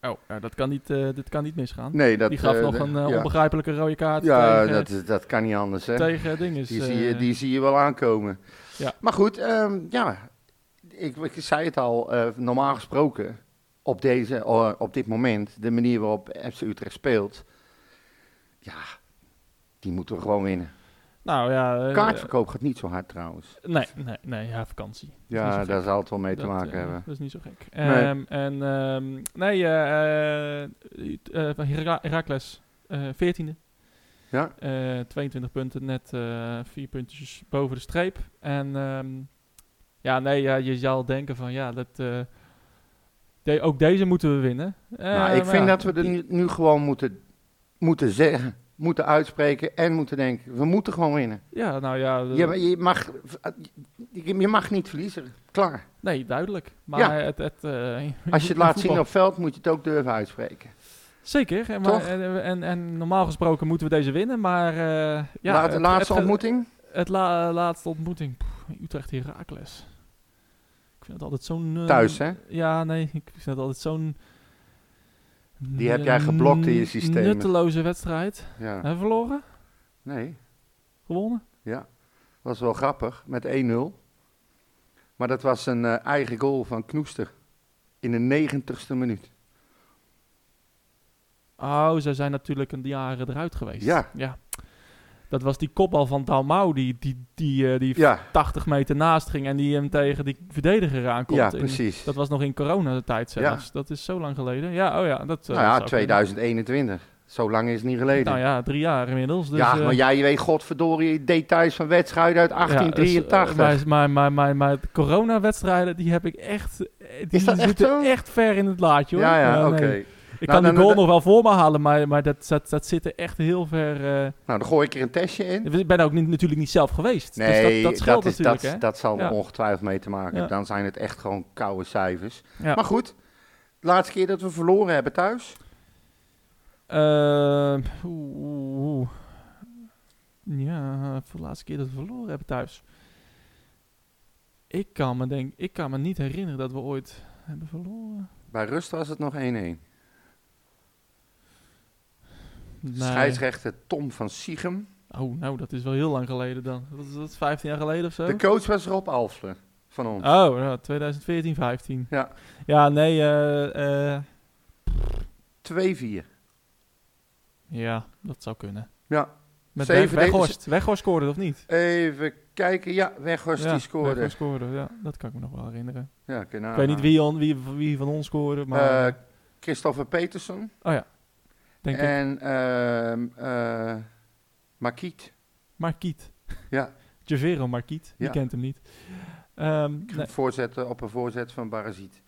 [SPEAKER 1] Oh, nou, dat, kan niet, eh, dat kan niet misgaan.
[SPEAKER 2] Nee, dat,
[SPEAKER 1] die gaf
[SPEAKER 2] eh,
[SPEAKER 1] nog
[SPEAKER 2] de-
[SPEAKER 1] een eh,
[SPEAKER 2] ja.
[SPEAKER 1] onbegrijpelijke rode kaart
[SPEAKER 2] Ja,
[SPEAKER 1] tegen,
[SPEAKER 2] dat, dat kan niet anders. Hè.
[SPEAKER 1] tegen dinges.
[SPEAKER 2] die,
[SPEAKER 1] eh,
[SPEAKER 2] zie je, die zie je wel aankomen.
[SPEAKER 1] Ja.
[SPEAKER 2] Maar goed, ehm, ja, ik, ik zei het al, eh, normaal gesproken, op, deze, eh, op dit moment, de manier waarop FC Utrecht speelt, ja, die moeten we gewoon winnen.
[SPEAKER 1] Nou ja. eh,
[SPEAKER 2] Kaartverkoop gaat niet zo hard trouwens.
[SPEAKER 1] Nee, nee, nee, ja, vakantie. Dat is niet zo
[SPEAKER 2] Ja,
[SPEAKER 1] gek.
[SPEAKER 2] daar zal het wel mee te
[SPEAKER 1] Dat,
[SPEAKER 2] maken
[SPEAKER 1] eh,
[SPEAKER 2] hebben.
[SPEAKER 1] Dat is niet zo gek.
[SPEAKER 2] Nee.
[SPEAKER 1] Ehm, en ehm, nee, eh eh, eh, van Hera- Heracles, eh 14e.
[SPEAKER 2] Ja.
[SPEAKER 1] Eh, 22 punten, net eh vier puntjes boven de streep. En ehm, ja, nee, ja, je zal denken van ja, dat, eh, de- ook deze moeten we winnen. Eh,
[SPEAKER 2] Nou, ik
[SPEAKER 1] maar
[SPEAKER 2] vind
[SPEAKER 1] ja,
[SPEAKER 2] dat we er nu, nu gewoon moeten, moeten zeggen, moeten uitspreken en moeten denken. We moeten gewoon winnen.
[SPEAKER 1] Ja, nou ja. de-
[SPEAKER 2] Je, ma- je, mag, je je mag niet verliezen. Klaar.
[SPEAKER 1] Nee, duidelijk. Maar
[SPEAKER 2] Ja.
[SPEAKER 1] het, het, eh,
[SPEAKER 2] Als je het laat zien
[SPEAKER 1] voetbal-
[SPEAKER 2] op veld, moet je het ook durven uitspreken.
[SPEAKER 1] Zeker, en, maar,
[SPEAKER 2] Toch?
[SPEAKER 1] en, en, en normaal gesproken moeten we deze winnen, maar... eh, ja,
[SPEAKER 2] Laat-
[SPEAKER 1] het-
[SPEAKER 2] laatste
[SPEAKER 1] het-
[SPEAKER 2] ontmoeting?
[SPEAKER 1] Het la- eh, laatste ontmoeting. Poeh, Utrecht Herakles. Ik vind het altijd zo'n. eh,
[SPEAKER 2] Thuis, hè?
[SPEAKER 1] Ja, nee. Ik vind het altijd zo'n.
[SPEAKER 2] Die heb jij geblokt in je systemen.
[SPEAKER 1] Nutteloze wedstrijd.
[SPEAKER 2] Ja.
[SPEAKER 1] Hebben we verloren?
[SPEAKER 2] Nee,
[SPEAKER 1] Gewonnen?
[SPEAKER 2] ja. Was wel grappig, met 1-0. Maar dat was een eh, eigen goal van Knoester. In de negentigste minuut.
[SPEAKER 1] Oh, ze zijn natuurlijk een jaren eruit geweest.
[SPEAKER 2] Ja.
[SPEAKER 1] ja. Dat was die kopbal van Dalmau die, die, die, eh, die
[SPEAKER 2] Ja,
[SPEAKER 1] 80 meter naast ging en die hem tegen die verdediger aankomt.
[SPEAKER 2] ja
[SPEAKER 1] in-
[SPEAKER 2] precies.
[SPEAKER 1] dat was nog in coronatijd
[SPEAKER 2] Ja.
[SPEAKER 1] zelfs. Dat is zo lang geleden. Ja, oh ja. Dat, eh,
[SPEAKER 2] nou ja,
[SPEAKER 1] zou kunnen.
[SPEAKER 2] 2021. Zo lang is het niet geleden.
[SPEAKER 1] Nou ja, drie jaar inmiddels. Dus,
[SPEAKER 2] ja,
[SPEAKER 1] eh,
[SPEAKER 2] maar jij weet godverdorie details van wedstrijden uit
[SPEAKER 1] Ja, dus, eh,
[SPEAKER 2] 1883.
[SPEAKER 1] maar, maar, maar, maar, maar de coronawedstrijden, die heb ik echt, eh, die
[SPEAKER 2] Is dat echt
[SPEAKER 1] zitten
[SPEAKER 2] zo?
[SPEAKER 1] echt ver in het laadje hoor.
[SPEAKER 2] Ja, ja,
[SPEAKER 1] nee.
[SPEAKER 2] oké.
[SPEAKER 1] Ik
[SPEAKER 2] Nou,
[SPEAKER 1] kan die
[SPEAKER 2] dan-
[SPEAKER 1] goal
[SPEAKER 2] dan-
[SPEAKER 1] nog wel voor me halen, maar, maar dat, dat, dat zit er echt heel ver... eh,
[SPEAKER 2] Nou, dan gooi ik er een testje in.
[SPEAKER 1] Ik ben ook niet, natuurlijk niet zelf geweest.
[SPEAKER 2] Nee,
[SPEAKER 1] dus dat, dat scheelt
[SPEAKER 2] is,
[SPEAKER 1] natuurlijk,
[SPEAKER 2] dat,
[SPEAKER 1] hè?
[SPEAKER 2] dat zal
[SPEAKER 1] Ja.
[SPEAKER 2] er ongetwijfeld mee te maken
[SPEAKER 1] Ja.
[SPEAKER 2] hebben. Dan zijn het echt gewoon koude cijfers.
[SPEAKER 1] Ja.
[SPEAKER 2] Maar goed, de laatste keer dat we verloren hebben thuis.
[SPEAKER 1] Ehm, oeh, oeh, oeh. Ja, voor de laatste keer dat we verloren hebben thuis. Ik kan me, denk, ik kan me niet herinneren dat we ooit hebben verloren.
[SPEAKER 2] Bij rust was het nog 1-1.
[SPEAKER 1] Nee.
[SPEAKER 2] Scheidsrechter Tom van Siegem.
[SPEAKER 1] Oh, nou, dat is wel heel lang geleden dan. Wat is dat, 15 jaar geleden of zo?
[SPEAKER 2] De coach was Rob Alfle van ons.
[SPEAKER 1] Oh, ja, 2014, 15.
[SPEAKER 2] Ja.
[SPEAKER 1] Ja, nee, eh, eh,
[SPEAKER 2] 2-4.
[SPEAKER 1] ja, dat zou kunnen.
[SPEAKER 2] Ja.
[SPEAKER 1] Met
[SPEAKER 2] Zeven
[SPEAKER 1] Weg-
[SPEAKER 2] tegen-
[SPEAKER 1] Weghorst. Weghorst scoorde, of niet?
[SPEAKER 2] Even kijken. Ja, Weghorst
[SPEAKER 1] ja,
[SPEAKER 2] die scoorde.
[SPEAKER 1] Weghorst scoorde, ja. Dat kan ik me nog wel herinneren.
[SPEAKER 2] Ja, oké, nou,
[SPEAKER 1] Ik weet niet wie, on- wie, wie van ons scoorde, maar...
[SPEAKER 2] Eh, Christopher Petersen.
[SPEAKER 1] oh ja, denk ik.
[SPEAKER 2] En ehm eh, Makiet.
[SPEAKER 1] Marquiet.
[SPEAKER 2] Ja.
[SPEAKER 1] Javero Marquiet, die
[SPEAKER 2] Ja.
[SPEAKER 1] kent hem niet. Ehm, nee.
[SPEAKER 2] Voorzet, eh, op een voorzet van Barazit.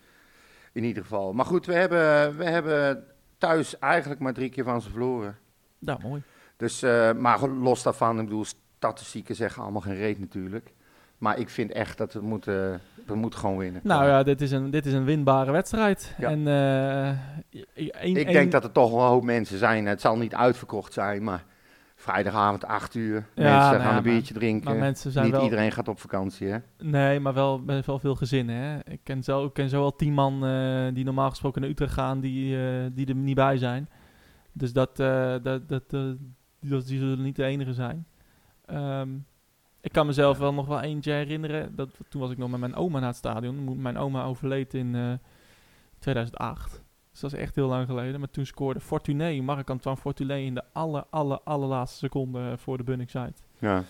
[SPEAKER 2] In ieder geval. Maar goed, we hebben, we hebben thuis eigenlijk maar drie keer van ze verloren.
[SPEAKER 1] Nou, mooi.
[SPEAKER 2] Dus, eh, maar los daarvan, ik bedoel, statistieken zeggen allemaal geen reet natuurlijk. Maar ik vind echt dat we moeten, we moeten gewoon winnen.
[SPEAKER 1] Nou ja, dit is een, dit is een winbare wedstrijd.
[SPEAKER 2] Ja.
[SPEAKER 1] En, eh, i- één-
[SPEAKER 2] ik
[SPEAKER 1] één-
[SPEAKER 2] denk dat er toch wel een hoop mensen zijn. Het zal niet uitverkocht zijn, maar vrijdagavond 8 uur.
[SPEAKER 1] Ja,
[SPEAKER 2] mensen
[SPEAKER 1] nou
[SPEAKER 2] gaan
[SPEAKER 1] ja,
[SPEAKER 2] een
[SPEAKER 1] maar-
[SPEAKER 2] biertje drinken.
[SPEAKER 1] Maar mensen zijn
[SPEAKER 2] eh, Niet
[SPEAKER 1] wel...
[SPEAKER 2] iedereen gaat op vakantie, hè?
[SPEAKER 1] Nee, maar wel, met wel veel gezinnen, hè. Ik ken zo, ik ken zo al tien man eh, die normaal gesproken naar Utrecht gaan, die, eh, die er niet bij zijn. Dus dat, eh, dat, dat, eh, die, dat- die zullen niet de enige zijn. Ehm, ik kan mezelf wel nog wel eentje herinneren. Dat, toen was ik nog met mijn oma naar het stadion. Mo- Mijn oma overleed in eh, 2008. Dus dat is echt heel lang geleden. Maar toen scoorde Fortuné, Marc-Antoine Fortuné, in de aller, aller, allerlaatste seconde eh, voor de Bunnik side.
[SPEAKER 2] Ja.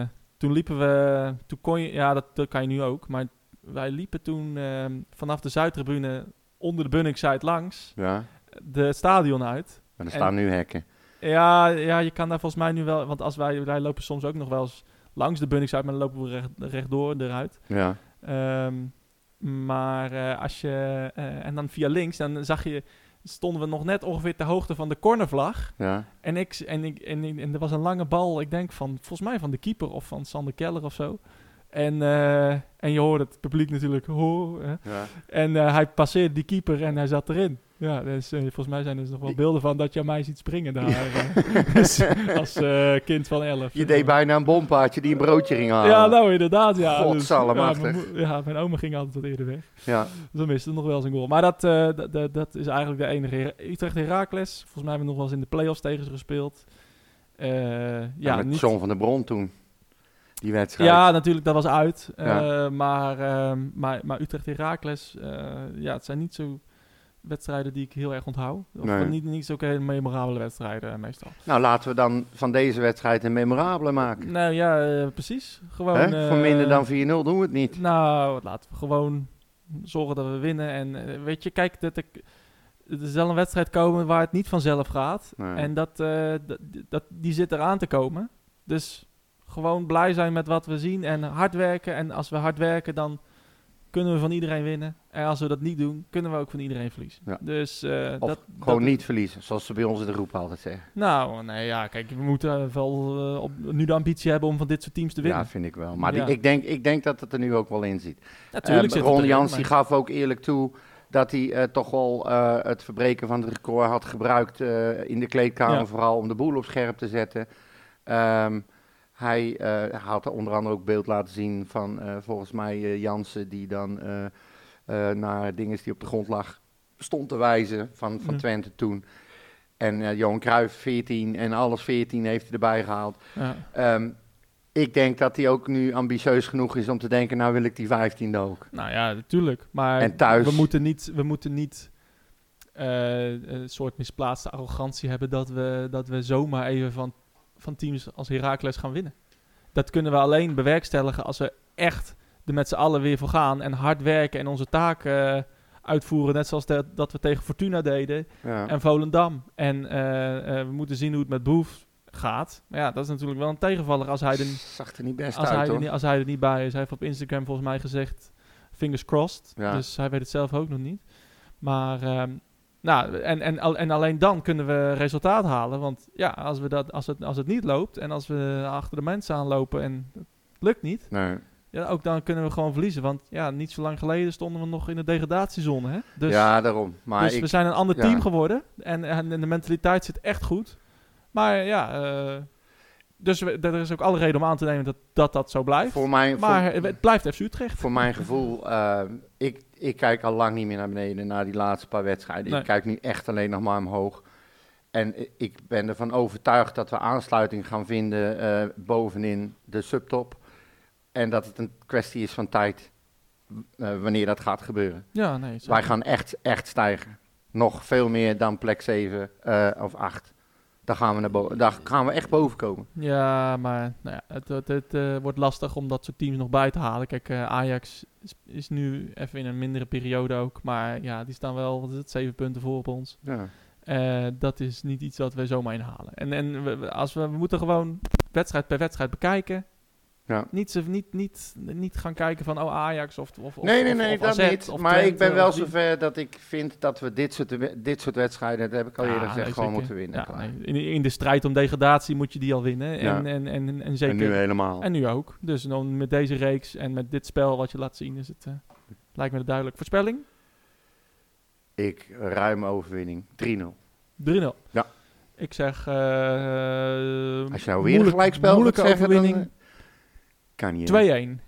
[SPEAKER 1] Eh, toen liepen we, toen kon je, ja, dat, dat kan je nu ook, maar wij liepen toen ehm, vanaf de Zuidtribune onder de Bunningside langs
[SPEAKER 2] ja.
[SPEAKER 1] de het stadion uit.
[SPEAKER 2] Maar er
[SPEAKER 1] En-
[SPEAKER 2] staan nu hekken.
[SPEAKER 1] Ja, ja, je kan daar volgens mij nu wel, want als wij, wij lopen soms ook nog wel eens langs de Bunningside, maar dan lopen we recht, rechtdoor eruit.
[SPEAKER 2] Ja.
[SPEAKER 1] Ehm, maar eh, als je, eh, en dan via links, dan zag je, stonden we nog net ongeveer ter hoogte van de cornervlag.
[SPEAKER 2] Ja.
[SPEAKER 1] En, ik, en, ik, en, ik- en er was een lange bal, ik denk van, volgens mij van de keeper of van Sander Keller of zo. En, eh, en je hoort het publiek natuurlijk. Ho, hè.
[SPEAKER 2] ja.
[SPEAKER 1] En eh, hij passeerde die keeper en hij zat erin. Ja, dus, eh, volgens mij zijn er dus nog wel
[SPEAKER 2] Die-
[SPEAKER 1] beelden van dat je mij ziet springen daar. eh, dus als eh, kind van elf.
[SPEAKER 2] Je deed bijna een bompaardje die een broodje ging halen.
[SPEAKER 1] Ja, nou inderdaad. Ja, Dus,
[SPEAKER 2] Godsallemachtig.
[SPEAKER 1] ja, mijn, mo- ja, mijn oma ging altijd wat eerder weg.
[SPEAKER 2] Ja.
[SPEAKER 1] Dus dan miste nog wel eens een goal. Maar dat, eh, dat, dat, dat is eigenlijk de enige. Utrecht Herakles. Volgens mij hebben we nog wel eens in de play-offs tegen ze gespeeld. Eh,
[SPEAKER 2] Ja,
[SPEAKER 1] ja,
[SPEAKER 2] nou, met
[SPEAKER 1] niet,
[SPEAKER 2] John van der Bron toen. Die wedstrijd.
[SPEAKER 1] ja, natuurlijk, dat was uit. Eh,
[SPEAKER 2] Ja.
[SPEAKER 1] maar, ehm, maar, maar Utrecht Herakles, eh ja, het zijn niet zo wedstrijden die ik heel erg onthoud. Of
[SPEAKER 2] Nee.
[SPEAKER 1] niet, niet zo hele memorabele wedstrijden eh, meestal.
[SPEAKER 2] Nou, laten we dan van deze wedstrijd een memorabele maken.
[SPEAKER 1] Nou ja, eh, precies. Gewoon,
[SPEAKER 2] Hè?
[SPEAKER 1] eh,
[SPEAKER 2] Voor minder dan 4-0 doen we het niet.
[SPEAKER 1] Nou, laten we gewoon zorgen dat we winnen. En eh, weet je, kijk, dat ik, er zal een wedstrijd komen waar het niet vanzelf gaat.
[SPEAKER 2] Nee.
[SPEAKER 1] En dat, eh, dat, dat, die zit eraan te komen. Dus gewoon blij zijn met wat we zien en hard werken. En als we hard werken, dan kunnen we van iedereen winnen. En als we dat niet doen, kunnen we ook van iedereen verliezen.
[SPEAKER 2] Ja.
[SPEAKER 1] Dus eh,
[SPEAKER 2] Of
[SPEAKER 1] dat,
[SPEAKER 2] Gewoon
[SPEAKER 1] dat-
[SPEAKER 2] niet verliezen, zoals ze bij ons in de groep altijd zeggen.
[SPEAKER 1] Nou, nee, ja, kijk, we moeten wel eh, op, nu de ambitie hebben om van dit soort teams te winnen.
[SPEAKER 2] Ja, vind ik wel. Maar die-
[SPEAKER 1] Ja.
[SPEAKER 2] ik, denk, ik denk dat het er nu ook wel in zit.
[SPEAKER 1] Natuurlijk
[SPEAKER 2] Eh,
[SPEAKER 1] zit het
[SPEAKER 2] Ron
[SPEAKER 1] erin,
[SPEAKER 2] Jans
[SPEAKER 1] maar-
[SPEAKER 2] die gaf ook eerlijk toe dat hij eh, toch wel eh, het verbreken van het record had gebruikt eh, in de kleedkamer,
[SPEAKER 1] Ja.
[SPEAKER 2] vooral om de boel op scherp te zetten. Ehm, hij eh, had onder andere ook beeld laten zien van eh, volgens mij eh, Jansen die dan eh, eh, naar dingen die op de grond lag stond te wijzen van, van
[SPEAKER 1] Ja.
[SPEAKER 2] Twente toen. En eh Johan Cruijff 14 en alles 14 heeft hij erbij gehaald.
[SPEAKER 1] Ja.
[SPEAKER 2] Ehm, ik denk dat hij ook nu ambitieus genoeg is om te denken, nou wil ik die 15e ook.
[SPEAKER 1] Nou ja, natuurlijk. Maar
[SPEAKER 2] En thuis?
[SPEAKER 1] we moeten niet, we moeten niet eh, een soort misplaatste arrogantie hebben dat we, dat we zomaar even van, van teams als Heracles gaan winnen. Dat kunnen we alleen bewerkstelligen als we echt er met z'n allen weer voor gaan en hard werken en onze taak eh, uitvoeren. Net zoals dat- dat we tegen Fortuna deden
[SPEAKER 2] Ja.
[SPEAKER 1] en Volendam. En eh, eh, we moeten zien hoe het met Boef gaat. Maar ja, dat is natuurlijk wel een tegenvaller als hij er
[SPEAKER 2] zag er niet best
[SPEAKER 1] als
[SPEAKER 2] uit,
[SPEAKER 1] hij, er
[SPEAKER 2] hoor.
[SPEAKER 1] niet, als hij er niet bij is. Hij heeft op Instagram volgens mij gezegd Fingers crossed.
[SPEAKER 2] Ja.
[SPEAKER 1] Dus hij weet het zelf ook nog niet. Maar, ehm, nou, en, en, al- en alleen dan kunnen we resultaat halen. Want ja, als, we dat, als, het, als het niet loopt en als we achter de mensen aanlopen en het lukt niet,
[SPEAKER 2] Nee.
[SPEAKER 1] ja, ook dan kunnen we gewoon verliezen. Want ja, niet zo lang geleden stonden we nog in de degradatiezone. Hè? Dus,
[SPEAKER 2] ja, daarom. Maar
[SPEAKER 1] dus
[SPEAKER 2] ik,
[SPEAKER 1] we zijn een ander
[SPEAKER 2] ja.
[SPEAKER 1] team geworden. En, en, en de mentaliteit zit echt goed. Maar ja, eh, dus we- er is ook alle reden om aan te nemen dat dat, dat zo blijft.
[SPEAKER 2] voor, mijn,
[SPEAKER 1] maar
[SPEAKER 2] voor,
[SPEAKER 1] het blijft FC Utrecht.
[SPEAKER 2] voor mijn gevoel, eh, ik, ik kijk al lang niet meer naar beneden na die laatste paar wedstrijden.
[SPEAKER 1] Nee.
[SPEAKER 2] Ik kijk nu echt alleen nog maar omhoog. En i- ik ben ervan overtuigd dat we aansluiting gaan vinden eh, bovenin de subtop. En dat het een kwestie is van tijd eh, wanneer dat gaat gebeuren.
[SPEAKER 1] Ja, nee. zeker.
[SPEAKER 2] Wij gaan echt, echt stijgen. Nog veel meer dan plek 7 eh, of 8. Daar gaan, we naar bo- daar gaan we echt boven komen.
[SPEAKER 1] Ja, maar nou ja, het, het, het, eh, wordt lastig om dat soort teams nog bij te halen. Kijk, eh, Ajax is, is nu even in een mindere periode ook. Maar ja, die staan wel, wat is het, zeven punten voor op ons.
[SPEAKER 2] Ja.
[SPEAKER 1] Eh, dat is niet iets wat we zomaar inhalen. En, en we, we- als we, we moeten gewoon wedstrijd per wedstrijd bekijken.
[SPEAKER 2] Ja.
[SPEAKER 1] Niet, zo- niet, niet, niet gaan kijken van oh Ajax of of, of
[SPEAKER 2] Nee, nee,
[SPEAKER 1] of-
[SPEAKER 2] nee,
[SPEAKER 1] of
[SPEAKER 2] dat
[SPEAKER 1] AZ
[SPEAKER 2] niet.
[SPEAKER 1] of
[SPEAKER 2] Maar ik
[SPEAKER 1] Twente
[SPEAKER 2] ben wel
[SPEAKER 1] of die-
[SPEAKER 2] zover dat ik vind dat we dit soort, we- dit soort wedstrijden, dat heb ik al
[SPEAKER 1] Ja,
[SPEAKER 2] eerder gezegd,
[SPEAKER 1] nee,
[SPEAKER 2] gewoon
[SPEAKER 1] zeker.
[SPEAKER 2] moeten winnen.
[SPEAKER 1] Ja,
[SPEAKER 2] klaar.
[SPEAKER 1] nee. in, in de strijd om degradatie moet je die al winnen.
[SPEAKER 2] Ja.
[SPEAKER 1] En, en, en, en, zeker
[SPEAKER 2] helemaal.
[SPEAKER 1] En nu ook. Dus dan met deze reeks en met dit spel wat je laat zien, is het, eh, lijkt me het duidelijk. Voorspelling? 3-0.
[SPEAKER 2] Ik ruim overwinning. 3-0. Ja.
[SPEAKER 1] Ik zeg... eh,
[SPEAKER 2] Als je nou weer een
[SPEAKER 1] moeilijk-
[SPEAKER 2] gelijkspel moet
[SPEAKER 1] moeilijke
[SPEAKER 2] zeggen, dan
[SPEAKER 1] overwinning.
[SPEAKER 2] eh, kan niet. hè?
[SPEAKER 1] 2-1.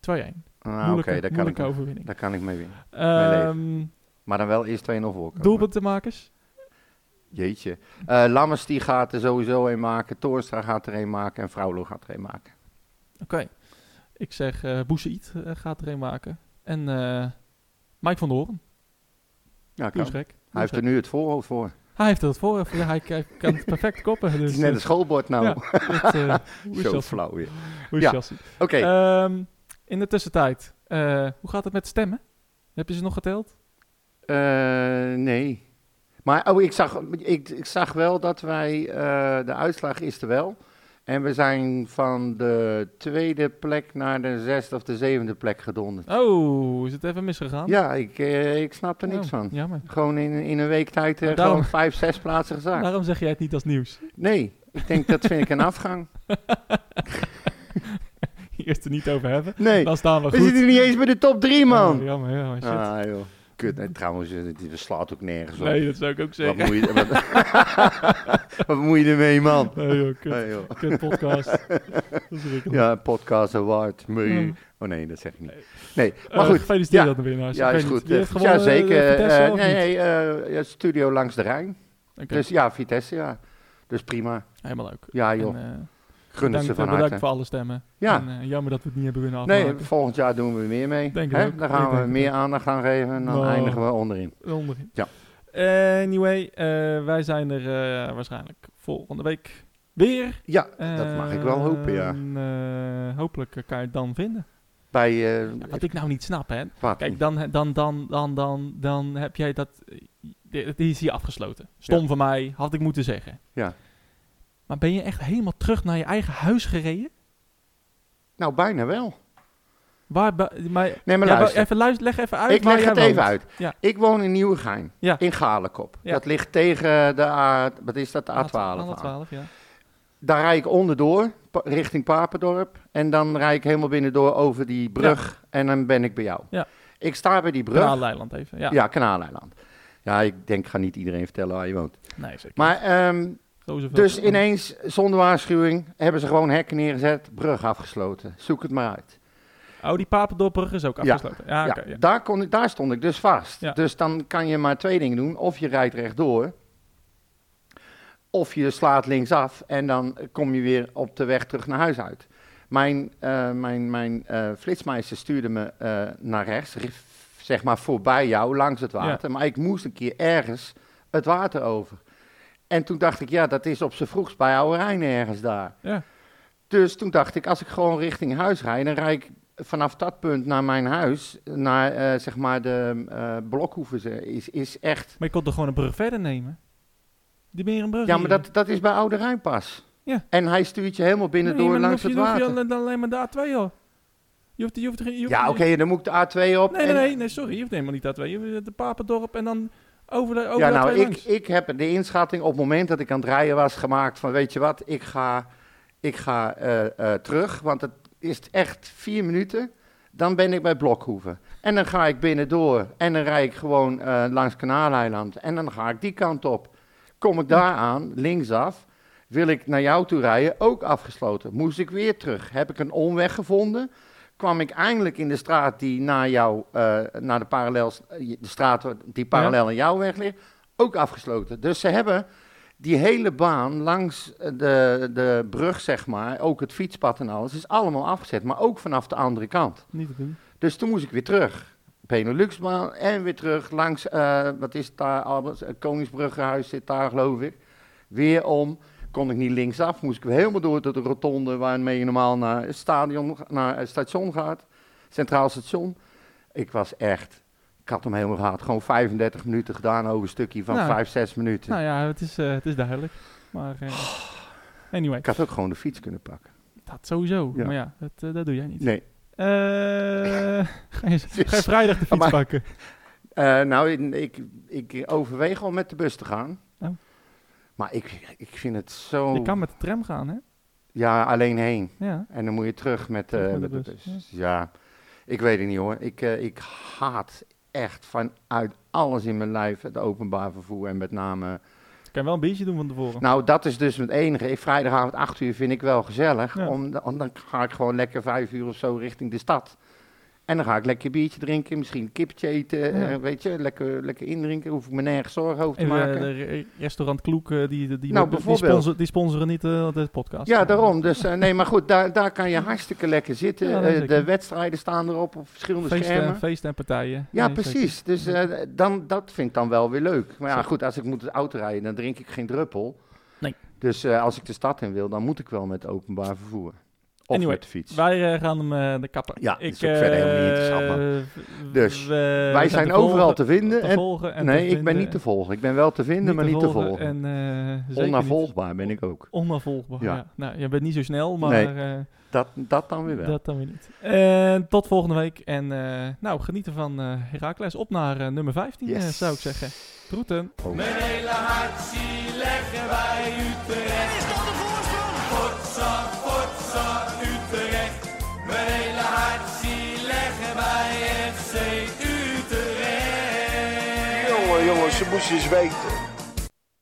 [SPEAKER 1] 2-1.
[SPEAKER 2] Ah, Oké,
[SPEAKER 1] moeilijke
[SPEAKER 2] daar, kan ik
[SPEAKER 1] moeilijke
[SPEAKER 2] nog-
[SPEAKER 1] overwinning.
[SPEAKER 2] daar kan ik mee winnen.
[SPEAKER 1] Ehm,
[SPEAKER 2] Maar dan wel eerst 2-0 voor.
[SPEAKER 1] doelpuntenmakers?
[SPEAKER 2] Jeetje. Eh Lammers die gaat er sowieso een maken. Toornstra gaat er een maken. En Vrouwlo gaat er een maken.
[SPEAKER 1] Oké. Ik zeg eh Boussaïd eh, gaat er een maken. En eh Mike van der Hoorn.
[SPEAKER 2] Ja,
[SPEAKER 1] Doe
[SPEAKER 2] kan.
[SPEAKER 1] eens gek.
[SPEAKER 2] Dus Hij heeft er nu het voorhoofd voor.
[SPEAKER 1] Hij heeft er het voor. Ja, hij hij kan het perfect koppen. Dus,
[SPEAKER 2] Het is net een schoolbord nou.
[SPEAKER 1] Ja, het, eh, we
[SPEAKER 2] Zo
[SPEAKER 1] shall see.
[SPEAKER 2] flauw weer.
[SPEAKER 1] We
[SPEAKER 2] Ja.
[SPEAKER 1] shall see.
[SPEAKER 2] Oké,
[SPEAKER 1] Ehm, in de tussentijd, eh, hoe gaat het met stemmen? Heb je ze nog geteld?
[SPEAKER 2] eh, nee. Maar oh, ik, zag, ik, ik zag wel dat wij... eh, de uitslag is er wel. En we zijn van de tweede plek naar de zesde of de zevende plek gedonderd.
[SPEAKER 1] Oh, is het even misgegaan?
[SPEAKER 2] Ja, ik, eh, ik snap er niks
[SPEAKER 1] Oh,
[SPEAKER 2] van.
[SPEAKER 1] Jammer.
[SPEAKER 2] Gewoon in, in een week tijd eh,
[SPEAKER 1] Maar daarom- Nou-
[SPEAKER 2] gewoon vijf, zes plaatsen gezakt.
[SPEAKER 1] Daarom zeg jij het niet als nieuws.
[SPEAKER 2] Nee, ik denk dat vind ik een afgang.
[SPEAKER 1] Eerst er niet over hebben.
[SPEAKER 2] Nee,
[SPEAKER 1] Dan staan we
[SPEAKER 2] We
[SPEAKER 1] goed.
[SPEAKER 2] zitten niet eens bij de top 3, man.
[SPEAKER 1] Oh, jammer, jammer. Shit.
[SPEAKER 2] ah, joh. Kut, nee, trouwens, eh, dit dit slaat ook nergens op.
[SPEAKER 1] nee, dat zou ik ook
[SPEAKER 2] wat,
[SPEAKER 1] zeggen.
[SPEAKER 2] moet je, wat, wat moet je ermee, man?
[SPEAKER 1] Nee, joh, kut,
[SPEAKER 2] Nee, joh.
[SPEAKER 1] kut podcast. Verschrikkelijk.
[SPEAKER 2] Ja, podcast award.
[SPEAKER 1] Ja.
[SPEAKER 2] Mee. Oh nee, dat zeg ik niet. Nee,
[SPEAKER 1] Eh,
[SPEAKER 2] maar goed.
[SPEAKER 1] gefeliciteerd
[SPEAKER 2] ja.
[SPEAKER 1] dan de winnaars.
[SPEAKER 2] Ja,
[SPEAKER 1] Ik
[SPEAKER 2] is
[SPEAKER 1] weet niet,
[SPEAKER 2] goed.
[SPEAKER 1] wie heeft
[SPEAKER 2] eh, ja,
[SPEAKER 1] gewonnen?
[SPEAKER 2] zeker.
[SPEAKER 1] Eh, Vitesse
[SPEAKER 2] eh,
[SPEAKER 1] of
[SPEAKER 2] nee,
[SPEAKER 1] niet?
[SPEAKER 2] eh, ja, studio langs de Rijn.
[SPEAKER 1] Oké,
[SPEAKER 2] Dus ja, Vitesse, ja. Dus prima.
[SPEAKER 1] Helemaal leuk.
[SPEAKER 2] Ja, joh.
[SPEAKER 1] En, eh,
[SPEAKER 2] Gunnen
[SPEAKER 1] bedankt,
[SPEAKER 2] ze van
[SPEAKER 1] eh, bedankt
[SPEAKER 2] harte.
[SPEAKER 1] voor alle stemmen.
[SPEAKER 2] Ja.
[SPEAKER 1] En, eh, jammer dat we het niet hebben kunnen afmaken.
[SPEAKER 2] Nee, volgend jaar doen we weer mee.
[SPEAKER 1] Denk het
[SPEAKER 2] Hè?
[SPEAKER 1] ook.
[SPEAKER 2] Daar
[SPEAKER 1] Ik
[SPEAKER 2] gaan we
[SPEAKER 1] denk het
[SPEAKER 2] meer aandacht aan geven en dan
[SPEAKER 1] Nou.
[SPEAKER 2] eindigen we onderin.
[SPEAKER 1] onderin.
[SPEAKER 2] Ja.
[SPEAKER 1] Anyway, eh, wij zijn er eh, waarschijnlijk volgende week weer.
[SPEAKER 2] Ja, dat mag ik wel hopen, ja.
[SPEAKER 1] En, eh, hopelijk kan je het dan vinden.
[SPEAKER 2] Bij, eh,
[SPEAKER 1] Wat ik nou niet snap, hè.
[SPEAKER 2] wat?
[SPEAKER 1] Kijk, dan, dan, dan, dan, dan, dan heb jij dat... Die is hier afgesloten. Stom van mij, had ik moeten zeggen.
[SPEAKER 2] Ja.
[SPEAKER 1] Maar ben je echt helemaal terug naar je eigen huis gereden?
[SPEAKER 2] Nou, bijna wel.
[SPEAKER 1] Waar, ba- maar,
[SPEAKER 2] Nee, maar
[SPEAKER 1] Ja,
[SPEAKER 2] luister.
[SPEAKER 1] even luister, leg even uit
[SPEAKER 2] ik
[SPEAKER 1] waar
[SPEAKER 2] leg
[SPEAKER 1] jij
[SPEAKER 2] het even
[SPEAKER 1] woont.
[SPEAKER 2] uit.
[SPEAKER 1] Ja.
[SPEAKER 2] Ik woon in Nieuwegein,
[SPEAKER 1] Ja.
[SPEAKER 2] in Galenkop.
[SPEAKER 1] Ja.
[SPEAKER 2] Dat ligt tegen de, A, wat is dat, de A12. aan.
[SPEAKER 1] A12, ja.
[SPEAKER 2] Daar rijd ik onderdoor, pa- richting Papendorp. En dan rijd ik helemaal binnendoor over die brug en dan ben ik bij jou.
[SPEAKER 1] Ja.
[SPEAKER 2] Ik sta bij die brug.
[SPEAKER 1] Kanaaleiland even. Ja,
[SPEAKER 2] Ja, Kanaaleiland. Ja, ik denk, ik ga niet iedereen vertellen waar je woont.
[SPEAKER 1] nee, zeker.
[SPEAKER 2] Maar ehm,
[SPEAKER 1] Zo is er veel
[SPEAKER 2] Dus
[SPEAKER 1] veranderd.
[SPEAKER 2] ineens, zonder waarschuwing, hebben ze gewoon hekken neergezet, brug afgesloten. Zoek het maar uit.
[SPEAKER 1] Oh, die Papendopper is ook
[SPEAKER 2] Ja.
[SPEAKER 1] afgesloten. Ja, oké.
[SPEAKER 2] ja,
[SPEAKER 1] ja.
[SPEAKER 2] Daar, kon ik, daar stond ik dus vast.
[SPEAKER 1] Ja.
[SPEAKER 2] Dus dan kan je maar twee dingen doen. Of je rijdt rechtdoor, of je slaat linksaf en dan kom je weer op de weg terug naar huis uit. Mijn, eh, mijn, mijn eh, flitsmeister stuurde me eh, naar rechts, ri- zeg maar voorbij jou, langs het water. Maar ik moest een keer ergens het water over. En toen dacht ik, ja, dat is op z'n vroegst bij Oude Rijn ergens daar.
[SPEAKER 1] Ja.
[SPEAKER 2] Dus toen dacht ik, als ik gewoon richting huis rijd, dan rijd ik vanaf dat punt naar mijn huis, naar eh, zeg maar de eh Blokhoeven, ze- is, is echt...
[SPEAKER 1] Maar je kon er gewoon een brug verder nemen. Die meer een brug.
[SPEAKER 2] Ja, maar
[SPEAKER 1] hier.
[SPEAKER 2] dat, dat is bij Oude Rijn pas.
[SPEAKER 1] Ja.
[SPEAKER 2] En hij stuurt je helemaal binnen
[SPEAKER 1] Nee,
[SPEAKER 2] door
[SPEAKER 1] maar dan
[SPEAKER 2] langs
[SPEAKER 1] hoef
[SPEAKER 2] het
[SPEAKER 1] je- dan hoef
[SPEAKER 2] water.
[SPEAKER 1] je alleen- dan alleen maar daar twee hoor. Je hoeft, je hoeft, geen- je hoeft-
[SPEAKER 2] Ja, oké, dan moet ik de A2 op.
[SPEAKER 1] Nee,
[SPEAKER 2] en-
[SPEAKER 1] nee, nee, nee, sorry. Je hoeft helemaal niet dat twee. Je hoeft de Papendorp en dan over de eh, over
[SPEAKER 2] Ja,
[SPEAKER 1] de
[SPEAKER 2] nou,
[SPEAKER 1] twee
[SPEAKER 2] ik,
[SPEAKER 1] langs.
[SPEAKER 2] ik heb de inschatting op het moment dat ik aan het rijden was gemaakt van, weet je wat, ik ga, ik ga eh, eh, terug, want het is echt vier minuten, dan ben ik bij Blokhoeven. En dan ga ik binnendoor en dan rijd ik gewoon eh, langs Kanaaleiland en dan ga ik die kant op. Kom ik daar aan, linksaf, wil ik naar jou toe rijden, ook afgesloten. Moest ik weer terug, heb ik een omweg gevonden... Kwam ik eindelijk in de straat die na jou, eh, naar de, parallel, de straat die parallel aan jou weg ligt ook afgesloten. Dus ze hebben die hele baan langs eh, de, de brug, zeg maar, ook het fietspad en alles, is allemaal afgezet. Maar ook vanaf de andere kant.
[SPEAKER 1] Niet te doen.
[SPEAKER 2] Dus toen moest ik weer terug. Beneluxbaan en weer terug langs, eh, wat is het daar, Albert, eh, Koningsbruggenhuis zit daar geloof ik. Weer om, kon ik niet linksaf, moest ik weer helemaal door tot de rotonde waarmee je normaal naar het, stadion, naar het station gaat. Centraal station. Ik was echt, ik had hem helemaal gehad. Gewoon 35 minuten gedaan over een stukje van
[SPEAKER 1] Nou.
[SPEAKER 2] 5, 6 minuten.
[SPEAKER 1] Nou ja, het is, eh, het is duidelijk. Maar eh, anyway,
[SPEAKER 2] Ik had ook gewoon de fiets kunnen pakken.
[SPEAKER 1] dat sowieso.
[SPEAKER 2] Ja.
[SPEAKER 1] Maar ja, dat, eh, dat doe jij niet.
[SPEAKER 2] Nee.
[SPEAKER 1] Eh, ga, je, ga je vrijdag de fiets
[SPEAKER 2] Maar-
[SPEAKER 1] pakken?
[SPEAKER 2] Eh, nou, ik, ik, ik overweeg al met de bus te gaan.
[SPEAKER 1] Oh.
[SPEAKER 2] Maar ik, ik vind het zo...
[SPEAKER 1] Je kan met de tram gaan, hè?
[SPEAKER 2] Ja, alleen heen.
[SPEAKER 1] Ja.
[SPEAKER 2] En dan moet je terug met, eh,
[SPEAKER 1] Terug met de
[SPEAKER 2] met de
[SPEAKER 1] bus,
[SPEAKER 2] bus. Ja. ik weet het niet hoor. Ik, eh, ik haat echt vanuit alles in mijn lijf het openbaar vervoer. En met name...
[SPEAKER 1] Kan je wel een biertje doen van tevoren.
[SPEAKER 2] Nou, dat is dus het enige. Ik- Vrijdagavond 8 uur vind ik wel gezellig.
[SPEAKER 1] Ja.
[SPEAKER 2] Om, om- dan ga ik gewoon lekker 5 uur of zo richting de stad. En dan ga ik lekker biertje drinken, misschien een kippetje eten,
[SPEAKER 1] Ja.
[SPEAKER 2] eh, weet je, lekker, lekker indrinken. Hoef ik me nergens zorgen over te
[SPEAKER 1] Even, eh,
[SPEAKER 2] maken.
[SPEAKER 1] de re- restaurant Kloek, eh, die, die, die,
[SPEAKER 2] Nou,
[SPEAKER 1] die
[SPEAKER 2] bijvoorbeeld.
[SPEAKER 1] sponsor- die sponsoren niet eh, de podcast.
[SPEAKER 2] Ja, daarom. Dus, eh, nee, maar goed, daar, daar kan je hartstikke lekker zitten.
[SPEAKER 1] Ja, dat
[SPEAKER 2] Eh,
[SPEAKER 1] zeker.
[SPEAKER 2] de wedstrijden staan erop op verschillende
[SPEAKER 1] Feesten,
[SPEAKER 2] schermen.
[SPEAKER 1] feesten en partijen.
[SPEAKER 2] Ja,
[SPEAKER 1] Nee, zeker.
[SPEAKER 2] precies. Dus eh, dan, dat vind ik dan wel weer leuk. Maar ja,
[SPEAKER 1] Zeker.
[SPEAKER 2] goed, als ik moet de auto rijden, dan drink ik geen druppel.
[SPEAKER 1] Nee.
[SPEAKER 2] Dus eh, als ik de stad in wil, dan moet ik wel met openbaar vervoer. Of
[SPEAKER 1] Anyway,
[SPEAKER 2] met de fiets.
[SPEAKER 1] Wij eh, gaan hem eh, de eh, kapper.
[SPEAKER 2] Ja, is ook verder helemaal niet interessant, Dus, Wij zijn overal te vinden.
[SPEAKER 1] Te
[SPEAKER 2] En,
[SPEAKER 1] volgen en
[SPEAKER 2] nee,
[SPEAKER 1] te
[SPEAKER 2] ik ben niet te
[SPEAKER 1] vinden.
[SPEAKER 2] volgen. Ik ben wel te vinden, maar niet te volgen.
[SPEAKER 1] En, eh, zeker niet
[SPEAKER 2] Onnavolgbaar ben ik ook.
[SPEAKER 1] onnavolgbaar. Ja.
[SPEAKER 2] Ja.
[SPEAKER 1] Nou, je bent niet zo snel, maar
[SPEAKER 2] Nee,
[SPEAKER 1] eh,
[SPEAKER 2] Dat, dat dan weer wel.
[SPEAKER 1] dat dan weer niet. En tot volgende week. En eh, nou, genieten van eh Herakles. Op naar eh, nummer 15, eh,
[SPEAKER 2] Yes.
[SPEAKER 1] zou ik zeggen. Groeten.
[SPEAKER 3] Mijn hele hart zie leggen wij Utrecht. Is dat de voorsprong? Potsa, potsa, Utrecht. Mijn hele hart zie leggen wij FC Utrecht.
[SPEAKER 4] Jongen, jongens, ze moest je eens weten.